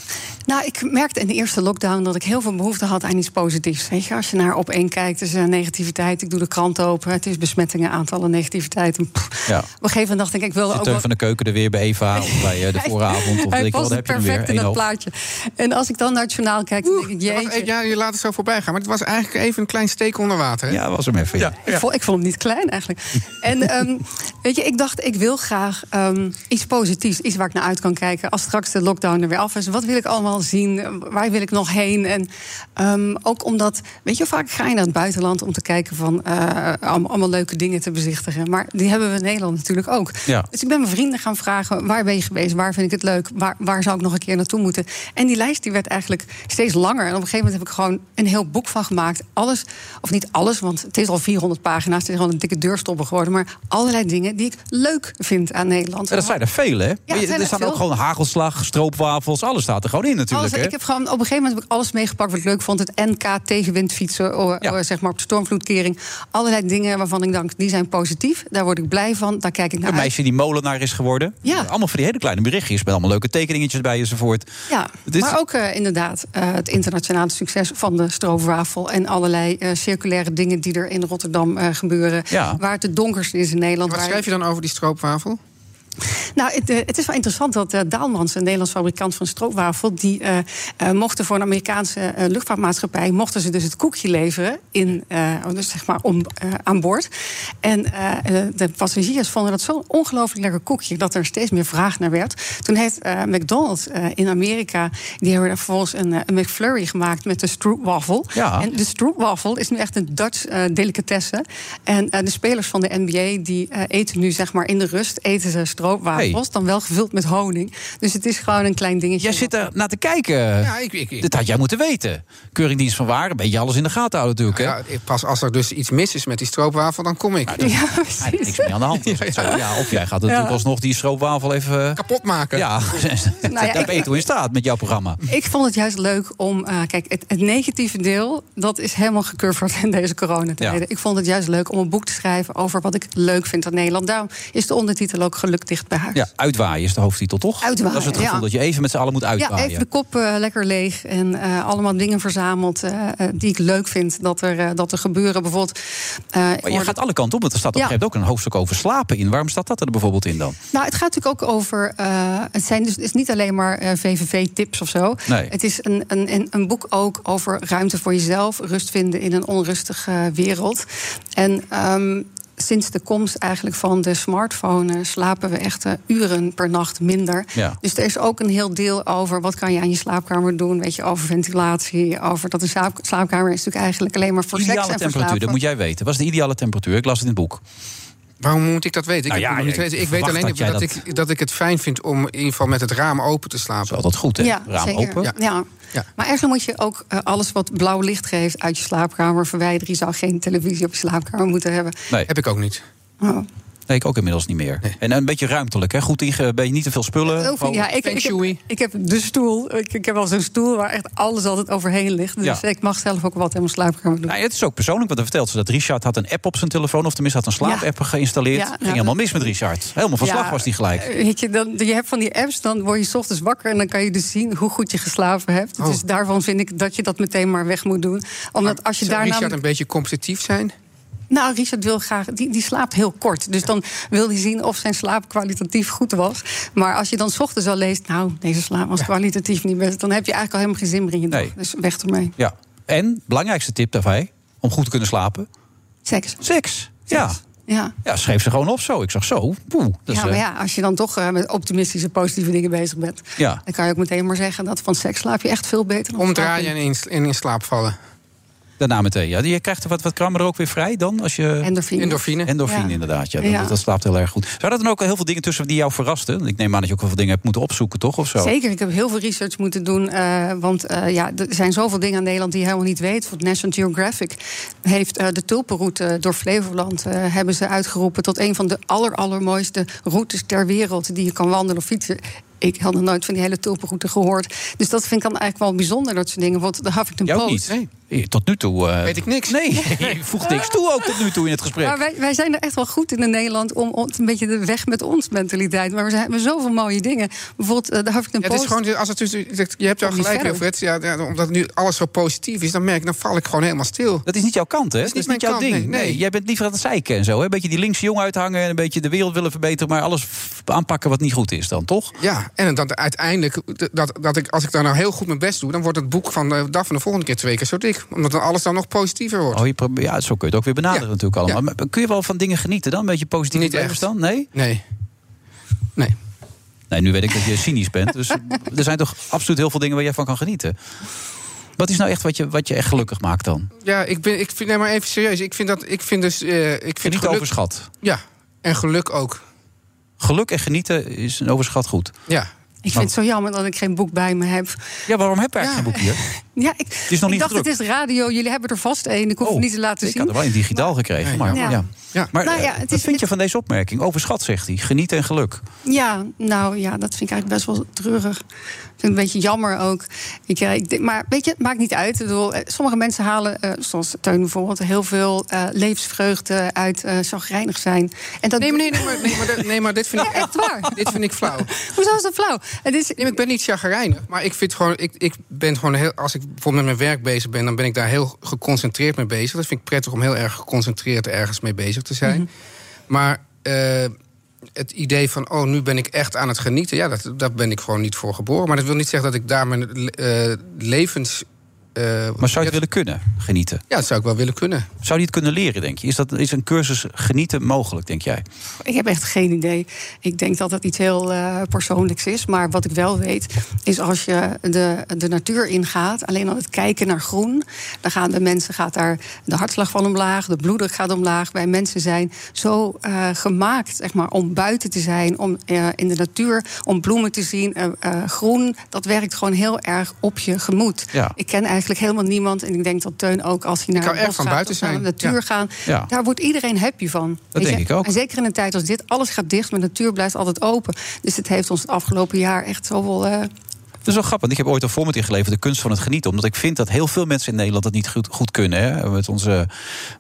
Speaker 14: Nou, ik merkte in de eerste lockdown dat ik heel veel behoefte had aan iets positiefs. Weet je, als je naar op één kijkt, is er negativiteit. Ik doe de krant open, het is besmettingen, aantallen negativiteit. En pff,
Speaker 7: Ja.
Speaker 14: op een gegeven moment dacht ik, ik wilde
Speaker 7: Zit
Speaker 14: ook
Speaker 7: Teun
Speaker 14: wel...
Speaker 7: van de Keuken er weer bij
Speaker 14: <laughs>
Speaker 7: Eva of bij eh, de vooravond? Of weet
Speaker 14: Hij
Speaker 7: ik wel,
Speaker 14: past
Speaker 7: daar heb
Speaker 14: het
Speaker 7: je hem weer.
Speaker 14: perfect in
Speaker 7: Eén
Speaker 14: dat
Speaker 7: hoofd.
Speaker 14: plaatje. En als ik dan naar het journaal kijk, dan denk ik, jeetje.
Speaker 8: Ja, je laat het zo voorbij gaan. Maar het was eigenlijk even een klein steek onder water. Hè?
Speaker 7: Ja, was hem even. Ja.
Speaker 14: Ik vond, ik vond hem niet klein eigenlijk.
Speaker 7: <laughs>
Speaker 14: En ehm, weet je, ik dacht, ik wil graag ehm, iets positiefs. Iets waar ik naar uit kan kijken. Als straks de lockdown er weer af is. Wat wil ik allemaal zien? Waar wil ik nog heen? En ehm, ook omdat, weet je, vaak ga je naar het buitenland om te kijken van eh, allemaal, allemaal leuke dingen te bezichtigen. Maar die hebben we in Nederland natuurlijk ook.
Speaker 16: Ja.
Speaker 14: Dus ik ben mijn vrienden gaan vragen: waar ben je geweest? Waar vind ik het leuk? Waar, waar zou ik nog een keer naartoe moeten? En die lijst die werd eigenlijk steeds langer. En op een gegeven moment heb ik gewoon een heel boek van gemaakt. Alles, of niet alles, want het is al 400 pagina's. Het is gewoon een dikke deurstopper geworden. Maar allerlei dingen die ik leuk vind aan Nederland.
Speaker 7: Ja, dat zijn er vele, hè? Maar je-
Speaker 14: zijn
Speaker 7: er
Speaker 14: er
Speaker 7: staan
Speaker 14: veel.
Speaker 7: ook gewoon hagelslag, stroopwafels, alles staat er gewoon in natuurlijk.
Speaker 14: Alles-
Speaker 7: hè?
Speaker 14: ik heb gewoon, op een gegeven moment heb ik alles meegepakt wat ik leuk vond. Het NK tegenwindfietsen, o- o- zeg maar op de stormvloedkering. Allerlei dingen waarvan ik denk, die zijn positief. Daar word ik blij van, daar kijk ik naar
Speaker 7: Een
Speaker 14: uit.
Speaker 7: meisje die molenaar is geworden.
Speaker 14: Ja.
Speaker 7: Allemaal van die hele kleine berichtjes met allemaal leuke tekeningetjes bij enzovoort.
Speaker 14: Ja,
Speaker 7: Dit-
Speaker 14: maar ook eh, inderdaad eh, het internationale succes van de stroopwafel... en allerlei eh, circulaire dingen die er in Rotterdam eh, gebeuren...
Speaker 8: Ja.
Speaker 14: waar het het donkerste is in Nederland.
Speaker 8: Wat
Speaker 14: waar-
Speaker 8: schrijf je dan over die stroopwafel?
Speaker 14: Nou, het, eh, het is wel interessant dat eh, Daalmans, een Nederlands fabrikant van stroopwafel, die eh, eh, mochten voor een Amerikaanse eh, luchtvaartmaatschappij mochten ze dus het koekje leveren in, eh, dus zeg maar om, eh, aan boord. En eh, eh, de passagiers vonden dat zo'n ongelooflijk lekker koekje dat er steeds meer vraag naar werd. Toen heeft eh, McDonald's eh, in Amerika die hebben er vervolgens een, eh, een McFlurry gemaakt met de stroopwafel.
Speaker 7: Ja.
Speaker 14: En de stroopwafel is nu echt een Dutch eh, delicatesse. En eh, de spelers van de NBA die eh, eten nu zeg maar in de rust eten ze stroopwafels,
Speaker 7: Hey.
Speaker 14: dan wel gevuld met honing. Dus het is gewoon een klein dingetje.
Speaker 7: Jij zit er naar te kijken. Ja,
Speaker 8: ik, ik,
Speaker 7: Dit had jij moeten weten. Keuringdienst van Waar, een beetje alles in de gaten houden natuurlijk.
Speaker 8: Nou Ja, pas als er dus iets mis is met die stroopwafel, dan kom ik.
Speaker 14: Ja, <laughs>
Speaker 7: Hè? Ja, niks meer aan de hand. is het zo. Ja, of jij gaat natuurlijk
Speaker 14: Ja.
Speaker 7: alsnog die stroopwafel even... eh,
Speaker 8: Kapot maken.
Speaker 7: Ja, <laughs>
Speaker 14: ik-
Speaker 7: daar ben je toe in staat met jouw programma.
Speaker 14: Ik vond het juist leuk om. eh, kijk, het, het negatieve deel, dat is helemaal gecurverd in deze coronatijden.
Speaker 7: Ja.
Speaker 14: Ik vond het juist leuk om een boek te schrijven over wat ik leuk vind aan Nederland. Daarom is de ondertitel ook Geluk dicht bij huis.
Speaker 7: Ja, uitwaaien is de hoofdtitel, toch?
Speaker 14: Uitwaaien,
Speaker 7: Dat is het gevoel
Speaker 14: ja.
Speaker 7: dat je even met z'n allen moet
Speaker 14: Ja,
Speaker 7: uitwaaien.
Speaker 14: even de kop eh, lekker leeg en eh, allemaal dingen verzameld eh, eh, die ik leuk vind dat er, eh, dat er gebeuren. Bijvoorbeeld, eh, ik
Speaker 7: Maar je
Speaker 14: hoorde-
Speaker 7: gaat alle kanten op, want er staat op
Speaker 14: Ja.
Speaker 7: een gegeven moment ook een hoofdstuk over slapen in. Waarom staat dat er bijvoorbeeld in dan?
Speaker 14: Nou, het gaat natuurlijk ook over. eh, het zijn dus het is niet alleen maar VVV-tips of zo.
Speaker 7: Nee.
Speaker 14: Het is een, een, een- een boek ook over ruimte voor jezelf, rust vinden in een onrustige wereld. En ehm, sinds de komst eigenlijk van de smartphone eh, slapen we echt eh, uren per nacht minder.
Speaker 7: Ja.
Speaker 14: Dus er is ook een heel deel over wat kan je aan je slaapkamer doen. Weet je, over ventilatie, over dat de slaap- slaapkamer is natuurlijk eigenlijk alleen maar voor seks
Speaker 7: Ideale
Speaker 14: en voor
Speaker 7: temperatuur, dat
Speaker 14: slapen.
Speaker 7: moet jij weten. Wat is de ideale temperatuur? Ik las het in het boek.
Speaker 8: Waarom moet ik dat weten? Ik
Speaker 7: Nou
Speaker 8: heb
Speaker 7: ja,
Speaker 8: het nog niet
Speaker 7: ik
Speaker 8: weten. Ik weet
Speaker 7: verwacht
Speaker 8: alleen dat,
Speaker 7: dat jij dat-
Speaker 8: ik, dat ik het fijn vind om in ieder geval met het raam open te slapen. Dat is
Speaker 7: altijd goed,
Speaker 14: Ja, zeker. Ja. Maar eigenlijk moet je ook eh, alles wat blauw licht geeft uit je slaapkamer verwijderen. Je zou geen televisie op je slaapkamer moeten hebben.
Speaker 7: Nee.
Speaker 8: Heb ik ook niet.
Speaker 14: Oh.
Speaker 7: Nee, ik ook inmiddels niet meer. En een beetje ruimtelijk, hè? Goed inge... ben je niet te veel spullen.
Speaker 14: Heel veel-
Speaker 7: Gewoon-
Speaker 14: ja, ik, ik, heb, ik heb de stoel. Ik, ik heb wel zo'n stoel waar echt alles altijd overheen ligt. Dus
Speaker 7: Ja.
Speaker 14: ik mag zelf ook wat in mijn slaapkamer doen.
Speaker 7: Nou, het is ook persoonlijk, want dan vertelt ze dat Richard had een app op zijn telefoon, of tenminste had een slaapapp geïnstalleerd.
Speaker 14: Ja, nou,
Speaker 7: Ging helemaal mis met Richard. Helemaal van
Speaker 14: Ja,
Speaker 7: slag was hij gelijk.
Speaker 14: eh, Weet je, dan, je hebt van die apps, dan word je 's ochtends wakker en dan kan je dus zien hoe goed je geslapen hebt.
Speaker 8: Oh.
Speaker 14: Dus daarvan vind ik dat je dat meteen maar weg moet doen. Omdat als je
Speaker 8: Zou
Speaker 14: daarna.
Speaker 8: Richard een beetje competitief zijn?
Speaker 14: Nou, Richard wil graag. Die, die slaapt heel kort. Dus dan wil hij zien of zijn slaap kwalitatief goed was. Maar als je dan 's ochtends al leest. Nou, deze slaap was kwalitatief niet best. Dan heb je eigenlijk al helemaal geen zin meer in je dag.
Speaker 7: Nee.
Speaker 14: Dus weg ermee.
Speaker 7: Ja. En belangrijkste tip daarbij, om goed te kunnen slapen.
Speaker 14: Seks.
Speaker 7: Seks. Ja.
Speaker 14: Ja.
Speaker 7: ja, schreef ze gewoon op zo. Ik zag zo. Poeh. Dat is,
Speaker 14: ja, maar
Speaker 7: eh,
Speaker 14: ja, als je dan toch eh, met optimistische, positieve dingen bezig bent.
Speaker 7: ja.
Speaker 14: dan kan je ook meteen maar zeggen dat van seks slaap je echt veel beter. dan
Speaker 8: Omdraaien
Speaker 14: slaap
Speaker 8: en in, en in slaap vallen.
Speaker 7: Daarna meteen. Ja. Je krijgt er wat, wat krammen er ook weer vrij dan? Als je...
Speaker 14: Endorfine.
Speaker 8: Endorfine.
Speaker 7: Endorfine,
Speaker 14: Ja.
Speaker 7: inderdaad. Ja, dat,
Speaker 14: Ja.
Speaker 7: dat slaapt heel erg goed. Zou er dan ook heel veel dingen tussen die jou verrasten? Ik neem aan dat je ook wel veel dingen hebt moeten opzoeken, toch? Of zo?
Speaker 14: Zeker, ik heb heel veel research moeten doen. eh, want eh, ja, er zijn zoveel dingen aan Nederland die je helemaal niet weet. Want National Geographic heeft eh, de tulpenroute door Flevoland... eh, hebben ze uitgeroepen tot een van de aller, allermooiste routes ter wereld... die je kan wandelen of fietsen. Ik had nog nooit van die hele tulpenroute gehoord. Dus dat vind ik dan eigenlijk wel bijzonder, dat soort dingen. Want de Huffington
Speaker 7: Jou ook
Speaker 14: Post...
Speaker 7: niet? Eh, Tot nu toe... eh,
Speaker 8: Weet ik niks. <laughs>
Speaker 7: Nee, je voegt niks toe ook tot nu toe in het gesprek.
Speaker 14: Maar wij, wij zijn er echt wel goed in, in Nederland om ons- een beetje de weg met ons mentaliteit. Maar we hebben zoveel mooie dingen. Bijvoorbeeld eh, de Huffington
Speaker 8: Ja, het
Speaker 14: Post.
Speaker 8: is gewoon, als het, dus- je hebt daar
Speaker 14: Kom niet
Speaker 8: gelijk
Speaker 14: verder.
Speaker 8: over. Het, ja, ja, omdat nu alles zo positief is, dan merk ik, dan val ik gewoon helemaal stil.
Speaker 7: Dat is dus niet jouw kant, hè?
Speaker 8: Dat is niet
Speaker 7: jouw
Speaker 8: mijn kant,
Speaker 7: ding.
Speaker 8: nee, nee.
Speaker 7: jij bent liever aan het zeiken en zo. Hè? Een beetje die linkse jong uithangen en een beetje de wereld willen verbeteren, maar alles f- aanpakken wat niet goed is dan, toch?
Speaker 8: Ja, en dan uiteindelijk, dat, dat ik, als ik daar nou heel goed mijn best doe... dan wordt het boek van de dag van de volgende keer twee keer zo dik. Omdat dan alles dan nog positiever wordt.
Speaker 7: Oh, je probeert, ja, zo kun je het ook weer benaderen natuurlijk allemaal. Maar kun je wel van dingen genieten dan? Een beetje positief
Speaker 8: Niet
Speaker 7: blijven
Speaker 8: echt.
Speaker 7: staan? Nee?
Speaker 8: Nee.
Speaker 7: Nee, nu weet ik dat je cynisch bent. Dus <laughs> er zijn toch absoluut heel veel dingen waar jij van kan genieten. Wat is nou echt wat je, wat je echt gelukkig maakt dan?
Speaker 8: Ja, ik, ben, ik vind, nee, maar even serieus. Ik vind dat, ik vind dus... eh, ik vind
Speaker 7: Niet
Speaker 8: geluk-
Speaker 7: overschat.
Speaker 8: Ja, en geluk ook.
Speaker 7: Geluk en genieten is een overschat goed.
Speaker 8: Ja.
Speaker 14: Ik vind het zo jammer dat ik geen boek bij me heb.
Speaker 7: Ja, waarom heb je
Speaker 8: Ah.
Speaker 7: eigenlijk geen boek hier?
Speaker 14: Ja, ik,
Speaker 7: is nog
Speaker 14: ik
Speaker 7: niet
Speaker 14: dacht,
Speaker 7: gedrukt. Oh,
Speaker 14: het is radio, jullie hebben er vast één. Ik hoef het niet te laten
Speaker 7: Ik
Speaker 14: zien.
Speaker 7: had er wel een digitaal gekregen. Maar, ja.
Speaker 14: Ja.
Speaker 7: maar
Speaker 14: Nou
Speaker 7: eh,
Speaker 14: ja, het
Speaker 7: wat vind je van deze opmerking? Overschat, zegt hij. Genieten en geluk.
Speaker 14: Ja, nou ja, dat vind ik eigenlijk best wel treurig. Ik vind het een beetje jammer ook. Ik, eh, ik, denk- maar weet je, het maakt niet uit. Ik bedoel, eh, sommige mensen halen, eh, zoals Teun bijvoorbeeld, heel veel eh, levensvreugde uit eh chagrijnig zijn. En dat... <laughs>
Speaker 8: Nee, maar, nee, nee, maar, nee, maar, dat- nee, maar dit vind ik
Speaker 14: echt waar.
Speaker 8: Dit vind ik flauw.
Speaker 14: Hoezo is dat flauw? Het is...
Speaker 8: ik ben niet chagrijnig, maar ik vind gewoon, ik, ik ben gewoon heel, als ik bijvoorbeeld met mijn werk bezig ben, dan ben ik daar heel geconcentreerd mee bezig. Dat vind ik prettig om heel erg geconcentreerd ergens mee bezig te
Speaker 7: Mhm.
Speaker 8: zijn. Maar eh, het idee van, oh, nu ben ik echt aan het genieten, ja, dat, daar ben ik gewoon niet voor geboren. Maar dat wil niet zeggen dat ik daar mijn eh, levens. eh,
Speaker 7: Maar zou je het willen kunnen, genieten?
Speaker 8: Ja, dat zou ik wel willen kunnen.
Speaker 7: Zou je het kunnen leren, denk je? Is, dat, is een cursus genieten mogelijk, denk jij?
Speaker 14: Ik heb echt geen idee. Ik denk dat dat iets heel eh, persoonlijks is. Maar wat ik wel weet, is als je de, de natuur ingaat, alleen al het kijken naar groen, dan gaan de mensen gaat daar de hartslag van omlaag, de bloeddruk gaat omlaag. Wij mensen zijn zo eh, gemaakt zeg maar, om buiten te zijn, om eh, in de natuur, om bloemen te zien. eh, eh, groen, dat werkt gewoon heel erg op je gemoed.
Speaker 7: Ja.
Speaker 14: Ik ken eigenlijk helemaal niemand. En ik denk dat Teun ook als hij naar
Speaker 8: kan
Speaker 14: het
Speaker 8: erg
Speaker 14: bos
Speaker 8: van
Speaker 14: gaat,
Speaker 8: buiten
Speaker 14: of naar de
Speaker 8: zijn.
Speaker 14: natuur
Speaker 8: Ja.
Speaker 14: gaan,
Speaker 7: Ja.
Speaker 14: daar wordt iedereen happy van.
Speaker 7: Dat
Speaker 14: Weet
Speaker 7: denk
Speaker 14: je?
Speaker 7: ik ook.
Speaker 14: En zeker in een tijd als dit, alles gaat dicht, maar de natuur blijft altijd open. Dus het heeft ons het afgelopen jaar echt zoveel. eh,
Speaker 7: Dat is wel grappig, want ik heb ooit een format ingeleverd... de kunst van het genieten, omdat ik vind dat heel veel mensen in Nederland... dat niet goed, goed kunnen, hè? met onze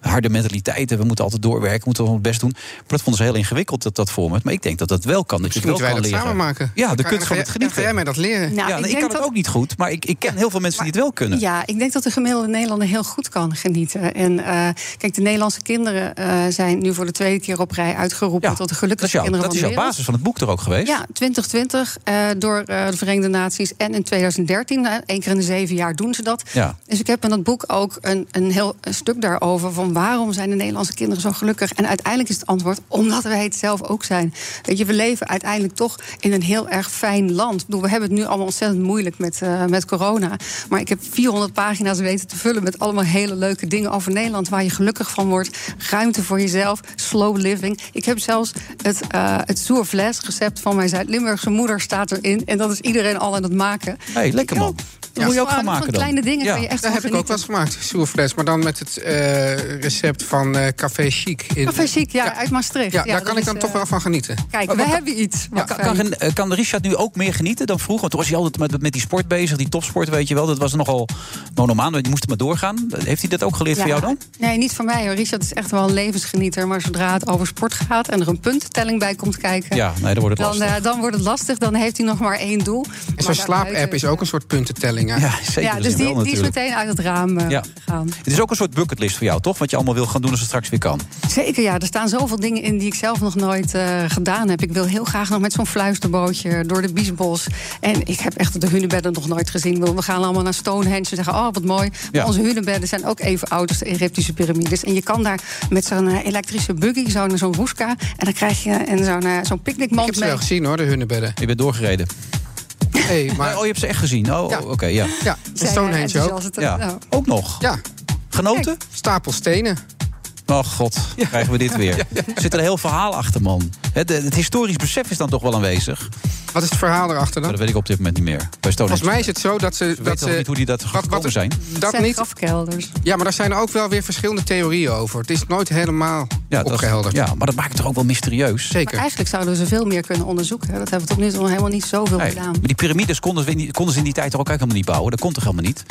Speaker 7: harde mentaliteiten. We moeten altijd doorwerken, we moeten ons best doen. Maar dat vonden ze heel ingewikkeld, dat, dat format. Maar ik denk dat dat wel kan, dat je
Speaker 8: Misschien
Speaker 7: het wel
Speaker 8: moeten wij
Speaker 7: kan
Speaker 8: dat
Speaker 7: leren.
Speaker 8: samen maken.
Speaker 7: Ja,
Speaker 8: Dan
Speaker 7: de
Speaker 8: kan-
Speaker 7: kunst
Speaker 8: dan
Speaker 7: van het
Speaker 8: ga je-
Speaker 7: genieten.
Speaker 8: Dan ga jij mij dat leren.
Speaker 14: Nou,
Speaker 7: ja,
Speaker 14: ik
Speaker 7: nee, ik,
Speaker 14: denk
Speaker 7: kan het
Speaker 14: dat-
Speaker 7: ook niet goed, maar ik, ik ken heel veel mensen die het wel kunnen.
Speaker 14: Ja, ik denk dat de gemiddelde Nederlander heel goed kan genieten. En eh, kijk, de Nederlandse kinderen eh, zijn nu voor de tweede keer op rij uitgeroepen tot de
Speaker 7: dat is
Speaker 14: gelukkigste
Speaker 7: jouw,
Speaker 14: kinderen
Speaker 7: dat is
Speaker 14: van
Speaker 7: jouw
Speaker 14: de wereld.
Speaker 7: basis van het boek er ook geweest.
Speaker 14: Ja, 2020 eh, door eh, de Verenigde Naties is en in 2013. hè, één keer in de zeven jaar doen ze dat.
Speaker 7: Ja.
Speaker 14: Dus ik heb in dat boek ook een, een heel stuk daarover. Van waarom zijn de Nederlandse kinderen zo gelukkig? En uiteindelijk is het antwoord omdat wij het zelf ook zijn. Weet je, we leven uiteindelijk toch in een heel erg fijn land. Ik bedoel, we hebben het nu allemaal ontzettend moeilijk met, eh, met corona. Maar ik heb 400 pagina's weten te vullen met allemaal hele leuke dingen over Nederland. Waar je gelukkig van wordt. Ruimte voor jezelf. Slow living. Ik heb zelfs het, eh het sourfles recept van mijn Zuid-Limburgse moeder staat erin. En dat is iedereen al aan het maken.
Speaker 7: hey, lekker man.
Speaker 14: Ja. moet je ook gaan maken dan. kleine dingen kan je echt
Speaker 8: Daar
Speaker 14: van
Speaker 8: heb ik ook wel eens gemaakt, soerfles. Maar dan met het eh, recept van eh, Café Chic. In...
Speaker 14: Café Chic, ja, uit Maastricht.
Speaker 8: Ja,
Speaker 14: Ja,
Speaker 8: daar
Speaker 14: dat
Speaker 8: kan ik
Speaker 14: is,
Speaker 8: dan
Speaker 14: eh,
Speaker 8: toch wel van genieten. Oh,
Speaker 14: Kijk,
Speaker 7: Maar
Speaker 14: we
Speaker 7: wat-
Speaker 14: hebben iets.
Speaker 7: Ja,
Speaker 14: wat
Speaker 7: kan,
Speaker 14: fijn.
Speaker 7: kan, eh, kan Richard nu ook meer genieten dan vroeger? Want toen was hij altijd met, met die sport bezig, die topsport, weet je wel. Dat was nogal monomaan, want je moest er maar doorgaan. Heeft hij dat ook geleerd voor
Speaker 14: Ja.
Speaker 7: jou dan?
Speaker 14: Nee, niet van mij. hoor. Richard is echt wel een levensgenieter. Maar zodra het over sport gaat en er een puntentelling bij komt kijken...
Speaker 7: Ja, nee, dan wordt het
Speaker 14: dan,
Speaker 7: lastig.
Speaker 14: eh, dan wordt het lastig. Dan heeft hij nog maar één doel.
Speaker 8: En zo'n
Speaker 14: Maar
Speaker 8: slaapapp is ook een soort puntentelling.
Speaker 7: Ja, zeker.
Speaker 14: ja, dus die, die is meteen uit het raam eh,
Speaker 7: Ja.
Speaker 14: gegaan.
Speaker 7: Het is ook een soort bucketlist voor jou, toch? Wat je allemaal wil gaan doen als het straks weer kan.
Speaker 14: Zeker, ja. Er staan zoveel dingen in die ik zelf nog nooit eh, gedaan heb. Ik wil heel graag nog met zo'n fluisterbootje door de Biesbos. En ik heb echt de hunebedden nog nooit gezien. Ik bedoel, We gaan allemaal naar Stonehenge en zeggen, oh, wat mooi. Maar
Speaker 7: Ja.
Speaker 14: onze hunebedden zijn ook even oud als de Egyptische piramides. En je kan daar met zo'n eh, elektrische buggy, zo naar zo'n woeska... en dan krijg je en zo'n eh, zo'n
Speaker 8: Ik
Speaker 14: picknickmand
Speaker 8: heb ze
Speaker 14: mee.
Speaker 8: wel gezien hoor, de hunnebedden.
Speaker 7: Je bent doorgereden. <laughs>
Speaker 8: Hey, maar...
Speaker 7: Oh, je hebt ze echt gezien? Oh, oké, ja.
Speaker 8: Ja, in Stonehenge ook.
Speaker 7: Ja.
Speaker 14: Nou.
Speaker 7: Ook nog?
Speaker 8: Ja.
Speaker 7: Genoten?
Speaker 8: Stapel stenen.
Speaker 7: Oh god, krijgen we dit weer. Er zit er een heel verhaal achter, man. Het, het historisch besef is dan toch wel aanwezig.
Speaker 8: Wat is het verhaal erachter dan?
Speaker 7: dat weet ik op dit moment niet meer. Bij Stonehenge.
Speaker 8: Volgens mij is het zo dat ze...
Speaker 7: We
Speaker 8: dat
Speaker 7: weten nog niet hoe die dat gekomen zijn.
Speaker 8: dat niet.
Speaker 14: grafkelders.
Speaker 8: Ja, maar daar zijn ook wel weer verschillende theorieën over. Het is nooit helemaal
Speaker 7: Ja, dat-
Speaker 8: opgehelderd.
Speaker 7: ja, maar dat maakt het toch ook wel mysterieus.
Speaker 8: Zeker.
Speaker 14: Maar eigenlijk zouden we ze veel meer kunnen onderzoeken. hè. Dat hebben we tot nu toe nog helemaal niet zoveel
Speaker 7: Nee,
Speaker 14: gedaan.
Speaker 7: maar die piramides konden ze, in die- konden ze in die tijd toch ook eigenlijk helemaal niet bouwen. Dat kon toch helemaal niet?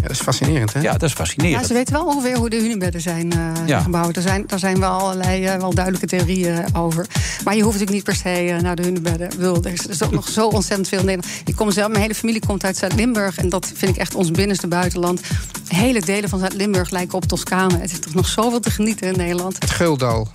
Speaker 8: Ja, dat is fascinerend, hè?
Speaker 7: Ja, dat is
Speaker 14: Ja,
Speaker 7: fascinerend.
Speaker 14: ze weten wel ongeveer hoe de hunebedden zijn eh,
Speaker 7: Ja.
Speaker 14: gebouwd. Er zijn, daar zijn wel allerlei eh, wel duidelijke theorieën over. Maar je hoeft natuurlijk niet per se eh, naar de hunebedden. Ik bedoel, er is, er is ook nog zo ontzettend veel in Nederland. Ik kom zelf, mijn hele familie komt uit Zuid-Limburg. En dat vind ik echt ons binnenste buitenland. Hele delen van Zuid-Limburg lijken op Toscane. Het is toch nog zoveel te genieten in Nederland.
Speaker 8: Het Geuldal.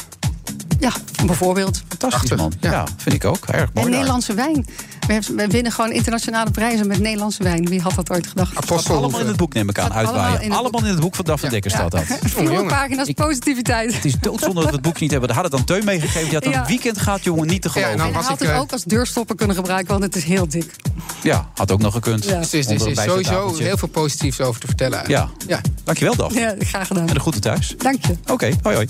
Speaker 14: Ja, bijvoorbeeld.
Speaker 7: Fantastisch, man. Ja. vind ik ook. Erg mooi.
Speaker 14: En
Speaker 7: daar.
Speaker 14: Nederlandse wijn. We, hebben- we winnen gewoon internationale prijzen met Nederlandse wijn. Wie had dat ooit gedacht?
Speaker 7: Allemaal in het boek neem ik aan,
Speaker 14: Staat allemaal
Speaker 7: uitwaaien.
Speaker 14: in het
Speaker 7: Allemaal, in het boek van Daphne Dekker staat dat.
Speaker 14: Vier pagina's positiviteit.
Speaker 7: Het is doodzonde
Speaker 14: <laughs>
Speaker 7: dat we het boekje niet hebben. Daar had het dan Teun meegegeven. Die had
Speaker 14: Ja.
Speaker 7: een weekend gehad, jongen, niet te
Speaker 14: Ja,
Speaker 7: geloven.
Speaker 14: en hij had
Speaker 7: eh,
Speaker 8: eh,
Speaker 14: het ook als deurstopper kunnen gebruiken, want het is heel dik.
Speaker 7: Ja, had ook nog gekund.
Speaker 14: Ja.
Speaker 8: Dus er is, er is
Speaker 7: Onder een
Speaker 8: sowieso
Speaker 7: bijzettafeltje.
Speaker 8: heel veel positiefs over te vertellen.
Speaker 7: Ja.
Speaker 8: eigenlijk. ja.
Speaker 7: Dankjewel, Daphne.
Speaker 14: Ja, graag gedaan.
Speaker 7: En de groeten thuis.
Speaker 14: Dank je.
Speaker 7: Oké, hoi hoi.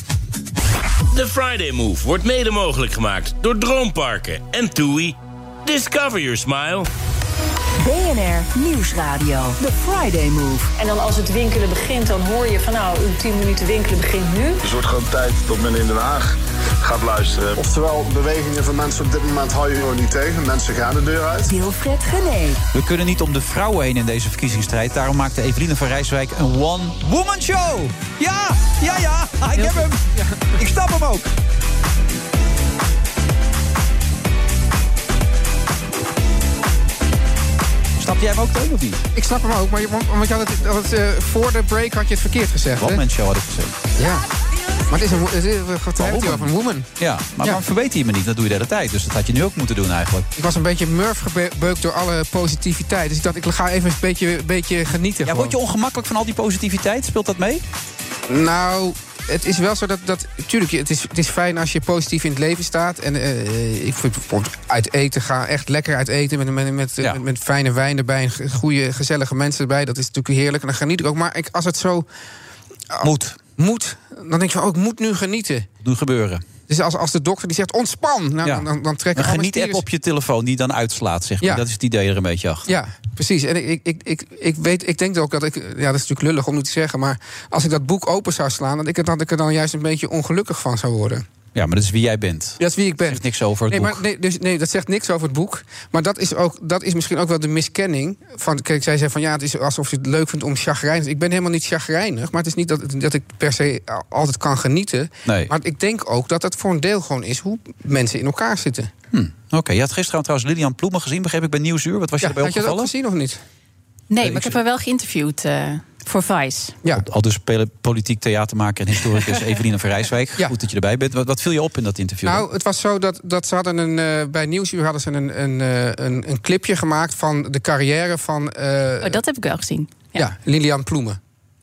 Speaker 2: De Friday Move wordt mede mogelijk gemaakt door Droomparken en TUI. Discover your smile.
Speaker 17: BNR Nieuwsradio. The Friday Move.
Speaker 10: En dan als het winkelen begint, dan hoor je van nou, uw 10 minuten winkelen begint nu.
Speaker 11: Dus het wordt gewoon tijd dat men in Den Haag gaat luisteren. Oftewel, bewegingen van mensen op dit moment hou je gewoon niet tegen. Mensen gaan de deur uit.
Speaker 17: Wilfred Genee.
Speaker 7: We kunnen niet om de vrouwen heen in deze verkiezingsstrijd. Daarom maakte Eveline van Rijswijk een one-woman show. Ja, ja, ja. Ik heb hem. Ik snap hem ook. Snap jij hem ook, Teun, of niet?
Speaker 8: Ik snap hem ook, maar je, want, want je had het, dat het, eh, voor de break had je het verkeerd gezegd. hè?
Speaker 7: One-man show had ik gezegd.
Speaker 8: Ja. Maar het is een, wo- het is, wat heeft hij over een woman?
Speaker 7: Ja, maar waarom verbeet je me niet? Dat doe je de hele tijd. Dus dat had je nu ook moeten doen eigenlijk.
Speaker 8: Ik was een beetje murf gebeukt door alle positiviteit. Dus ik dacht, ik ga even een beetje, beetje genieten.
Speaker 7: Ja, word je ongemakkelijk van al die positiviteit? Speelt dat mee?
Speaker 8: Nou, het is wel zo dat... dat tuurlijk, het is, het is fijn als je positief in het leven staat. En eh, ik vind bijvoorbeeld uit eten gaan, echt lekker uit eten... met, met, met, met, met fijne wijn erbij en ge- goede, gezellige mensen erbij. Dat is natuurlijk heerlijk en dan geniet ik ook. Maar ik, als het zo... ah,
Speaker 7: Moet.
Speaker 8: Moet. Dan denk je van, oh, ik moet nu genieten.
Speaker 7: Doen gebeuren.
Speaker 8: Dus als, als de dokter die zegt, ontspan, nou,
Speaker 7: Ja.
Speaker 8: dan, dan, dan trekken
Speaker 7: Een
Speaker 8: alle
Speaker 7: geniet-app
Speaker 8: stiers-
Speaker 7: op je telefoon die dan uitslaat, zeg maar.
Speaker 8: Ja.
Speaker 7: Dat is het idee er een beetje achter.
Speaker 8: Ja, precies. En ik, ik, ik, ik, ik weet, ik denk ook dat ik. Ja, dat is natuurlijk lullig om nu te zeggen. Maar als ik dat boek open zou slaan, dat ik, er- dat ik er dan juist een beetje ongelukkig van zou worden.
Speaker 7: Ja, maar dat is wie jij bent.
Speaker 8: Dat is wie ik ben.
Speaker 7: Zegt niks over het
Speaker 8: Nee,
Speaker 7: boek.
Speaker 8: maar, nee, dus, nee, dat zegt niks over het boek. Maar dat is, ook, dat is misschien ook wel de miskenning. Van, kijk, zij zei van ja, het is alsof je het leuk vindt om chagrijnig. Ik ben helemaal niet chagrijnig. Maar het is niet dat, dat ik per se al- altijd kan genieten.
Speaker 7: Nee.
Speaker 8: Maar ik denk ook dat dat voor een deel gewoon is hoe mensen in elkaar zitten.
Speaker 7: Oh. Hm, Oké, je had gisteren trouwens Lilian Ploemen gezien, begreep ik, bij Nieuwsuur. Wat was je erbij
Speaker 8: had je dat ook
Speaker 7: opgevallen?
Speaker 8: gezien of niet?
Speaker 15: Nee, maar ik heb haar wel geïnterviewd eh, voor Vice.
Speaker 8: Ja.
Speaker 13: Al dus pele- politiek theatermaker en
Speaker 8: <laughs>
Speaker 13: historicus Evelina van Rijswijk. Goed dat je erbij bent. Wat, wat viel je op in dat interview?
Speaker 8: Nou, het was zo dat, dat ze hadden een, eh, bij Nieuwsuur hadden ze een, een, eh, een, een clipje gemaakt van de carrière van. eh,
Speaker 15: Oh, dat heb ik wel gezien.
Speaker 8: Ja, Lilian Ploemen.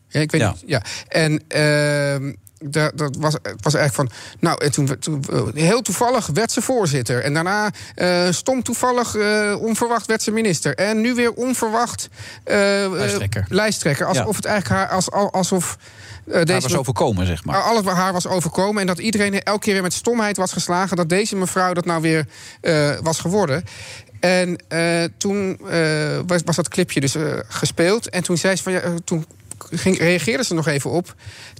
Speaker 8: Ja, ik weet
Speaker 13: Ja.
Speaker 8: niet. Ja. En ehm, da- dat was, het was eigenlijk van. Nou, en toen, we- toen, we- heel toevallig werd ze voorzitter. En daarna eh, stom toevallig, eh, onverwacht werd ze minister. En nu weer onverwacht eh,
Speaker 13: Lijsttrekker.
Speaker 8: lijsttrekker. Alsof
Speaker 13: Ja.
Speaker 8: het eigenlijk haar, als, al- alsof eh,
Speaker 13: Daar
Speaker 8: deze
Speaker 13: was overkomen, zeg maar.
Speaker 8: alles bij haar was overkomen. En dat iedereen elke keer weer met stomheid was geslagen. Dat deze mevrouw dat nou weer eh, was geworden. En eh, toen eh, was, was dat clipje dus eh, gespeeld. En toen zei ze van ja, eh, toen ging, reageerde ze nog even op.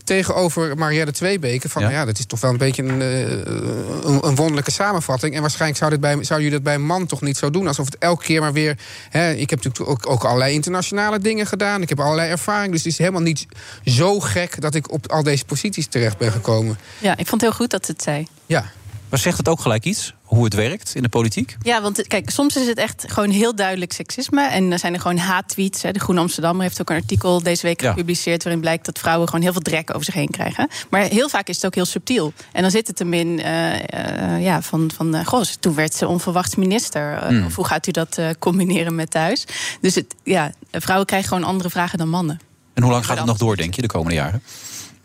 Speaker 8: Tegenover Marielle Tweebeke. Van ja, ja dat is toch wel een beetje een, eh, een, een wonderlijke samenvatting. En waarschijnlijk zou, dit bij, zou jullie dat bij een man toch niet zo doen. Alsof het elke keer maar weer. Hè, ik heb natuurlijk ook, ook allerlei internationale dingen gedaan. Ik heb allerlei ervaring. Dus het is helemaal niet zo gek dat ik op al deze posities terecht ben gekomen.
Speaker 15: Ja, ik vond het heel goed dat ze het zei.
Speaker 8: Ja.
Speaker 13: Maar zegt het ook gelijk iets? Hoe het werkt in de politiek?
Speaker 15: Ja, want eh, kijk, soms is het echt gewoon heel duidelijk seksisme. En dan zijn er gewoon haattweets. Hè. De Groene Amsterdammer heeft ook een artikel deze week
Speaker 13: Ja.
Speaker 15: gepubliceerd... waarin blijkt dat vrouwen gewoon heel veel drek over zich heen krijgen. Maar heel vaak is het ook heel subtiel. En dan zit het hem in, eh, eh, ja, van, van eh, goh, toen werd ze onverwachts minister. Eh,
Speaker 13: Hmm.
Speaker 15: Of hoe gaat u dat eh, combineren met thuis? Dus het, ja, vrouwen krijgen gewoon andere vragen dan mannen.
Speaker 13: En hoe lang gaat het nog door, denk je, de komende jaren?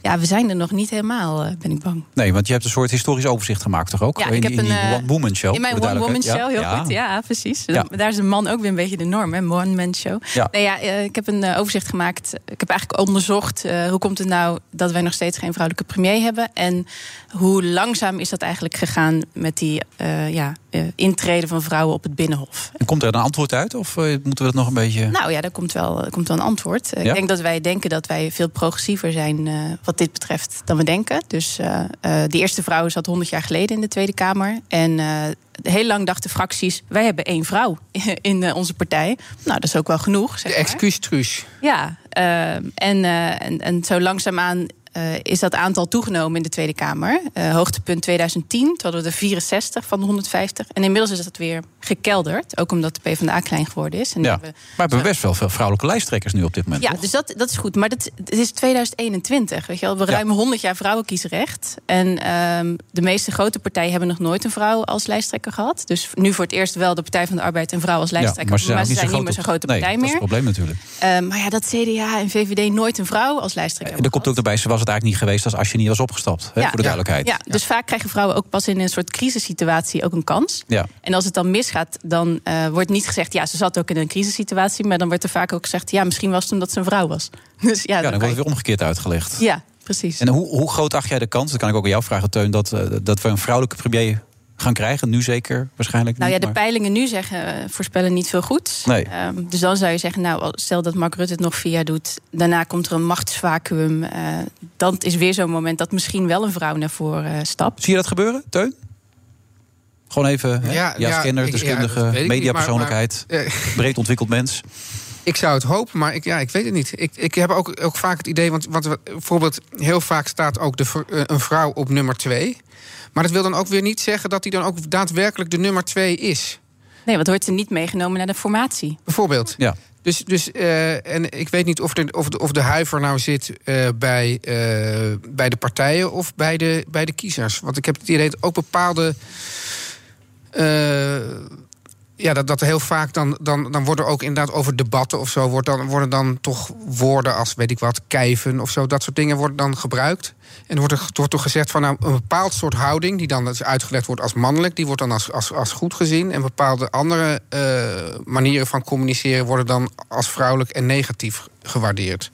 Speaker 15: Ja, we zijn er nog niet helemaal, eh, ben ik bang.
Speaker 13: Nee, want je hebt een soort historisch overzicht gemaakt, toch ook?
Speaker 15: Ja,
Speaker 13: in,
Speaker 15: ik heb
Speaker 13: in die
Speaker 15: een, eh,
Speaker 13: One Woman Show.
Speaker 15: In mijn
Speaker 13: voor de
Speaker 15: One Woman Show,
Speaker 13: duidelijkheid.
Speaker 15: heel goed. Ja, precies.
Speaker 13: Ja.
Speaker 15: Daar is de man ook weer een beetje de norm, hè? One Man Show.
Speaker 13: Ja.
Speaker 15: Nee, ja, eh, ik heb een eh, overzicht gemaakt. Ik heb eigenlijk onderzocht eh, hoe komt het nou dat wij nog steeds geen vrouwelijke premier hebben. En hoe langzaam is dat eigenlijk gegaan met die eh, ja, eh, intreden van vrouwen op het binnenhof.
Speaker 13: En komt er een antwoord uit? Of eh, moeten we dat nog een beetje...
Speaker 15: Nou ja, daar komt wel, er komt wel een antwoord. Eh,
Speaker 13: Ja?
Speaker 15: Ik denk dat wij denken dat wij veel progressiever zijn eh, wat dit betreft dan we denken. Dus eh, eh, de eerste vrouw zat 100 jaar geleden in de Tweede Kamer. En eh, heel lang dachten fracties, wij hebben één vrouw <laughs> in eh, onze partij. Nou, dat is ook wel genoeg. Zeg maar.
Speaker 8: Excuustruus.
Speaker 15: Ja, eh, en, eh, en, en zo langzaamaan eh, is dat aantal toegenomen in de Tweede Kamer. Eh, hoogtepunt 2010, toen hadden we er 64 van de 150. En inmiddels is dat weer gekelderd, ook omdat de PvdA klein geworden is. En
Speaker 13: Ja.
Speaker 15: die hebben-
Speaker 13: Maar we hebben best wel veel vrouwelijke lijsttrekkers nu op dit moment.
Speaker 15: ja,
Speaker 13: toch?
Speaker 15: dus dat, dat is goed. Maar dat, het is 2021. Weet je wel, we ruim 100 jaar vrouwenkiesrecht. En ehm, de meeste grote partijen hebben nog nooit een vrouw als lijsttrekker gehad. Dus nu voor het eerst wel de Partij van de Arbeid een vrouw als
Speaker 13: Ja,
Speaker 15: lijsttrekker. maar ze zijn niet
Speaker 13: groot
Speaker 15: meer zo'n
Speaker 13: op-
Speaker 15: grote
Speaker 13: nee,
Speaker 15: partij
Speaker 13: dat is
Speaker 15: meer.
Speaker 13: het probleem natuurlijk.
Speaker 15: Ehm, maar ja, dat CDA en VVD nooit een vrouw als lijsttrekker.
Speaker 13: En er komt ook daarbij, ze was het eigenlijk niet geweest als als je niet was opgestapt. Hè,
Speaker 15: Ja.
Speaker 13: eh, voor de duidelijkheid.
Speaker 15: Ja, dus vaak krijgen vrouwen ook pas in een soort crisissituatie ook een kans.
Speaker 13: Ja.
Speaker 15: En als het dan misgaat, dan eh, wordt niet gezegd... ja, ze zat ook in een crisissituatie... maar dan wordt er vaak ook gezegd... ja, misschien was het omdat ze een vrouw was. <laughs> Dus ja,
Speaker 13: Ja, dan
Speaker 15: dan
Speaker 13: wordt
Speaker 15: kan
Speaker 13: het weer omgekeerd uitgelegd.
Speaker 15: je- ja precies.
Speaker 13: En hoe, hoe groot acht jij de kans, dat kan ik ook aan jou vragen, Teun... dat, eh, dat we een vrouwelijke premier gaan krijgen? Nu zeker, waarschijnlijk
Speaker 15: Nou ja,
Speaker 13: niet,
Speaker 15: de
Speaker 13: maar-
Speaker 15: peilingen nu zeggen, eh, voorspellen niet veel goeds.
Speaker 13: Nee.
Speaker 15: Ehm, dus dan zou je zeggen, nou, al- stel dat Mark Rutte het nog vier jaar doet... daarna komt er een machtsvacuum. eh, dan is weer zo'n moment dat misschien wel een vrouw naar voren eh, stapt.
Speaker 13: Zie je dat gebeuren, Teun? Gewoon even, hè?
Speaker 8: Ja,
Speaker 13: ja,
Speaker 8: ja,
Speaker 13: scanner,
Speaker 8: ik- ja,
Speaker 13: deskundige,
Speaker 8: dat weet ik niet,
Speaker 13: mediapersoonlijkheid...
Speaker 8: maar- <laughs> maar-
Speaker 13: breed ontwikkeld mens.
Speaker 8: Ik zou het hopen, maar ik, ja, ik weet het niet. Ik, ik heb ook, ook vaak het idee, want, want we- bijvoorbeeld heel vaak staat ook de, vr- eh, een vrouw op nummer twee. Maar dat wil dan ook weer niet zeggen dat die dan ook daadwerkelijk de nummer twee is.
Speaker 15: Nee, want wordt ze niet meegenomen naar de formatie.
Speaker 8: Bijvoorbeeld.
Speaker 13: Ja.
Speaker 8: Dus, dus eh, en ik weet niet of de, of de, of de huiver nou zit eh, bij, eh, bij de partijen of bij de, bij de kiezers. Want ik heb het idee dat ook bepaalde. eh, ja, dat, dat heel vaak dan, dan, dan worden ook inderdaad over debatten of zo. Wordt dan, worden dan toch woorden als weet ik wat, kijven of zo. Dat soort dingen worden dan gebruikt. En wordt er wordt toch gezegd van nou, een bepaald soort houding, die dan dus uitgelegd wordt als mannelijk, die wordt dan als, als, als goed gezien. En bepaalde andere eh, manieren van communiceren worden dan als vrouwelijk en negatief gewaardeerd.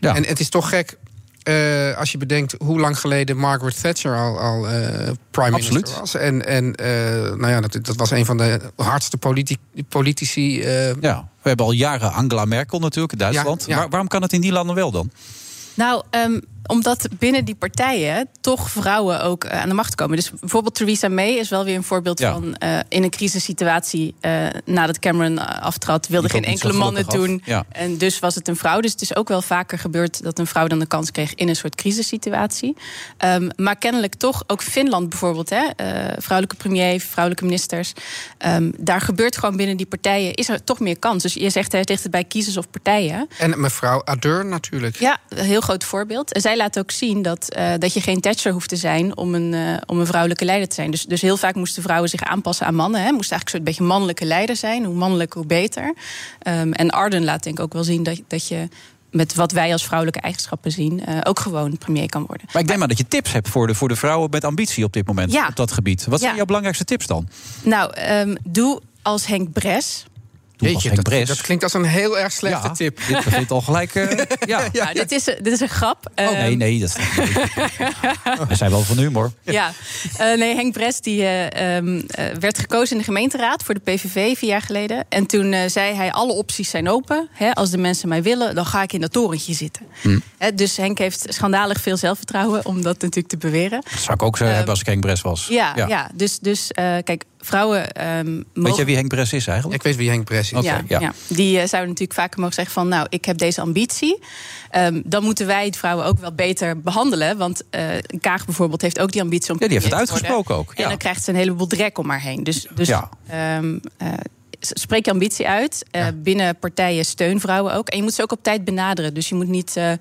Speaker 8: En het is toch gek. eh, als je bedenkt hoe lang geleden Margaret Thatcher al, al eh, prime minister was. En, en eh, nou ja, dat, dat was een van de hardste politi- politici. eh,
Speaker 13: Ja, we hebben al jaren Angela Merkel natuurlijk in Duitsland.
Speaker 8: ja.
Speaker 13: Waar- waarom kan het in die landen wel dan?
Speaker 15: Nou, ehm, omdat binnen die partijen toch vrouwen ook eh, aan de macht komen. Dus bijvoorbeeld Theresa May is wel weer een voorbeeld
Speaker 18: Ja.
Speaker 15: van eh, in een crisissituatie eh, nadat Cameron eh, aftrad, wilde
Speaker 18: Die
Speaker 15: geen
Speaker 18: komt niet zo
Speaker 15: enkele man het
Speaker 18: gelukkig
Speaker 15: doen.
Speaker 18: af. Ja.
Speaker 15: En dus was het een vrouw. Dus het is ook wel vaker gebeurd dat een vrouw dan de kans kreeg in een soort crisissituatie. Ehm, maar kennelijk toch, ook Finland bijvoorbeeld, hè, eh, vrouwelijke premier, vrouwelijke ministers. ehm, daar gebeurt gewoon binnen die partijen, is er toch meer kans. Dus je zegt, hè, het ligt het bij kiezers of partijen.
Speaker 8: En mevrouw Ardern natuurlijk.
Speaker 15: Ja, een heel groot voorbeeld. En zij laat ook zien dat, eh, dat je geen Thatcher hoeft te zijn om een, eh, om een vrouwelijke leider te zijn. Dus, dus heel vaak moesten vrouwen zich aanpassen aan mannen. Hè. Moest eigenlijk een soort beetje mannelijke leider zijn. Hoe mannelijk, hoe beter. Ehm, en Arden laat denk ik ook wel zien dat, dat je met wat wij als vrouwelijke eigenschappen zien, eh, ook gewoon premier kan worden.
Speaker 7: Maar ik denk maar dat je tips hebt voor de, voor de vrouwen met ambitie op dit moment.
Speaker 15: Ja.
Speaker 7: Op dat gebied. Wat zijn
Speaker 15: Ja.
Speaker 7: jouw belangrijkste tips dan?
Speaker 15: Nou, ehm, doe als Henk Bres.
Speaker 7: Jeetje, dat,
Speaker 8: dat klinkt als een heel erg slechte tip.
Speaker 7: Dit begint al gelijk. eh,
Speaker 8: <laughs>
Speaker 7: ja.
Speaker 15: Nou, dit, is, dit is een grap. Ehm,
Speaker 7: Oh, nee, nee, dat is
Speaker 15: <laughs>
Speaker 7: We zijn wel van humor.
Speaker 15: Ja, Eh, nee, Henk Bres die, eh, ehm, eh, werd gekozen in de gemeenteraad voor de PVV vier jaar geleden. En toen eh, zei hij: Alle opties zijn open. Hè, als de mensen mij willen, dan ga ik in dat torentje zitten. Hè, dus Henk heeft schandalig veel zelfvertrouwen om dat natuurlijk te beweren.
Speaker 7: Dat zou ik ook zo hebben als ik Henk Bres was.
Speaker 15: Ehm. Ja, ja. dus, dus eh, kijk, vrouwen. ehm,
Speaker 7: Weet jij
Speaker 15: mogen-
Speaker 7: wie Henk Bres is eigenlijk?
Speaker 8: Ik weet wie Henk Bres is.
Speaker 15: ja, ja. Die eh, zouden natuurlijk vaker mogen zeggen van... nou, ik heb deze ambitie. Ehm, dan moeten wij het vrouwen ook wel beter behandelen. Want eh, Kaag bijvoorbeeld heeft ook die ambitie om...
Speaker 7: Ja, die heeft
Speaker 15: premier
Speaker 7: het
Speaker 15: te worden.
Speaker 7: uitgesproken ook, ja.
Speaker 15: En dan krijgt ze een heleboel drek om haar heen. Dus, dus
Speaker 7: Ja.
Speaker 15: ehm, eh, s- spreek je ambitie uit. Eh, Binnen partijen steun vrouwen ook. En je moet ze ook op tijd benaderen. Dus je moet niet eh, eh,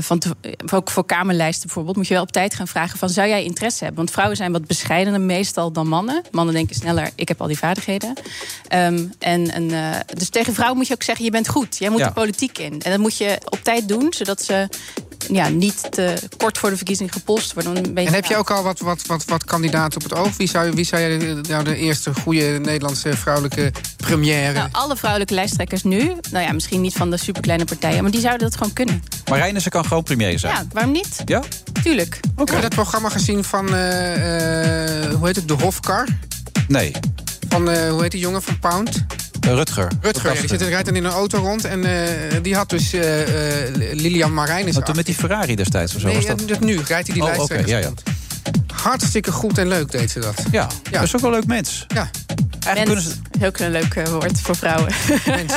Speaker 15: van te- eh, ook voor Kamerlijsten bijvoorbeeld, moet je wel op tijd gaan vragen van zou jij interesse hebben? Want vrouwen zijn wat bescheidener meestal dan mannen. Mannen denken sneller, ik heb al die vaardigheden. Ehm, en, en, eh, dus tegen vrouwen moet je ook zeggen, je bent goed. Jij moet
Speaker 7: Ja.
Speaker 15: de politiek in. En dat moet je op tijd doen, zodat ze ja, niet te kort voor de verkiezing gepolst worden. want dan ben
Speaker 8: En heb je
Speaker 15: laat.
Speaker 8: ook al wat, wat, wat, wat kandidaten op het oog? Wie zou, wie zou jij de- nou de eerste goede Nederlandse vrouwelijke première...
Speaker 15: Nou, alle vrouwelijke lijsttrekkers nu, nou ja, misschien niet van de superkleine partijen, maar die zouden dat gewoon kunnen.
Speaker 7: Marijne, ze kan gewoon premier zijn.
Speaker 15: Ja, waarom niet?
Speaker 7: Ja?
Speaker 15: Tuurlijk.
Speaker 8: Heb je dat programma gezien van, eh, eh, hoe heet het, de Hofkar?
Speaker 7: Nee.
Speaker 8: Van, eh, hoe heet die jongen van Pound?
Speaker 7: Eh, Rutger.
Speaker 8: Rutger, ja, die
Speaker 7: Rutger.
Speaker 8: zit, die rijdt dan in een auto rond. En eh, die had dus eh, eh, Lilian Marijnis
Speaker 7: Maar
Speaker 8: achter.
Speaker 7: toen eh, met die Ferrari destijds of zo.
Speaker 8: Nee,
Speaker 7: was
Speaker 8: ja,
Speaker 7: dat?
Speaker 8: dat nu rijdt hij die
Speaker 7: Oh,
Speaker 8: lijsttrekkers
Speaker 7: oké, ja,
Speaker 8: rond. Hartstikke goed en leuk deed ze dat.
Speaker 7: Ja, dat is ook wel een leuk mens.
Speaker 8: Ja.
Speaker 15: Mens, ook een leuk eh, woord voor vrouwen. <laughs>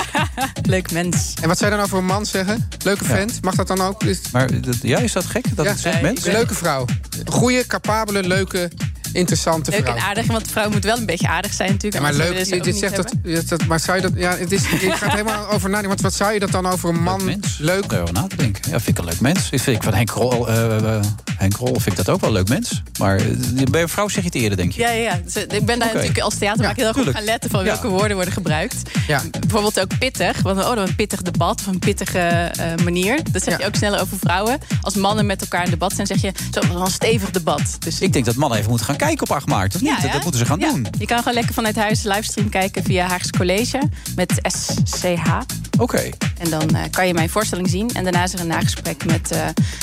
Speaker 15: leuk mens.
Speaker 8: En wat zou je dan over een man zeggen? Leuke vent, mag dat dan ook? Is-
Speaker 7: Maar dat- ja, is dat gek? Dat
Speaker 8: Ja.
Speaker 7: het zegt mens?
Speaker 8: Een leuke vrouw. Goeie, capabele, leuke, interessante
Speaker 15: Leuk
Speaker 8: vrouw.
Speaker 15: en aardig, want de vrouw moet wel een beetje aardig zijn
Speaker 8: Ja,
Speaker 15: natuurlijk.
Speaker 8: maar
Speaker 15: anders
Speaker 8: leuk,
Speaker 15: zouden we
Speaker 8: dit,
Speaker 15: ze ook
Speaker 8: zegt dat,
Speaker 15: niet
Speaker 8: dit- dat. Maar zou je dat. Ja, het is, ik ga het helemaal over nadenken. Want wat zou je dat dan over een man. Leuk.
Speaker 7: Daar na te denken. Ja, vind ik een leuk mens. Ik vind ik van Henk Rol, eh, eh, Henk Rol vind ik dat ook wel een leuk mens. Maar eh, bij een vrouw zeg je het eerder, denk je.
Speaker 15: hebben. Ja, ja, ja. Dus, eh, ik ben daar
Speaker 7: Oké.
Speaker 15: natuurlijk als theatermaker heel erg op
Speaker 7: tuurlijk.
Speaker 15: gaan letten van
Speaker 7: Ja.
Speaker 15: welke woorden worden gebruikt.
Speaker 8: Ja.
Speaker 15: Bijvoorbeeld ook pittig, want oh, dan een pittig debat of een pittige eh, manier. Dat zeg je ook sneller over vrouwen. Als mannen met elkaar in debat zijn, zeg je zo wat een stevig debat. Dus
Speaker 7: Ik denk dat mannen even moeten gaan kijken op 8 maart, of niet?
Speaker 15: Ja,
Speaker 7: Dat-
Speaker 15: hè?
Speaker 7: Dat moeten ze gaan
Speaker 15: Ja.
Speaker 7: doen.
Speaker 15: Je kan gewoon lekker vanuit huis livestream kijken via Haags College met SCH.
Speaker 7: Oké.
Speaker 15: En dan eh, kan je mijn voorstelling zien. En daarna is er een nagesprek met eh,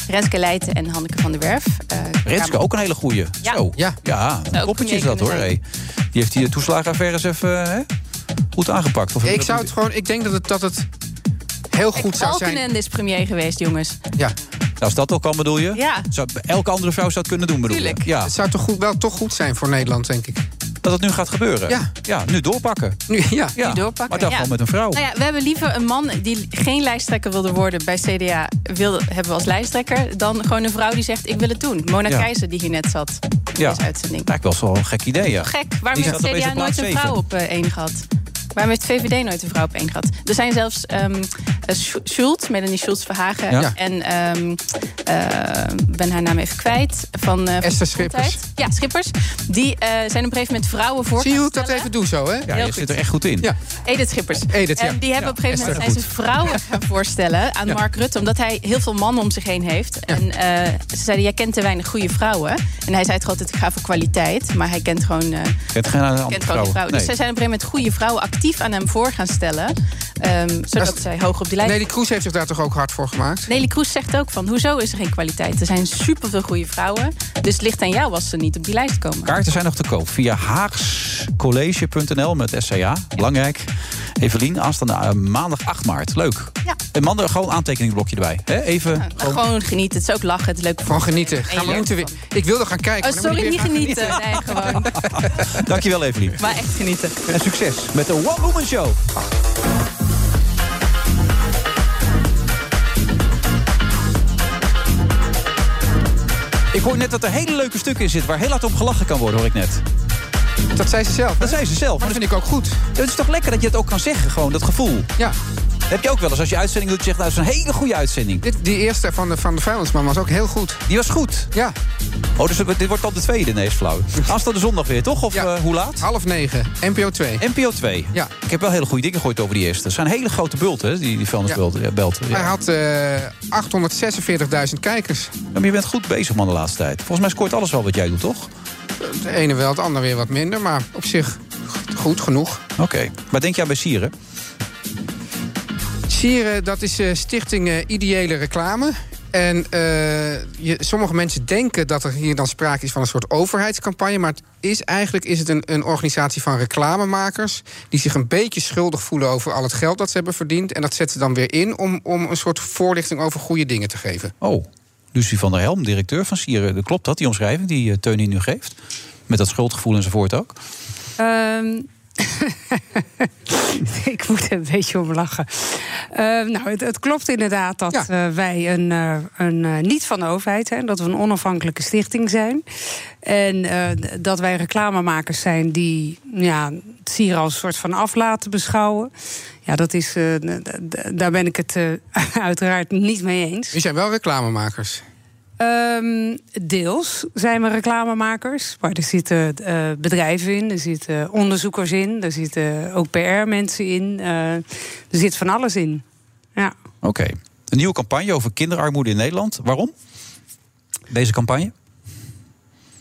Speaker 15: Renske Leijten en Hanneke van der Werf. Eh,
Speaker 7: Renske,
Speaker 15: Kamer-
Speaker 7: ook een hele goeie.
Speaker 15: Ja.
Speaker 7: Zo.
Speaker 8: Ja,
Speaker 7: ja
Speaker 15: Zou
Speaker 7: een
Speaker 15: ook
Speaker 7: koppeltje is dat hoor.
Speaker 15: premier
Speaker 7: hé. Die heeft die toeslagenaffaire eens even eh, goed aangepakt. Of
Speaker 8: Ja, ik zou het gewoon. Ik denk dat het, dat het heel goed zou zijn.
Speaker 15: Balkenende is premier geweest, jongens.
Speaker 8: Ja.
Speaker 7: Nou, Als dat al kan, bedoel je?
Speaker 15: Ja.
Speaker 7: Zou, elke andere vrouw zou het kunnen doen, bedoel je?
Speaker 8: Tuurlijk.
Speaker 7: Ja.
Speaker 8: Het zou toch goed, wel toch goed zijn voor Nederland, denk ik.
Speaker 7: Dat het nu gaat gebeuren?
Speaker 8: Ja.
Speaker 7: Ja, nu doorpakken.
Speaker 8: Nu, ja.
Speaker 7: Ja,
Speaker 15: doorpakken.
Speaker 7: Maar dan
Speaker 15: ja.
Speaker 7: gewoon met een vrouw.
Speaker 15: Nou ja, we hebben liever een man die geen lijsttrekker wilde worden bij CDA, wilde, hebben we als lijsttrekker, dan gewoon een vrouw die zegt: Ik wil het doen. Mona
Speaker 7: Ja.
Speaker 15: Keizer, die hier net zat.
Speaker 7: Ja.
Speaker 15: Deze uitzending.
Speaker 7: Lijkt wel zo'n gek idee, ja.
Speaker 15: Gek.
Speaker 7: Die
Speaker 15: Waarom heeft
Speaker 7: staat
Speaker 15: het
Speaker 7: opeens
Speaker 15: CDA
Speaker 7: op plaats
Speaker 15: nooit een
Speaker 7: zeven.
Speaker 15: vrouw op eh, één gehad? Waarom heeft het VVD nooit een vrouw op één gehad? Er zijn zelfs ehm eh, Sch- Schultz, Melanie Schultz Verhagen...
Speaker 8: Ja.
Speaker 15: en ehm, eh, ik ben haar naam even kwijt... van eh, van
Speaker 8: Esther
Speaker 15: Gezondheid.
Speaker 8: Schippers.
Speaker 15: Ja, Schippers. Die eh, zijn op een gegeven moment vrouwen voor
Speaker 8: Zie je
Speaker 15: gaan
Speaker 8: hoe ik dat
Speaker 15: stellen.
Speaker 8: even doe zo, hè?
Speaker 7: Ja, je zit er echt goed in.
Speaker 8: Ja.
Speaker 15: Edith Schippers.
Speaker 8: Edith, ja.
Speaker 15: En die hebben
Speaker 8: Ja,
Speaker 15: op een gegeven moment
Speaker 8: Esther.
Speaker 15: zijn ze vrouwen
Speaker 8: <laughs>
Speaker 15: gaan voorstellen aan
Speaker 8: Ja.
Speaker 15: Mark Rutte. Omdat hij heel veel mannen om zich heen heeft. En eh, ze zeiden, jij kent te weinig goede vrouwen. En hij zei toch altijd, ik ga voor kwaliteit. Maar hij kent gewoon... eh,
Speaker 7: Kent geen andere
Speaker 15: kent gewoon die
Speaker 7: vrouw.
Speaker 15: vrouwen. Dus zij zijn op een gegeven moment goede vrouwen actief aan hem voor gaan stellen. ehm, zodat zij hoog op die lijst
Speaker 8: Nelly Kroes heeft zich daar toch ook hard voor gemaakt?
Speaker 15: Nelly Kroes zegt ook van, hoezo is er geen kwaliteit? Er zijn superveel goede vrouwen. Dus het ligt aan jou als ze niet op die lijst komen.
Speaker 7: Kaarten zijn nog te koop via haagscollege.nl met SCA. Belangrijk. Evelien, aanstaande eh, maandag 8 maart. Leuk.
Speaker 15: Ja.
Speaker 7: En mannen, gewoon een aantekeningenblokje erbij. Hè? Even.
Speaker 15: Gewoon, genieten. Het is ook lachen. Het is leuk. Gewoon
Speaker 8: genieten.
Speaker 15: Ga maar
Speaker 8: moeten weer. Ik wilde gaan kijken.
Speaker 15: Oh, sorry, niet genieten. Nee, gewoon.
Speaker 7: <laughs> Dankjewel, Evelien.
Speaker 15: Maar echt genieten.
Speaker 7: En succes met de One Woman Show. Ik hoor net dat er hele leuke stukken in zitten waar heel hard om gelachen kan worden, hoor ik net.
Speaker 8: Dat zei ze zelf.
Speaker 7: Dat zei ze zelf. Dat
Speaker 8: vind ik ook goed.
Speaker 7: Het is toch lekker dat je het ook kan zeggen, gewoon dat gevoel.
Speaker 8: Ja.
Speaker 7: Heb je ook wel eens als je uitzending doet, je zegt nou, dat is een hele goede uitzending.
Speaker 8: Dit, die eerste van de, van de vuilnisman was ook heel goed.
Speaker 7: Die was goed?
Speaker 8: Ja.
Speaker 7: Oh, dus dit wordt dan de tweede ineens
Speaker 8: <laughs>
Speaker 7: flauw. Aanstaande zondag weer, toch? Of eh, hoe laat?
Speaker 8: Half negen, NPO 2.
Speaker 7: NPO 2.
Speaker 8: Ja.
Speaker 7: Ik heb wel hele goede dingen gehoord over die eerste. Het zijn hele grote bulten, hè, die, die vuilnisbelten. Ja. belten, ja.
Speaker 8: Hij had eh 846.000 kijkers.
Speaker 7: Ja, Maar je bent goed bezig, man, de laatste tijd. Volgens mij scoort alles wel wat jij doet, toch?
Speaker 8: De ene wel, het ander weer wat minder, maar op zich goed genoeg.
Speaker 7: Oké. Maar denk jij bij Sieren?
Speaker 8: Sieren, dat is eh, Stichting eh, Ideële Reclame. En eh, je, sommige mensen denken dat er hier dan sprake is van een soort overheidscampagne. Maar het is, eigenlijk is het een, een organisatie van reclamemakers. die zich een beetje schuldig voelen over al het geld dat ze hebben verdiend. En dat zetten ze dan weer in om, om een soort voorlichting over goede dingen te geven.
Speaker 7: Oh, Lucie van der Helm, directeur van Sieren. Klopt dat, die omschrijving die eh, Teun hier nu geeft? Met dat schuldgevoel enzovoort ook?
Speaker 16: Ehm, <laughs> ik moet er een beetje om lachen. Ehm, nou, het, het klopt inderdaad dat eh, wij een, eh, een eh, niet van de overheid zijn, dat we een onafhankelijke stichting zijn. En eh, d- dat wij reclamemakers zijn die ja, het sier als een soort van aflaten beschouwen. Ja, dat is, eh, d- d- daar ben ik het eh, <laughs> uiteraard niet mee eens.
Speaker 8: Die zijn wel reclamemakers.
Speaker 16: Ehm, deels zijn we reclamemakers, maar er zitten eh, bedrijven in, er zitten onderzoekers in, er zitten ook PR-mensen in, eh, er zit van alles in. Ja.
Speaker 7: Oké. Een nieuwe campagne over kinderarmoede in Nederland. Waarom? Deze campagne?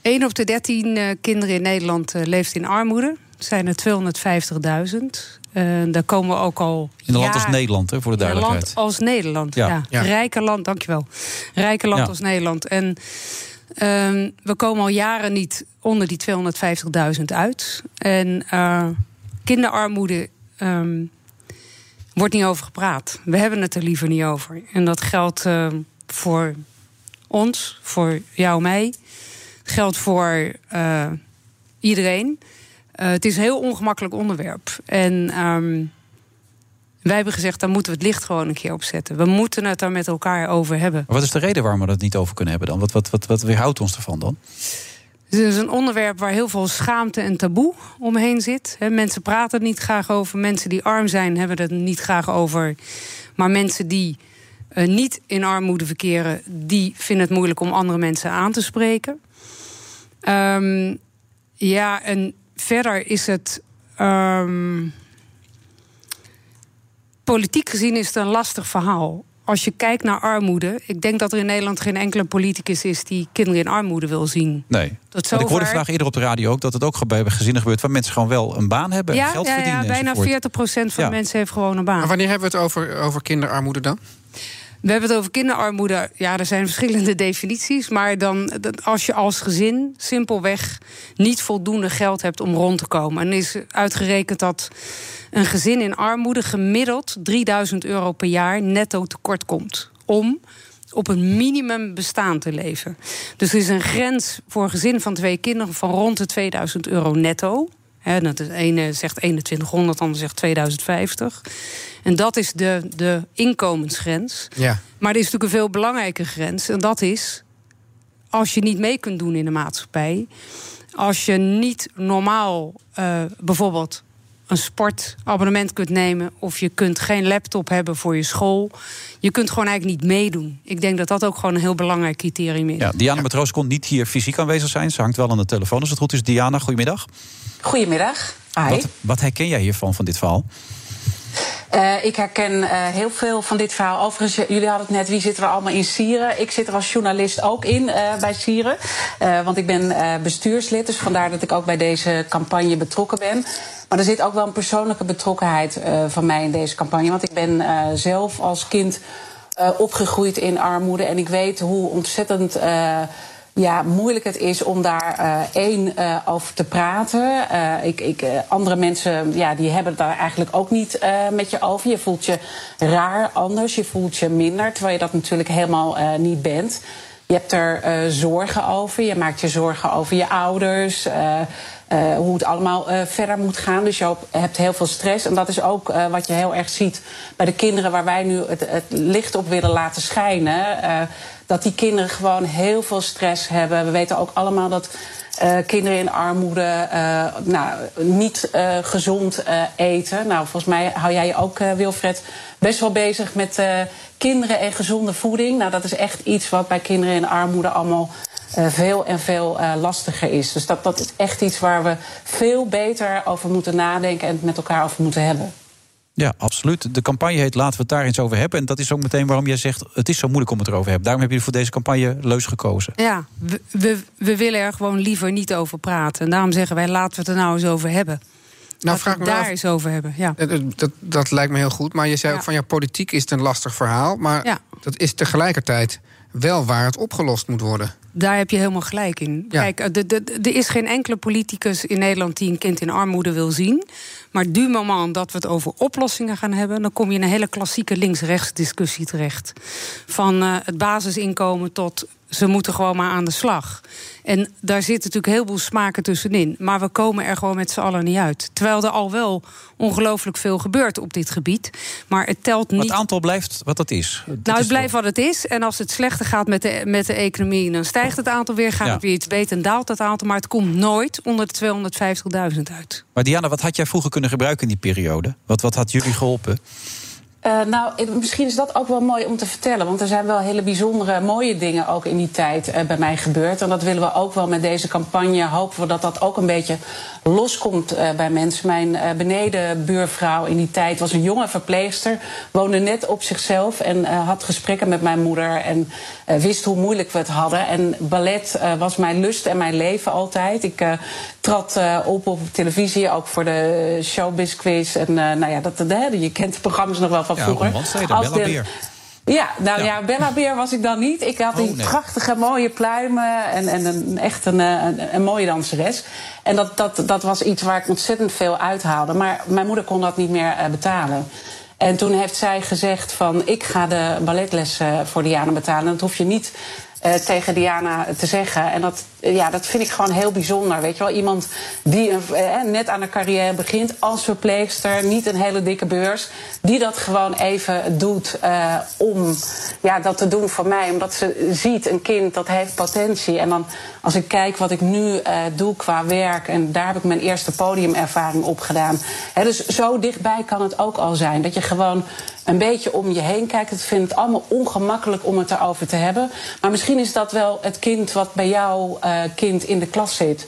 Speaker 16: 1 op de 13 eh, kinderen in Nederland eh, leeft in armoede. Het zijn er 250.000. Eh, daar komen we ook al.
Speaker 7: In een land als
Speaker 16: jaren-
Speaker 7: Nederland, hè, voor de
Speaker 16: Een
Speaker 7: duidelijkheid.
Speaker 16: land als Nederland,
Speaker 7: Ja.
Speaker 16: ja.
Speaker 7: Ja.
Speaker 16: Rijke land, dankjewel. Rijke land
Speaker 7: Ja.
Speaker 16: als Nederland. En ehm, we komen al jaren niet onder die 250.000 uit. En eh, kinderarmoede ehm, wordt niet over gepraat. We hebben het er liever niet over. En dat geldt ehm, voor ons, voor jou, mij. Het geldt voor eh, iedereen. Eh, het is een heel ongemakkelijk onderwerp. En... ehm, wij hebben gezegd, daar moeten we het licht gewoon een keer op zetten. We moeten het daar met elkaar over hebben.
Speaker 7: Maar wat is de reden waarom we dat niet over kunnen hebben dan? Wat, wat, wat, wat weerhoudt ons ervan dan?
Speaker 16: Het is dus een onderwerp waar heel veel schaamte en taboe omheen zit. Hè, mensen praten er niet graag over. Mensen die arm zijn, hebben het er niet graag over. Maar mensen die eh, niet in armoede verkeren... die vinden het moeilijk om andere mensen aan te spreken. Ehm, ja, en verder is het... ehm, politiek gezien is het een lastig verhaal. Als je kijkt naar armoede... ik denk dat er in Nederland geen enkele politicus is... die kinderen in armoede wil zien.
Speaker 7: Nee.
Speaker 16: Tot
Speaker 7: Want ik hoorde
Speaker 16: zover.
Speaker 7: vandaag eerder op de radio ook dat het ook ge- bij gezinnen gebeurt waar mensen gewoon wel een baan hebben en geld verdienen.
Speaker 16: bijna 40%
Speaker 7: enzovoort.
Speaker 16: van
Speaker 7: Ja.
Speaker 16: de mensen heeft gewoon een baan.
Speaker 8: Maar wanneer hebben we het over, over kinderarmoede dan?
Speaker 16: We hebben het over kinderarmoede. Ja, er zijn verschillende definities. Maar dan, dat als je als gezin simpelweg niet voldoende geld hebt om rond te komen. En is uitgerekend dat een gezin in armoede gemiddeld 3000 euro per jaar netto tekort komt. Om op een minimum bestaan te leven. Dus er is een grens voor een gezin van twee kinderen van rond de 2000 euro netto. Hè, dat is, de ene zegt 2100, de ander zegt 2050. En dat is de, de inkomensgrens.
Speaker 8: Ja.
Speaker 16: Maar er is natuurlijk een veel belangrijke grens. En dat is als je niet mee kunt doen in de maatschappij. Als je niet normaal eh, bijvoorbeeld een sportabonnement kunt nemen. of je kunt geen laptop hebben voor je school. Je kunt gewoon eigenlijk niet meedoen. Ik denk dat dat ook gewoon een heel belangrijk criterium is.
Speaker 7: Ja, Diana Matroos kon niet hier fysiek aanwezig zijn. Ze hangt wel aan de telefoon als het goed is. Diana, goedemiddag.
Speaker 18: Goedemiddag. Hi.
Speaker 7: Wat, wat herken jij hiervan, van dit verhaal?
Speaker 18: Eh, ik herken eh, heel veel van dit verhaal. Overigens, eh, jullie hadden het net, wie zit er allemaal in Sieren? Ik zit er als journalist ook in eh, bij Sieren. Eh, want ik ben eh, bestuurslid, dus vandaar dat ik ook bij deze campagne betrokken ben. Maar er zit ook wel een persoonlijke betrokkenheid eh, van mij in deze campagne. Want ik ben eh, zelf als kind eh, opgegroeid in armoede. En ik weet hoe ontzettend eh, ja, moeilijk het is om daar eh, één eh, over te praten. Eh, ik, ik, eh, andere mensen ja, die hebben het daar eigenlijk ook niet eh, met je over. Je voelt je raar anders, je voelt je minder, terwijl je dat natuurlijk helemaal eh, niet bent. Je hebt er eh, zorgen over. Je maakt je zorgen over je ouders. eh, eh, hoe het allemaal eh, verder moet gaan. Dus je hoop- hebt heel veel stress. En dat is ook eh, wat je heel erg ziet bij de kinderen waar wij nu het, het licht op willen laten schijnen. eh, dat die kinderen gewoon heel veel stress hebben. We weten ook allemaal dat eh, kinderen in armoede eh, nou, niet eh, gezond eh, eten. Nou, volgens mij hou jij je ook, eh, Wilfred, best wel bezig met eh, kinderen en gezonde voeding. Nou, dat is echt iets wat bij kinderen in armoede allemaal eh, veel en veel eh, lastiger is. Dus dat, dat is echt iets waar we veel beter over moeten nadenken en het met elkaar over moeten hebben.
Speaker 13: Ja, absoluut. De campagne heet Laten we het daar eens over hebben. En dat is ook meteen waarom jij zegt: het is zo moeilijk om het erover te hebben. Daarom heb je voor deze campagne leus gekozen.
Speaker 16: Ja, we, we, we willen er gewoon liever niet over praten. En daarom zeggen wij, laten we het er nou eens over hebben.
Speaker 8: Nou,
Speaker 16: Laten we
Speaker 8: vraag me
Speaker 16: het daar
Speaker 8: af-
Speaker 16: eens over hebben. Ja.
Speaker 8: Eh, Dat, dat, dat lijkt me heel goed. Maar je zei ook van ja, politiek is een lastig verhaal. Maar
Speaker 16: Ja.
Speaker 8: dat is tegelijkertijd wel waar het opgelost moet worden.
Speaker 16: Daar heb je helemaal gelijk in.
Speaker 8: Ja.
Speaker 16: Kijk, er- er- er- er is geen enkele politicus in Nederland die een kind in armoede wil zien. Maar du moment dat we het over oplossingen gaan hebben, dan kom je in een hele klassieke links-rechts discussie terecht. Van eh, het basisinkomen tot ze moeten gewoon maar aan de slag. En daar zitten natuurlijk een heleboel smaken tussenin. Maar we komen er gewoon met z'n allen niet uit. Terwijl er al wel ongelooflijk veel gebeurt op dit gebied. Maar het telt
Speaker 13: Maar
Speaker 16: niet
Speaker 13: het aantal blijft wat dat is. Dat
Speaker 16: nou,
Speaker 13: is
Speaker 16: het blijft wat het is. En als het slechter gaat met de, met de economie, dan stijgt het aantal weer. Gaat
Speaker 13: Ja.
Speaker 16: het weer iets beter en daalt dat aantal. Maar het komt nooit onder de 250.000 uit.
Speaker 13: Maar Diana, wat had jij vroeger kunnen gebruiken in die periode? Wat, wat had jullie geholpen?
Speaker 18: Eh, nou, ik- misschien is dat ook wel mooi om te vertellen. Want er zijn wel hele bijzondere, mooie dingen ook in die tijd eh, bij mij gebeurd. En dat willen we ook wel met deze campagne. Hopen we dat dat ook een beetje loskomt eh, bij mensen. Mijn eh, benedenbuurvrouw in die tijd was een jonge verpleegster. Woonde net op zichzelf en eh, had gesprekken met mijn moeder. En eh, wist hoe moeilijk we het hadden. En ballet eh, was mijn lust en mijn leven altijd. Ik eh, trad eh, op op televisie, ook voor de showbiz quiz. En eh, nou ja, dat, hè, je kent de programma's nog wel van
Speaker 13: Ja,
Speaker 18: vroeger.
Speaker 13: Roel Landstede,
Speaker 18: Als
Speaker 13: Bella
Speaker 18: de-
Speaker 13: Beer. Oh,
Speaker 18: Ja, nou ja, Bella Beer was ik dan niet. Ik had die
Speaker 13: nee.
Speaker 18: prachtige mooie pluimen en, en een, echt een, eh, een, een mooie danseres. En dat, dat, dat was iets waar ik ontzettend veel uithaalde. Maar mijn moeder kon dat niet meer eh, betalen. En toen heeft zij gezegd van ik ga de balletlessen voor Diana betalen. En dat hoef je niet eh, tegen Diana te zeggen. En dat, eh, ja, dat vind ik gewoon heel bijzonder. Weet je wel, iemand die een, eh, net aan een carrière begint als verpleegster, niet een hele dikke beurs, die dat gewoon even doet eh, om ja, dat te doen voor mij. Omdat ze ziet een kind dat heeft potentie. En dan als ik kijk wat ik nu eh, doe qua werk, en daar heb ik mijn eerste podiumervaring op gedaan. Hè, dus zo dichtbij kan het ook al zijn. Dat je gewoon een beetje om je heen kijkt. Het vindt het allemaal ongemakkelijk om het erover te hebben. Maar misschien is dat wel het kind wat bij jouw eh, kind in de klas zit.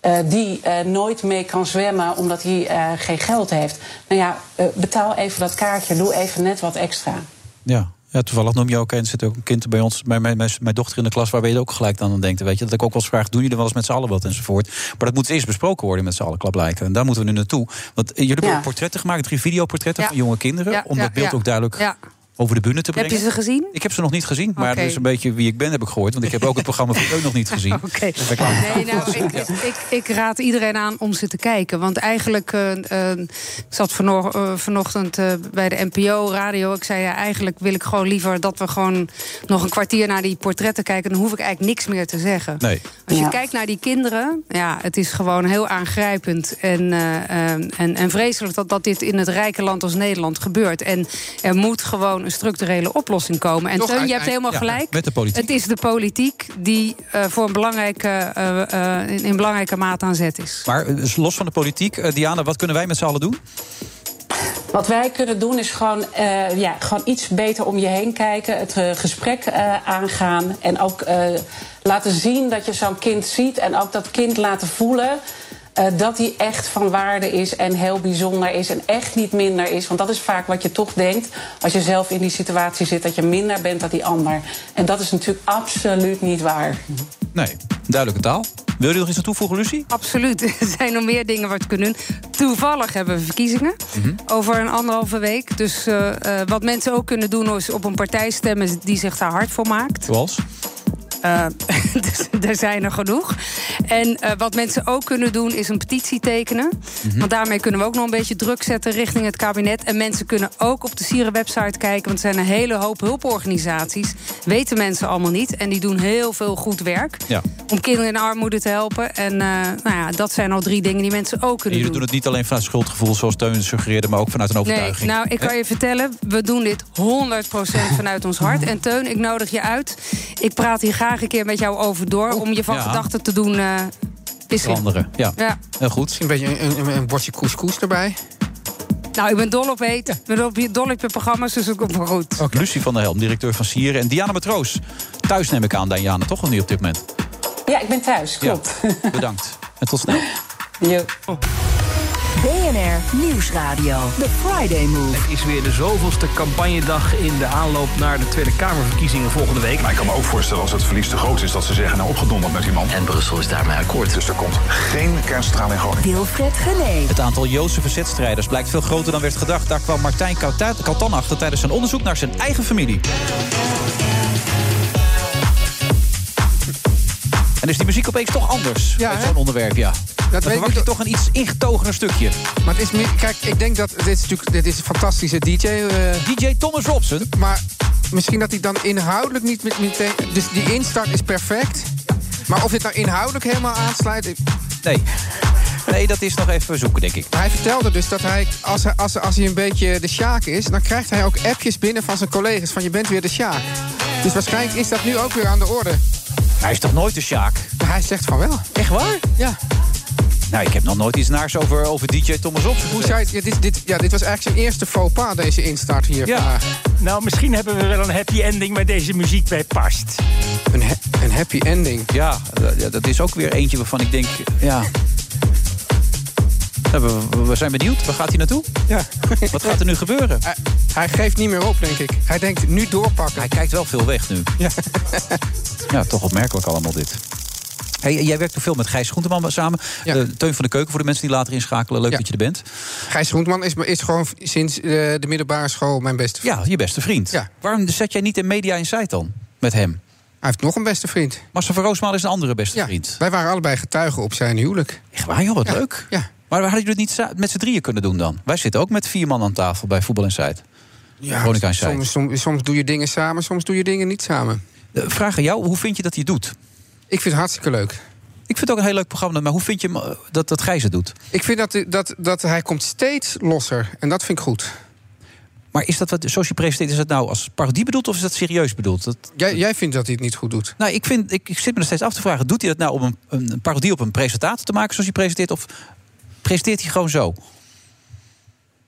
Speaker 18: eh, die eh, nooit mee kan zwemmen omdat hij eh, geen geld heeft. Nou ja, eh, betaal even dat kaartje. Doe even net wat extra.
Speaker 13: Ja. Ja, toevallig noem je ook eens. Er zit ook een kind bij ons, mijn, mijn, mijn, mijn dochter in de klas, waar we ook gelijk aan denkt. Weet je, dat ik ook wel eens vraag: doen jullie wel eens met z'n allen wat enzovoort? Maar dat moet eerst besproken worden met z'n allen, blijken. En daar moeten we nu naartoe. Want eh, jullie hebben
Speaker 16: Ja.
Speaker 13: ook portretten gemaakt, drie videoportretten
Speaker 16: Ja.
Speaker 13: van jonge kinderen.
Speaker 16: Ja,
Speaker 13: om
Speaker 16: ja,
Speaker 13: dat beeld
Speaker 16: ja.
Speaker 13: ook duidelijk
Speaker 16: Ja.
Speaker 13: over de bühne te
Speaker 16: Heb
Speaker 13: brengen.
Speaker 16: je ze gezien?
Speaker 13: Ik heb ze nog niet gezien, maar
Speaker 16: Oké.
Speaker 13: dat is een beetje wie ik ben, heb ik gehoord. Want ik heb ook het
Speaker 16: <laughs>
Speaker 13: programma van ook nog niet gezien.
Speaker 16: Oké.
Speaker 13: Dus daar kwamen-
Speaker 16: Nee, nou, ik, ik, ik raad iedereen aan om ze te kijken. Want eigenlijk, eh, eh, ik zat vanoor- eh, vanochtend eh, bij de NPO radio. Ik zei, ja, eigenlijk wil ik gewoon liever dat we gewoon nog een kwartier naar die portretten kijken. Dan hoef ik eigenlijk niks meer te zeggen.
Speaker 13: Nee.
Speaker 16: Als je
Speaker 13: Ja.
Speaker 16: kijkt naar die kinderen, ja, het is gewoon heel aangrijpend en, eh, eh, en, en vreselijk dat, dat dit in het rijke land als Nederland gebeurt. En er moet gewoon een structurele oplossing komen. En
Speaker 13: Toch
Speaker 16: Teun, je hebt
Speaker 13: uiteindelijk-
Speaker 16: helemaal
Speaker 13: ja,
Speaker 16: gelijk.
Speaker 13: met de politiek.
Speaker 16: Het is de politiek die eh, voor een belangrijke, eh, eh, in, in belangrijke mate aan zet is.
Speaker 13: Maar eh, dus los van de politiek, eh, Diana, wat kunnen wij met z'n allen doen?
Speaker 18: Wat wij kunnen doen is gewoon, eh, ja, gewoon iets beter om je heen kijken. Het eh, gesprek eh, aangaan. En ook eh, laten zien dat je zo'n kind ziet. En ook dat kind laten voelen eh, dat hij echt van waarde is. En heel bijzonder is. En echt niet minder is. Want dat is vaak wat je toch denkt. Als je zelf in die situatie zit. Dat je minder bent dan die ander. En dat is natuurlijk absoluut niet waar.
Speaker 13: Nee, duidelijke taal. Wil je er nog iets aan toevoegen, Lucie?
Speaker 16: Absoluut. <laughs> Er zijn nog meer dingen wat we kunnen doen. Toevallig hebben we verkiezingen.
Speaker 13: Mhm.
Speaker 16: Over een anderhalve week. Dus eh, eh, wat mensen ook kunnen doen is op een partij stemmen die zich daar hard voor maakt.
Speaker 13: Zoals?
Speaker 16: Eh, dus <laughs> er zijn er genoeg. En eh, wat mensen ook kunnen doen is een petitie tekenen.
Speaker 7: Mhm.
Speaker 16: Want daarmee kunnen we ook nog een beetje druk zetten richting het kabinet. En mensen kunnen ook op de Sieren website kijken. Want er zijn een hele hoop hulporganisaties. Weten mensen allemaal niet. En die doen heel veel goed werk.
Speaker 7: Ja.
Speaker 16: Om kinderen in armoede te helpen. En eh, nou ja, dat zijn al drie dingen die mensen ook
Speaker 7: En
Speaker 16: kunnen
Speaker 7: jullie
Speaker 16: doen.
Speaker 7: doen het niet alleen vanuit schuldgevoel, zoals Teun suggereerde, maar ook vanuit een overtuiging.
Speaker 16: Nee, nou, ik kan je vertellen, we doen dit
Speaker 7: <laughs>
Speaker 16: 100% vanuit ons hart. En Teun, ik nodig je uit. Ik praat hier graag een keer met jou over door... om je van
Speaker 7: ja.
Speaker 16: gedachten te doen eh wisselen.
Speaker 7: Veranderen, ja.
Speaker 16: Ja.
Speaker 7: Heel goed.
Speaker 8: Een beetje een, een, een bordje couscous erbij.
Speaker 16: Nou, ik ben dol op eten. Ik ben op- dol op je programma's, dus ik komt wel goed.
Speaker 7: Lucie van der Helm, directeur van Sieren. En Diana Matroos. Thuis neem ik aan, Diana, toch? Of niet op dit moment?
Speaker 19: Ja, ik ben thuis, klopt.
Speaker 7: Ja, bedankt. En tot snel.
Speaker 3: BNR Nieuwsradio. The Friday Move.
Speaker 20: Het is weer de zoveelste campagnedag in de aanloop naar de Tweede Kamerverkiezingen volgende week.
Speaker 5: Maar ik kan me ook voorstellen als het verlies te groot is dat ze zeggen nou opgedonderd met iemand. En Brussel is daarmee akkoord. Dus er komt geen kernstraal in Groningen.
Speaker 3: Wilfred Genee.
Speaker 7: Het aantal Joodse verzetstrijders blijkt veel groter dan werd gedacht. Daar kwam Martijn Kauta- Kaltan achter tijdens zijn onderzoek naar zijn eigen familie. En is die muziek opeens toch anders?
Speaker 8: Ja,
Speaker 7: bij
Speaker 8: hè?
Speaker 7: zo'n onderwerp, ja. Dan
Speaker 8: weet ik
Speaker 7: verwacht je toch een iets ingetogener stukje.
Speaker 8: Maar het is meer, kijk, ik denk dat dit is natuurlijk dit is een fantastische DJ.
Speaker 7: DJ Thomas Robson.
Speaker 8: Maar misschien dat hij dan inhoudelijk niet met- meteen. Dus die instart is perfect. Maar of dit nou inhoudelijk helemaal aansluit. ik-
Speaker 7: Nee. Nee, dat is nog even zoeken, denk ik.
Speaker 8: Hij vertelde dus dat hij als, hij, als, als hij een beetje de Sjaak is, dan krijgt hij ook appjes binnen van zijn collega's van je bent weer de Sjaak. Dus waarschijnlijk is dat nu ook weer aan de orde.
Speaker 7: Hij is toch nooit de Sjaak?
Speaker 8: Hij zegt van wel.
Speaker 7: Echt waar?
Speaker 8: Ja.
Speaker 7: Nou, ik heb nog nooit iets naars over, over DJ Thomas Robson.
Speaker 8: Hoe zei het? Ja, dit, dit, ja, dit was eigenlijk zijn eerste faux pas, deze instart hier vandaag.
Speaker 21: Nou, misschien hebben we wel een happy ending waar deze muziek bij past.
Speaker 8: Een, een happy ending.
Speaker 7: Ja, d- ja, dat is ook weer eentje waarvan ik denk, ja. Nou, we- we, we zijn benieuwd. Waar gaat hij naartoe?
Speaker 8: Ja. Eh,
Speaker 7: Wat gaat er nu gebeuren?
Speaker 8: Hij, hij geeft niet meer op, denk ik. Hij denkt nu doorpakken.
Speaker 7: Hij kijkt wel veel weg nu.
Speaker 8: Ja.
Speaker 7: <laughs> Ja, toch opmerkelijk allemaal dit. Hey, jij werkt ook veel met Gijs Groenteman samen. Eh, Teun van de Keuken voor de mensen die later inschakelen. Leuk dat je er bent.
Speaker 8: Gijs Groentman is, is gewoon sinds eh, de middelbare school mijn beste vriend.
Speaker 7: Ja, je beste vriend. Waarom zet jij niet in Media Insight dan met hem?
Speaker 8: Hij heeft nog een beste vriend.
Speaker 7: Marcel van Roosmaal is een andere beste vriend.
Speaker 8: Wij waren allebei getuigen op zijn huwelijk.
Speaker 7: Echt waar, joh, wat leuk. Maar hadden jullie het niet sa- met z'n drieën kunnen doen dan? Wij zitten ook met vier man aan tafel bij Voetbal Insight. Ja, Veronica Insight.
Speaker 8: Ah, soms, soms, soms doe je dingen samen, soms doe je dingen niet samen.
Speaker 7: Eh, Vraag aan jou, hoe vind je dat hij het doet?
Speaker 8: Ik vind het hartstikke leuk.
Speaker 7: Ik vind het ook een heel leuk programma, maar hoe vind je hem, eh, dat, dat Gijs het doet?
Speaker 8: Ik vind dat, dat, dat hij komt steeds losser. En dat vind ik goed.
Speaker 7: Maar is dat wat, zoals je presenteert, is dat nou als parodie bedoeld of is dat serieus bedoeld? Dat,
Speaker 8: Jij, jij vindt dat hij het niet goed doet?
Speaker 7: nou, ik, vind, ik, ik zit me nog steeds af te vragen, doet hij dat nou om een, een een parodie op een presentator te maken zoals hij presenteert? Of presenteert hij gewoon zo?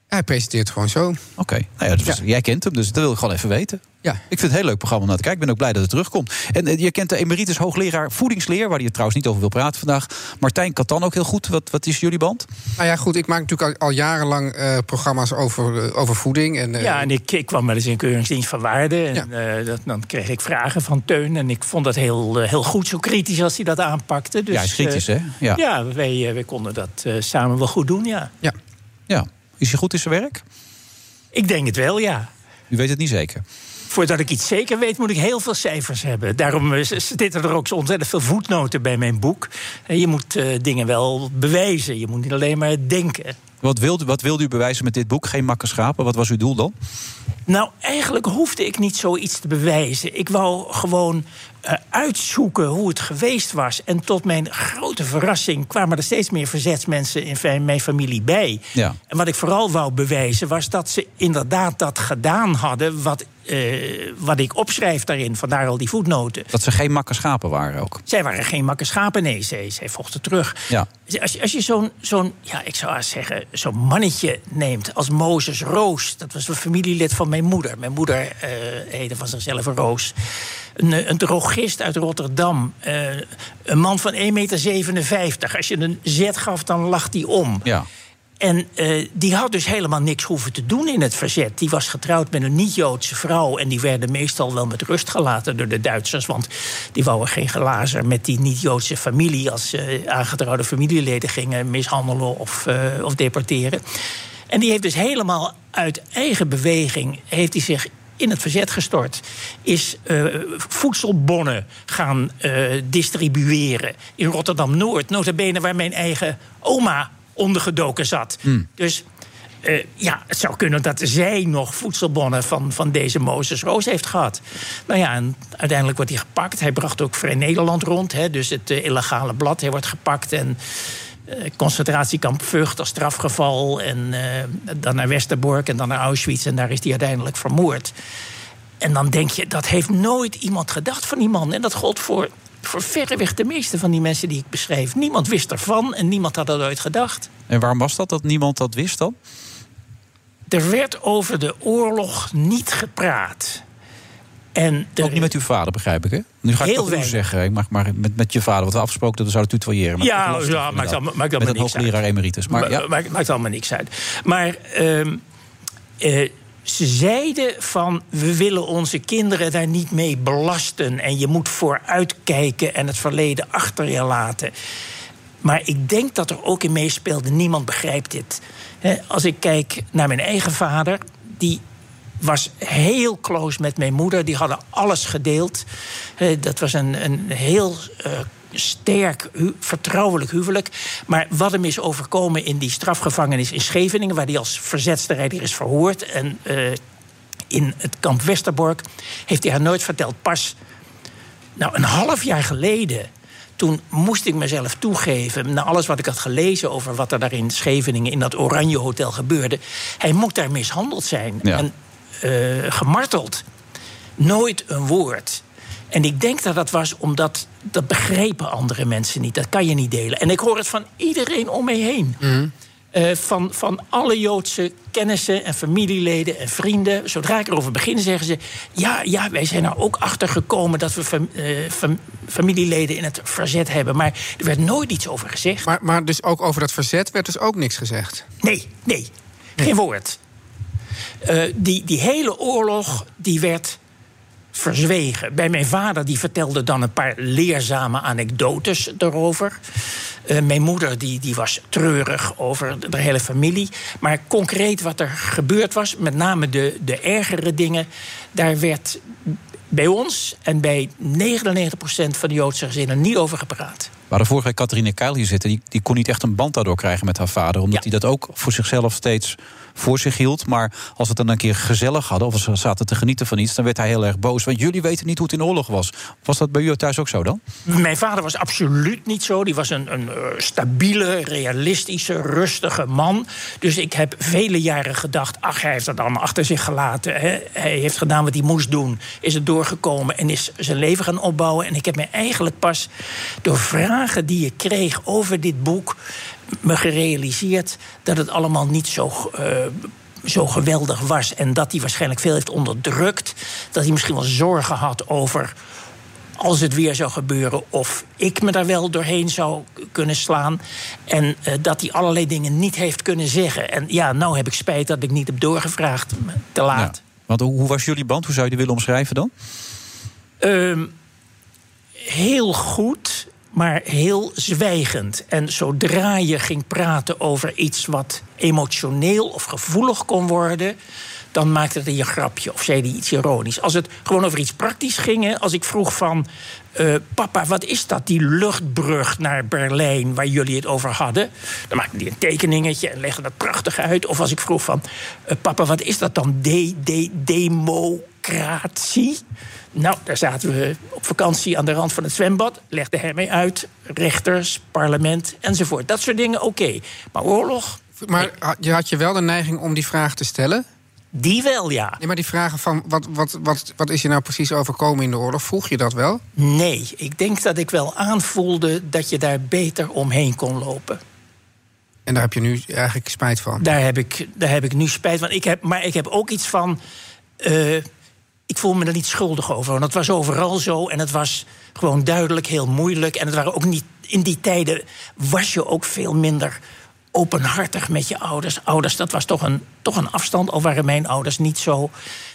Speaker 8: Hij presenteert gewoon zo. Oké,
Speaker 7: Nou ja, dat was- Jij kent hem, dus dat wil ik gewoon even weten.
Speaker 8: Ja.
Speaker 7: Ik vind het een heel leuk programma om naar te kijken. Ik ben ook blij dat het terugkomt. En eh, je kent de emeritus hoogleraar voedingsleer, waar hij het trouwens niet over wil praten vandaag. Martijn Katan ook heel goed. Wat, wat is jullie band?
Speaker 8: Nou ja, goed, ik maak natuurlijk al, al jarenlang eh, programma's over, eh, over voeding. En, eh,
Speaker 21: Ja, en ik, ik kwam wel eens in Keuringsdienst van Waarde. En eh, dat, dan kreeg ik vragen van Teun. En ik vond dat heel, eh, heel goed, zo kritisch als hij dat aanpakte. Dus,
Speaker 7: Ja, hij is kritisch,
Speaker 21: eh,
Speaker 7: hè? Ja.
Speaker 21: ja wij, eh, wij konden dat eh, samen wel goed doen, ja.
Speaker 8: ja.
Speaker 7: Ja. Is hij goed in zijn werk?
Speaker 21: Ik denk het wel, ja.
Speaker 7: U weet het niet zeker.
Speaker 21: Voordat ik iets zeker weet, moet ik heel veel cijfers hebben. Daarom eh, z- zitten er ook zo ontzettend veel voetnoten bij mijn boek. Eh, Je moet eh, dingen wel bewijzen. Je moet niet alleen maar denken.
Speaker 7: Wat wilde, wat wilde u bewijzen met dit boek? Geen makke schapen. Wat was uw doel dan?
Speaker 21: Nou, eigenlijk hoefde ik niet zoiets te bewijzen. Ik wou gewoon eh, uitzoeken hoe het geweest was. En tot mijn grote verrassing kwamen er steeds meer verzetsmensen in fa- mijn familie bij.
Speaker 7: Ja.
Speaker 21: En wat ik vooral wou bewijzen was dat ze inderdaad dat gedaan hadden. wat, eh, wat ik opschrijf daarin, vandaar al die voetnoten.
Speaker 7: Dat ze geen makke schapen waren ook.
Speaker 21: Zij waren geen makke schapen, nee, zij, zij vochten terug.
Speaker 7: Ja.
Speaker 21: Als je, als je zo'n, zo'n, ja, ik zou haast zeggen, zo'n mannetje neemt als Mozes Roos. Dat was een familielid van mijn moeder. Mijn moeder eh heette van zichzelf Roos. Een, eh, een drogist uit Rotterdam. Eh, een man van 1,57 meter. Als je een zet gaf, dan lag die om.
Speaker 7: Ja.
Speaker 21: En eh, die had dus helemaal niks hoeven te doen in het verzet. Die was getrouwd met een niet-Joodse vrouw. En die werden meestal wel met rust gelaten door de Duitsers. Want die wouden geen glazer met die niet-Joodse familie. als ze aangetrouwde familieleden gingen mishandelen of, eh, of deporteren. En die heeft dus helemaal uit eigen beweging. heeft hij zich in het verzet gestort. Is eh, voedselbonnen gaan eh, distribueren in Rotterdam-Noord. Nota bene waar mijn eigen oma ondergedoken zat.
Speaker 2: Hm.
Speaker 21: Dus eh, ja, het zou kunnen dat zij nog voedselbonnen van, van deze Mozes Roos heeft gehad. Nou ja, en uiteindelijk wordt hij gepakt. Hij bracht ook Vrij Nederland rond, hè, dus het eh, illegale blad. Hij wordt gepakt en eh, concentratiekamp Vught als strafgeval. En eh, dan naar Westerbork en dan naar Auschwitz. En daar is hij uiteindelijk vermoord. En dan denk je, dat heeft nooit iemand gedacht van die man. En dat gold voor, voor verreweg de meeste van die mensen die ik beschreef. Niemand wist ervan en niemand had dat ooit gedacht.
Speaker 13: En waarom was dat dat niemand dat wist dan?
Speaker 21: Er werd over de oorlog niet gepraat. En
Speaker 13: Ook niet met uw vader, begrijp ik, hè? Nu ga ik
Speaker 21: Heel
Speaker 13: dat ruw
Speaker 21: weinig.
Speaker 13: zeggen. Ik mag maar met, met je vader, wat we afgesproken dat we zouden tutoyeren. maar
Speaker 21: ja,
Speaker 13: dat is lastig,
Speaker 21: ja maakt,
Speaker 13: inderdaad.
Speaker 21: allemaal, maakt allemaal
Speaker 13: Met een
Speaker 21: niks uit. eh,
Speaker 13: hoogleraar emeritus. Maar,
Speaker 21: Ma-
Speaker 13: ja.
Speaker 21: maakt, maakt allemaal niks uit. Maar ehm, eh, ze zeiden van... we willen onze kinderen daar niet mee belasten... en je moet vooruitkijken en het verleden achter je laten. Maar ik denk dat er ook in meespeelde... niemand begrijpt dit. Hè, Als ik kijk naar mijn eigen vader... die was heel close met mijn moeder. Die hadden alles gedeeld. Eh, dat was een, een heel eh, sterk, hu- vertrouwelijk huwelijk. Maar wat hem is overkomen in die strafgevangenis in Scheveningen... waar hij als verzetstrijder is verhoord... en eh, in het kamp Westerbork, heeft hij haar nooit verteld. Pas nou, een half jaar geleden. Toen moest ik mezelf toegeven, na alles wat ik had gelezen over wat er daar in Scheveningen in dat Oranje Hotel gebeurde. Hij moet daar mishandeld zijn
Speaker 13: Ja.
Speaker 21: en eh, gemarteld. Nooit een woord. En ik denk dat dat was omdat dat begrepen andere mensen niet. Dat kan je niet delen. En ik hoor het van iedereen om mij heen. Eh, van, van alle Joodse kennissen en familieleden en vrienden. Zodra ik erover begin, zeggen ze... ja, ja wij zijn er ook achter gekomen dat we fam- eh, fam- familieleden in het verzet hebben. Maar er werd nooit iets over gezegd.
Speaker 8: Maar, maar dus ook over dat verzet werd dus ook niks gezegd?
Speaker 21: Nee, nee. Geen woord. Eh, die, die hele oorlog die werd verzwegen. Bij mijn vader die vertelde dan een paar leerzame anekdotes daarover. Eh, mijn moeder die, die was treurig over de, de hele familie. Maar concreet wat er gebeurd was, met name de, de ergere dingen... daar werd bij ons en bij 99% van de Joodse gezinnen niet over gepraat.
Speaker 13: We hadden vorige week Catharine Keil hier zitten. Die, die kon niet echt een band daardoor krijgen met haar vader. Omdat hij dat ook voor zichzelf steeds voor zich hield. Maar als we het dan een keer gezellig hadden... of ze zaten te genieten van iets, dan werd hij heel erg boos. Want jullie weten niet hoe het in de oorlog was. Was dat bij u thuis ook zo dan?
Speaker 21: Mijn vader was absoluut niet zo. Die was een, een eh, stabiele, realistische, rustige man. Dus ik heb vele jaren gedacht: ach, hij heeft dat allemaal achter zich gelaten. Hè? Hij heeft gedaan wat hij moest doen. Is het doorgekomen en is zijn leven gaan opbouwen. En ik heb mij eigenlijk pas door vragen die ik kreeg over dit boek. me gerealiseerd dat het allemaal niet zo. eh, zo geweldig was. En dat hij waarschijnlijk veel heeft onderdrukt. Dat hij misschien wel zorgen had over als het weer zou gebeuren. Of ik me daar wel doorheen zou k- kunnen slaan. En eh, dat hij allerlei dingen niet heeft kunnen zeggen. En ja, nou heb ik spijt dat ik niet heb doorgevraagd. maar Te laat.
Speaker 13: Want hoe, hoe was jullie band? Hoe zou je die willen omschrijven dan?
Speaker 21: Ehm, heel goed, maar heel zwijgend. En zodra je ging praten over iets wat emotioneel of gevoelig kon worden. Dan maakte hij een grapje of zei hij iets ironisch. Als het gewoon over iets praktisch ging, hè, als ik vroeg van. eh, papa, wat is dat, die luchtbrug naar Berlijn waar jullie het over hadden? Dan maakte hij een tekeningetje en legde dat prachtig uit. Of als ik vroeg van, eh, papa, wat is dat dan, de, de, democratie? Nou, daar zaten we op vakantie aan de rand van het zwembad. Legde hij mij uit. Rechters, parlement enzovoort. Dat soort dingen, oké. Maar oorlog?
Speaker 8: Maar ha- je had je wel de neiging om die vraag te stellen?
Speaker 21: Die wel, ja.
Speaker 8: Nee, maar die vragen van wat, wat, wat, wat is je nou precies overkomen in de oorlog, vroeg je dat wel?
Speaker 21: Nee, ik denk dat ik wel aanvoelde dat je daar beter omheen kon lopen.
Speaker 8: En daar heb je nu eigenlijk spijt van.
Speaker 21: Daar heb ik, daar heb ik nu spijt van. Ik heb, maar ik heb ook iets van. eh, ik voel me er niet schuldig over. Want het was overal zo en het was gewoon duidelijk heel moeilijk. En het waren ook niet. In die tijden was je ook veel minder openhartig met je ouders. Ouders, dat was toch een, toch een afstand, al waren mijn ouders niet zo.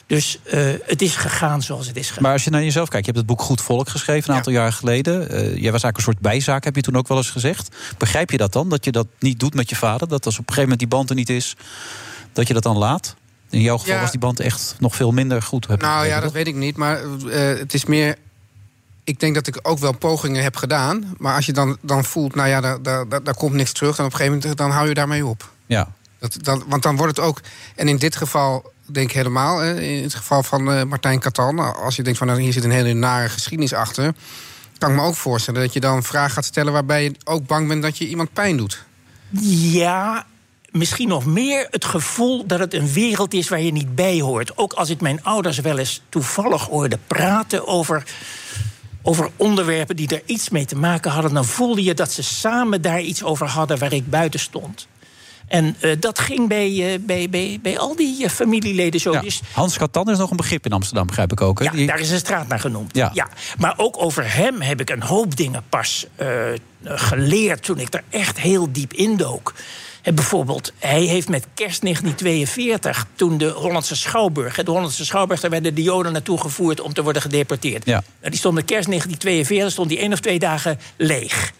Speaker 21: Dus eh, het is gegaan zoals het is gegaan.
Speaker 13: Maar als je naar jezelf kijkt, je hebt het boek Goed Volk geschreven een aantal jaar geleden. Eh, jij was eigenlijk een soort bijzaak, heb je toen ook wel eens gezegd. Begrijp je dat dan? Dat je dat niet doet met je vader? Dat als op een gegeven moment die band er niet is, dat je dat dan laat? In jouw geval
Speaker 8: Ja.
Speaker 13: was die band echt nog veel minder goed. Heb ik
Speaker 8: Nou ja,
Speaker 13: begrepen,
Speaker 8: dat weet ik niet. Maar eh, het is meer. Ik denk dat ik ook wel pogingen heb gedaan. Maar als je dan, dan voelt, nou ja, daar, daar, daar daar komt niks terug. Dan op een gegeven moment dan hou je daarmee op.
Speaker 13: Ja.
Speaker 8: Dat, dan, want dan wordt het ook. En in dit geval denk ik helemaal. hè, in het geval van eh, Martijn Katan. Als je denkt van nou, hier zit een hele nare geschiedenis achter. Kan ik me ook voorstellen dat je dan een vraag gaat stellen waarbij je ook bang bent dat je iemand pijn doet.
Speaker 21: Ja, misschien nog meer het gevoel dat het een wereld is waar je niet bij hoort. Ook als ik mijn ouders wel eens toevallig hoorde praten over. Over onderwerpen die er iets mee te maken hadden, dan voelde je dat ze samen daar iets over hadden waar ik buiten stond. En eh, dat ging bij, eh, bij, bij, bij al die eh, familieleden zo. Dus
Speaker 13: Hans Katan is nog een begrip in Amsterdam, begrijp ik ook. Hè?
Speaker 21: ja,
Speaker 13: Die-
Speaker 21: daar is een straat naar genoemd.
Speaker 13: Ja.
Speaker 21: Ja. Maar ook over hem heb ik een hoop dingen pas eh, geleerd toen ik er echt heel diep indook. En bijvoorbeeld, hij heeft met kerst 1942, toen de Hollandse Schouwburg... hè, de Hollandse Schouwburg, daar werden de Joden naartoe gevoerd om te worden gedeporteerd.
Speaker 13: Ja.
Speaker 21: Nou, die stond met kerst 1942 stond die één of twee dagen leeg.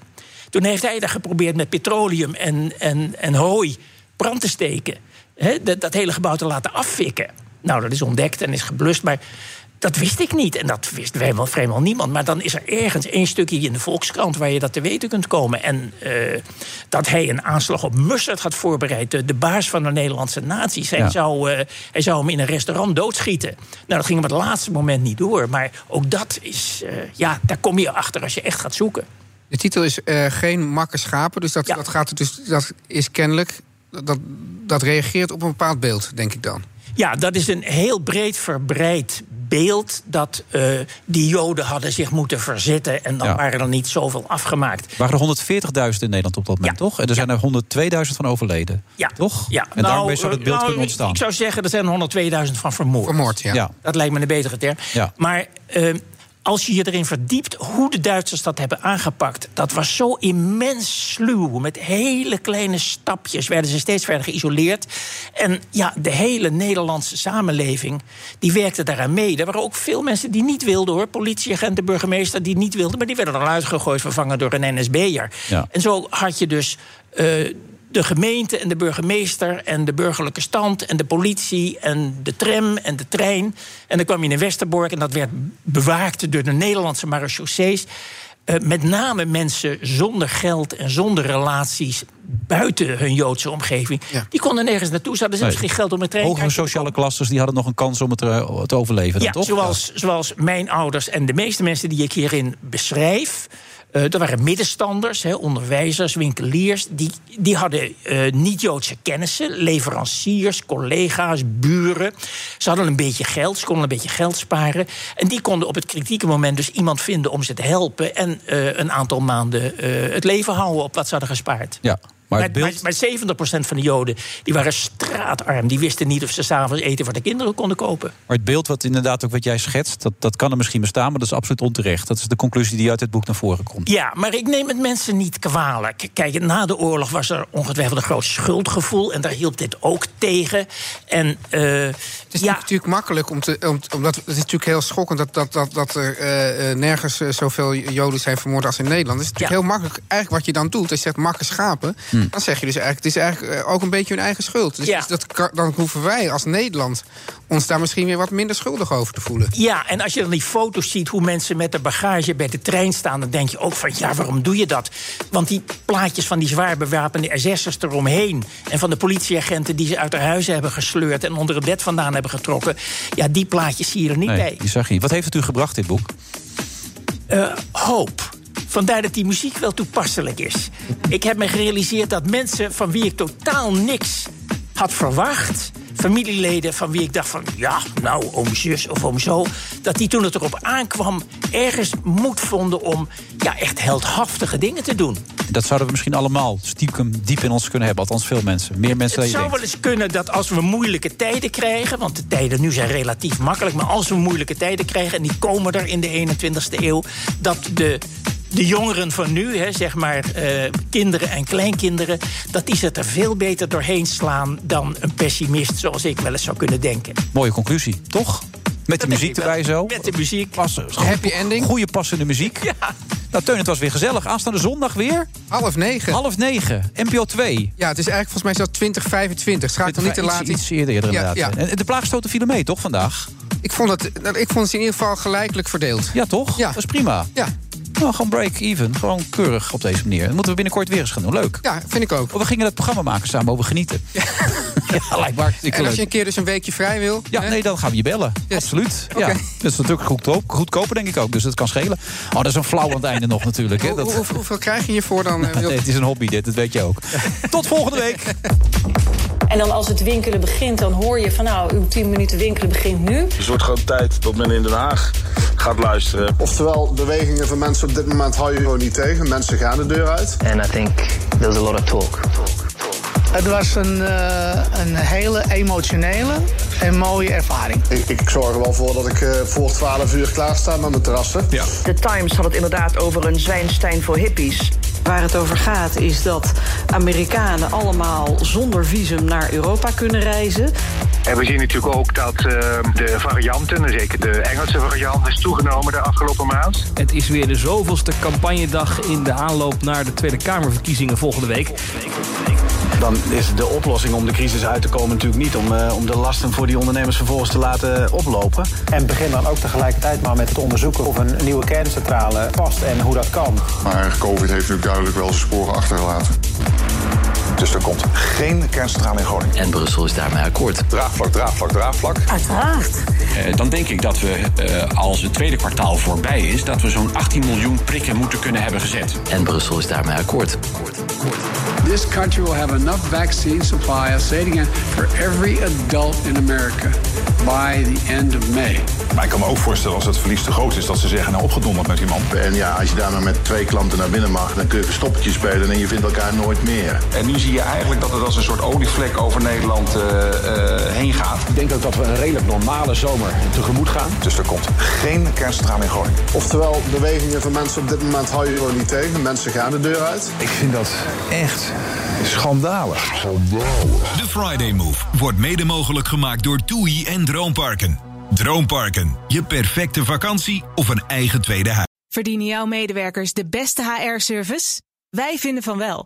Speaker 21: Toen heeft hij daar geprobeerd met petroleum en, en, en hooi brand te steken. Hè, dat, dat hele gebouw te laten affikken. Nou, dat is ontdekt en is geblust, maar dat wist ik niet. En dat wist vrijwel, vrijwel niemand. Maar dan is er ergens één stukje in de Volkskrant waar je dat te weten kunt komen. En eh, dat hij een aanslag op Mussert had voorbereid. De, de baas van de Nederlandse naties. Hij,
Speaker 22: Ja.
Speaker 21: zou, eh, hij zou hem in een restaurant doodschieten. Nou, dat ging op het laatste moment niet door. Maar ook dat is, eh, ja, daar kom je achter als je echt gaat zoeken.
Speaker 8: De titel is eh, Geen makke schapen. Dus dat, dat, gaat er dus, dat is kennelijk. Dat, dat reageert op een bepaald beeld, denk ik dan.
Speaker 21: Ja, dat is een heel breed verbreid beeld dat eh, die Joden hadden zich moeten verzetten en dan
Speaker 13: Ja.
Speaker 21: waren er niet zoveel afgemaakt.
Speaker 13: Er waren er 140.000 in Nederland op dat moment, toch? En er zijn er 102.000 van overleden.
Speaker 21: Ja.
Speaker 13: Toch?
Speaker 21: Ja.
Speaker 13: En daarmee zou
Speaker 21: eh,
Speaker 13: dat beeld
Speaker 21: nou,
Speaker 13: kunnen ontstaan.
Speaker 21: Ik zou zeggen, er zijn 102.000 van vermoord.
Speaker 8: Vermoord, ja. Ja.
Speaker 21: Dat lijkt me een betere term.
Speaker 13: Ja.
Speaker 21: Maar eh, als je je erin verdiept hoe de Duitsers dat hebben aangepakt... dat was zo immens sluw. Met hele kleine stapjes werden ze steeds verder geïsoleerd. En ja, de hele Nederlandse samenleving die werkte daaraan mee. Er waren ook veel mensen die niet wilden, hoor. Politieagenten, burgemeester die niet wilden... maar die werden dan uitgegooid, vervangen door een NSB'er.
Speaker 13: Ja.
Speaker 21: En zo had je dus... eh, de gemeente en de burgemeester en de burgerlijke stand en de politie en de tram en de trein. En dan kwam je in Westerbork en dat werd bewaakt door de Nederlandse marechaussees. Eh, met name mensen zonder geld en zonder relaties buiten hun Joodse omgeving. Die konden nergens naartoe. Ze hadden
Speaker 6: dus
Speaker 21: zelfs
Speaker 13: Nee.
Speaker 21: geen geld om een trein
Speaker 13: Hogere sociale klasses die hadden nog een kans om het eh, te overleven, dan,
Speaker 21: ja,
Speaker 13: toch?
Speaker 21: Zoals, zoals mijn ouders en de meeste mensen die ik hierin beschrijf. eh dat waren middenstanders, hè, onderwijzers, winkeliers. Die, die hadden eh, niet-Joodse kennissen, leveranciers, collega's, buren. Ze hadden een beetje geld, ze konden een beetje geld sparen. En die konden op het kritieke moment dus iemand vinden om ze te helpen. En eh, een aantal maanden eh, het leven houden op wat ze hadden gespaard.
Speaker 13: Ja, maar
Speaker 21: Maar,
Speaker 13: het beeld...
Speaker 21: maar, maar 70% van de Joden die waren straatarm. Die wisten niet of ze s'avonds eten voor de kinderen konden kopen.
Speaker 13: Maar het beeld wat inderdaad ook wat jij schetst, dat, dat kan er misschien bestaan, maar dat is absoluut onterecht. Dat is de conclusie die uit dit boek naar voren komt.
Speaker 21: Ja, maar ik neem het mensen niet kwalijk. Kijk, na de oorlog was er ongetwijfeld een groot schuldgevoel. En daar hielp dit ook tegen. En eh,
Speaker 8: Het is natuurlijk makkelijk om te. Om, omdat het is natuurlijk heel schokkend dat, dat, dat, dat er eh, eh, nergens eh, zoveel Joden zijn vermoord als in Nederland. Het is natuurlijk heel makkelijk. Eigenlijk wat je dan doet, is je zegt makke schapen.
Speaker 13: Hmm.
Speaker 8: Dan zeg je dus eigenlijk, het is eigenlijk eh, ook een beetje hun eigen schuld. Dus
Speaker 21: Ja.
Speaker 8: dat, kan- dan hoeven wij als Nederland ons daar misschien weer wat minder schuldig over te voelen.
Speaker 21: Ja, en als je dan die foto's ziet hoe mensen met de bagage bij de trein staan, dan denk je ook van ja, waarom doe je dat? Want die plaatjes van die zwaar bewapende SS'ers eromheen en van de politieagenten die ze uit haar huizen hebben gesleurd en onder het bed vandaan hebben getrokken, ja, die plaatjes zie je er niet
Speaker 13: Nee,
Speaker 21: bij.
Speaker 13: die zag je niet. Wat heeft het u gebracht, dit boek?
Speaker 21: Eh, hoop. Vandaar dat die muziek wel toepasselijk is. Ik heb me gerealiseerd dat mensen van wie ik totaal niks had verwacht. Familieleden van wie ik dacht van, ja, nou, oom zus of oom zo... dat die toen het erop aankwam ergens moed vonden om ja, echt heldhaftige dingen te doen.
Speaker 13: Dat zouden we misschien allemaal stiekem diep in ons kunnen hebben. Althans, veel mensen. Meer mensen dan
Speaker 21: Het
Speaker 13: je
Speaker 21: zou
Speaker 13: denkt.
Speaker 21: wel eens kunnen dat als we moeilijke tijden krijgen... want de tijden nu zijn relatief makkelijk... maar als we moeilijke tijden krijgen, en die komen er in de 21ste eeuw... dat de, de jongeren van nu, hè, zeg maar eh, kinderen en kleinkinderen... dat die ze er veel beter doorheen slaan... dan een pessimist zoals ik wel eens zou kunnen denken.
Speaker 13: Mooie conclusie, toch? Met de muziek erbij zo.
Speaker 21: Met de muziek.
Speaker 13: Passen. Happy ending. Goede passende muziek.
Speaker 7: Nou, Teun, het was weer gezellig. Aanstaande zondag weer.
Speaker 23: Half negen.
Speaker 7: Half negen. NPO 2.
Speaker 23: Ja, het is eigenlijk volgens mij zelfs 2025. Schaat dan niet te
Speaker 7: Iets-
Speaker 23: laat
Speaker 7: Iets eerder inderdaad.
Speaker 23: Ja, ja.
Speaker 7: En de plaagstoten vielen mee, toch, vandaag?
Speaker 23: Ik vond, dat, nou, ik vond ze in ieder geval gelijkelijk verdeeld.
Speaker 7: Ja, toch? Ja. Dat is prima.
Speaker 23: Ja.
Speaker 7: Nou, gewoon break-even. Gewoon keurig op deze manier. Dat moeten we binnenkort weer eens gaan doen. Leuk. Oh,
Speaker 23: Ja, vind ik ook.
Speaker 7: We gingen dat programma maken samen over genieten. <laughs> Ja, lijkt me hartstikke
Speaker 23: En als je
Speaker 7: leuk.
Speaker 23: een keer dus een weekje vrij wil...
Speaker 7: Ja, nee, dan gaan we je bellen. Absoluut. Ja. Dat is natuurlijk goedkoop, goedkoper, denk ik ook. Dus dat kan schelen. Oh, dat is een flauw aan het einde nog natuurlijk. Hè.
Speaker 23: Hoe-
Speaker 7: Dat,
Speaker 23: hoe- hoeveel krijg je hiervoor
Speaker 10: <laughs>
Speaker 23: dan? eh, Wil-
Speaker 7: <laughs> nee, het is een hobby dit, dat weet je ook. Tot volgende week.
Speaker 24: En dan als het winkelen begint, dan hoor je van nou, uw 10 minuten winkelen begint nu.
Speaker 11: Dus het wordt gewoon tijd dat men in Den Haag gaat luisteren. Oftewel, bewegingen van mensen op dit moment hou je gewoon niet tegen. Mensen gaan de deur uit. And I think there's a lot of talk.
Speaker 25: Het was een, eh, een hele emotionele en mooie ervaring.
Speaker 11: Ik, ik zorg er wel voor dat ik eh, voor 12 uur klaar sta met mijn terrassen. Ja.
Speaker 10: De Times had het inderdaad over een Zwijnstein voor hippies. Waar het over gaat is dat Amerikanen allemaal zonder visum naar Europa kunnen reizen.
Speaker 26: En we zien natuurlijk ook dat eh, de varianten, en zeker de Engelse variant, is toegenomen de afgelopen maand.
Speaker 6: Het is weer de zoveelste campagnedag in de aanloop naar de Tweede Kamerverkiezingen volgende week.
Speaker 27: Dan is de oplossing om de crisis uit te komen natuurlijk niet om, eh, om de lasten voor die ondernemers vervolgens te laten oplopen. En begin dan ook tegelijkertijd maar met te onderzoeken of een nieuwe kerncentrale past en hoe dat kan.
Speaker 5: Maar COVID heeft natuurlijk duidelijk wel zijn sporen achtergelaten. Dus er komt geen kerncentrale in Groningen. En Brussel is daarmee akkoord. Draagvlak, draagvlak, draagvlak.
Speaker 18: Uiteraard.
Speaker 28: Eh, dan denk ik dat we, eh, als het tweede kwartaal voorbij is, dat we zo'n 18 miljoen prikken moeten kunnen hebben gezet. En Brussel is daarmee akkoord.
Speaker 8: This country will have enough vaccine supply, I'll say it again, for every adult in America by the end of May.
Speaker 5: Maar ik kan me ook voorstellen als het verlies te groot is... dat ze zeggen, nou opgedonderd met die man.
Speaker 11: En ja, als je daar maar met twee klanten naar binnen mag, dan kun je verstoppertje spelen en je vindt elkaar nooit meer.
Speaker 29: En nu zie je eigenlijk dat het als een soort olievlek over Nederland eh, heen gaat. Ik denk ook dat we een redelijk normale zomer tegemoet gaan.
Speaker 5: Dus er komt geen kerncentrale in Groningen.
Speaker 11: Oftewel, bewegingen van mensen op dit moment hou je gewoon niet tegen. Mensen gaan de deur uit. Ik vind dat echt schandalig.
Speaker 26: De Friday Move wordt mede mogelijk gemaakt door TUI en Droomparken. Droomparken, je perfecte vakantie of een eigen tweede huis.
Speaker 1: Verdienen jouw medewerkers de beste HR-service? Wij vinden van wel.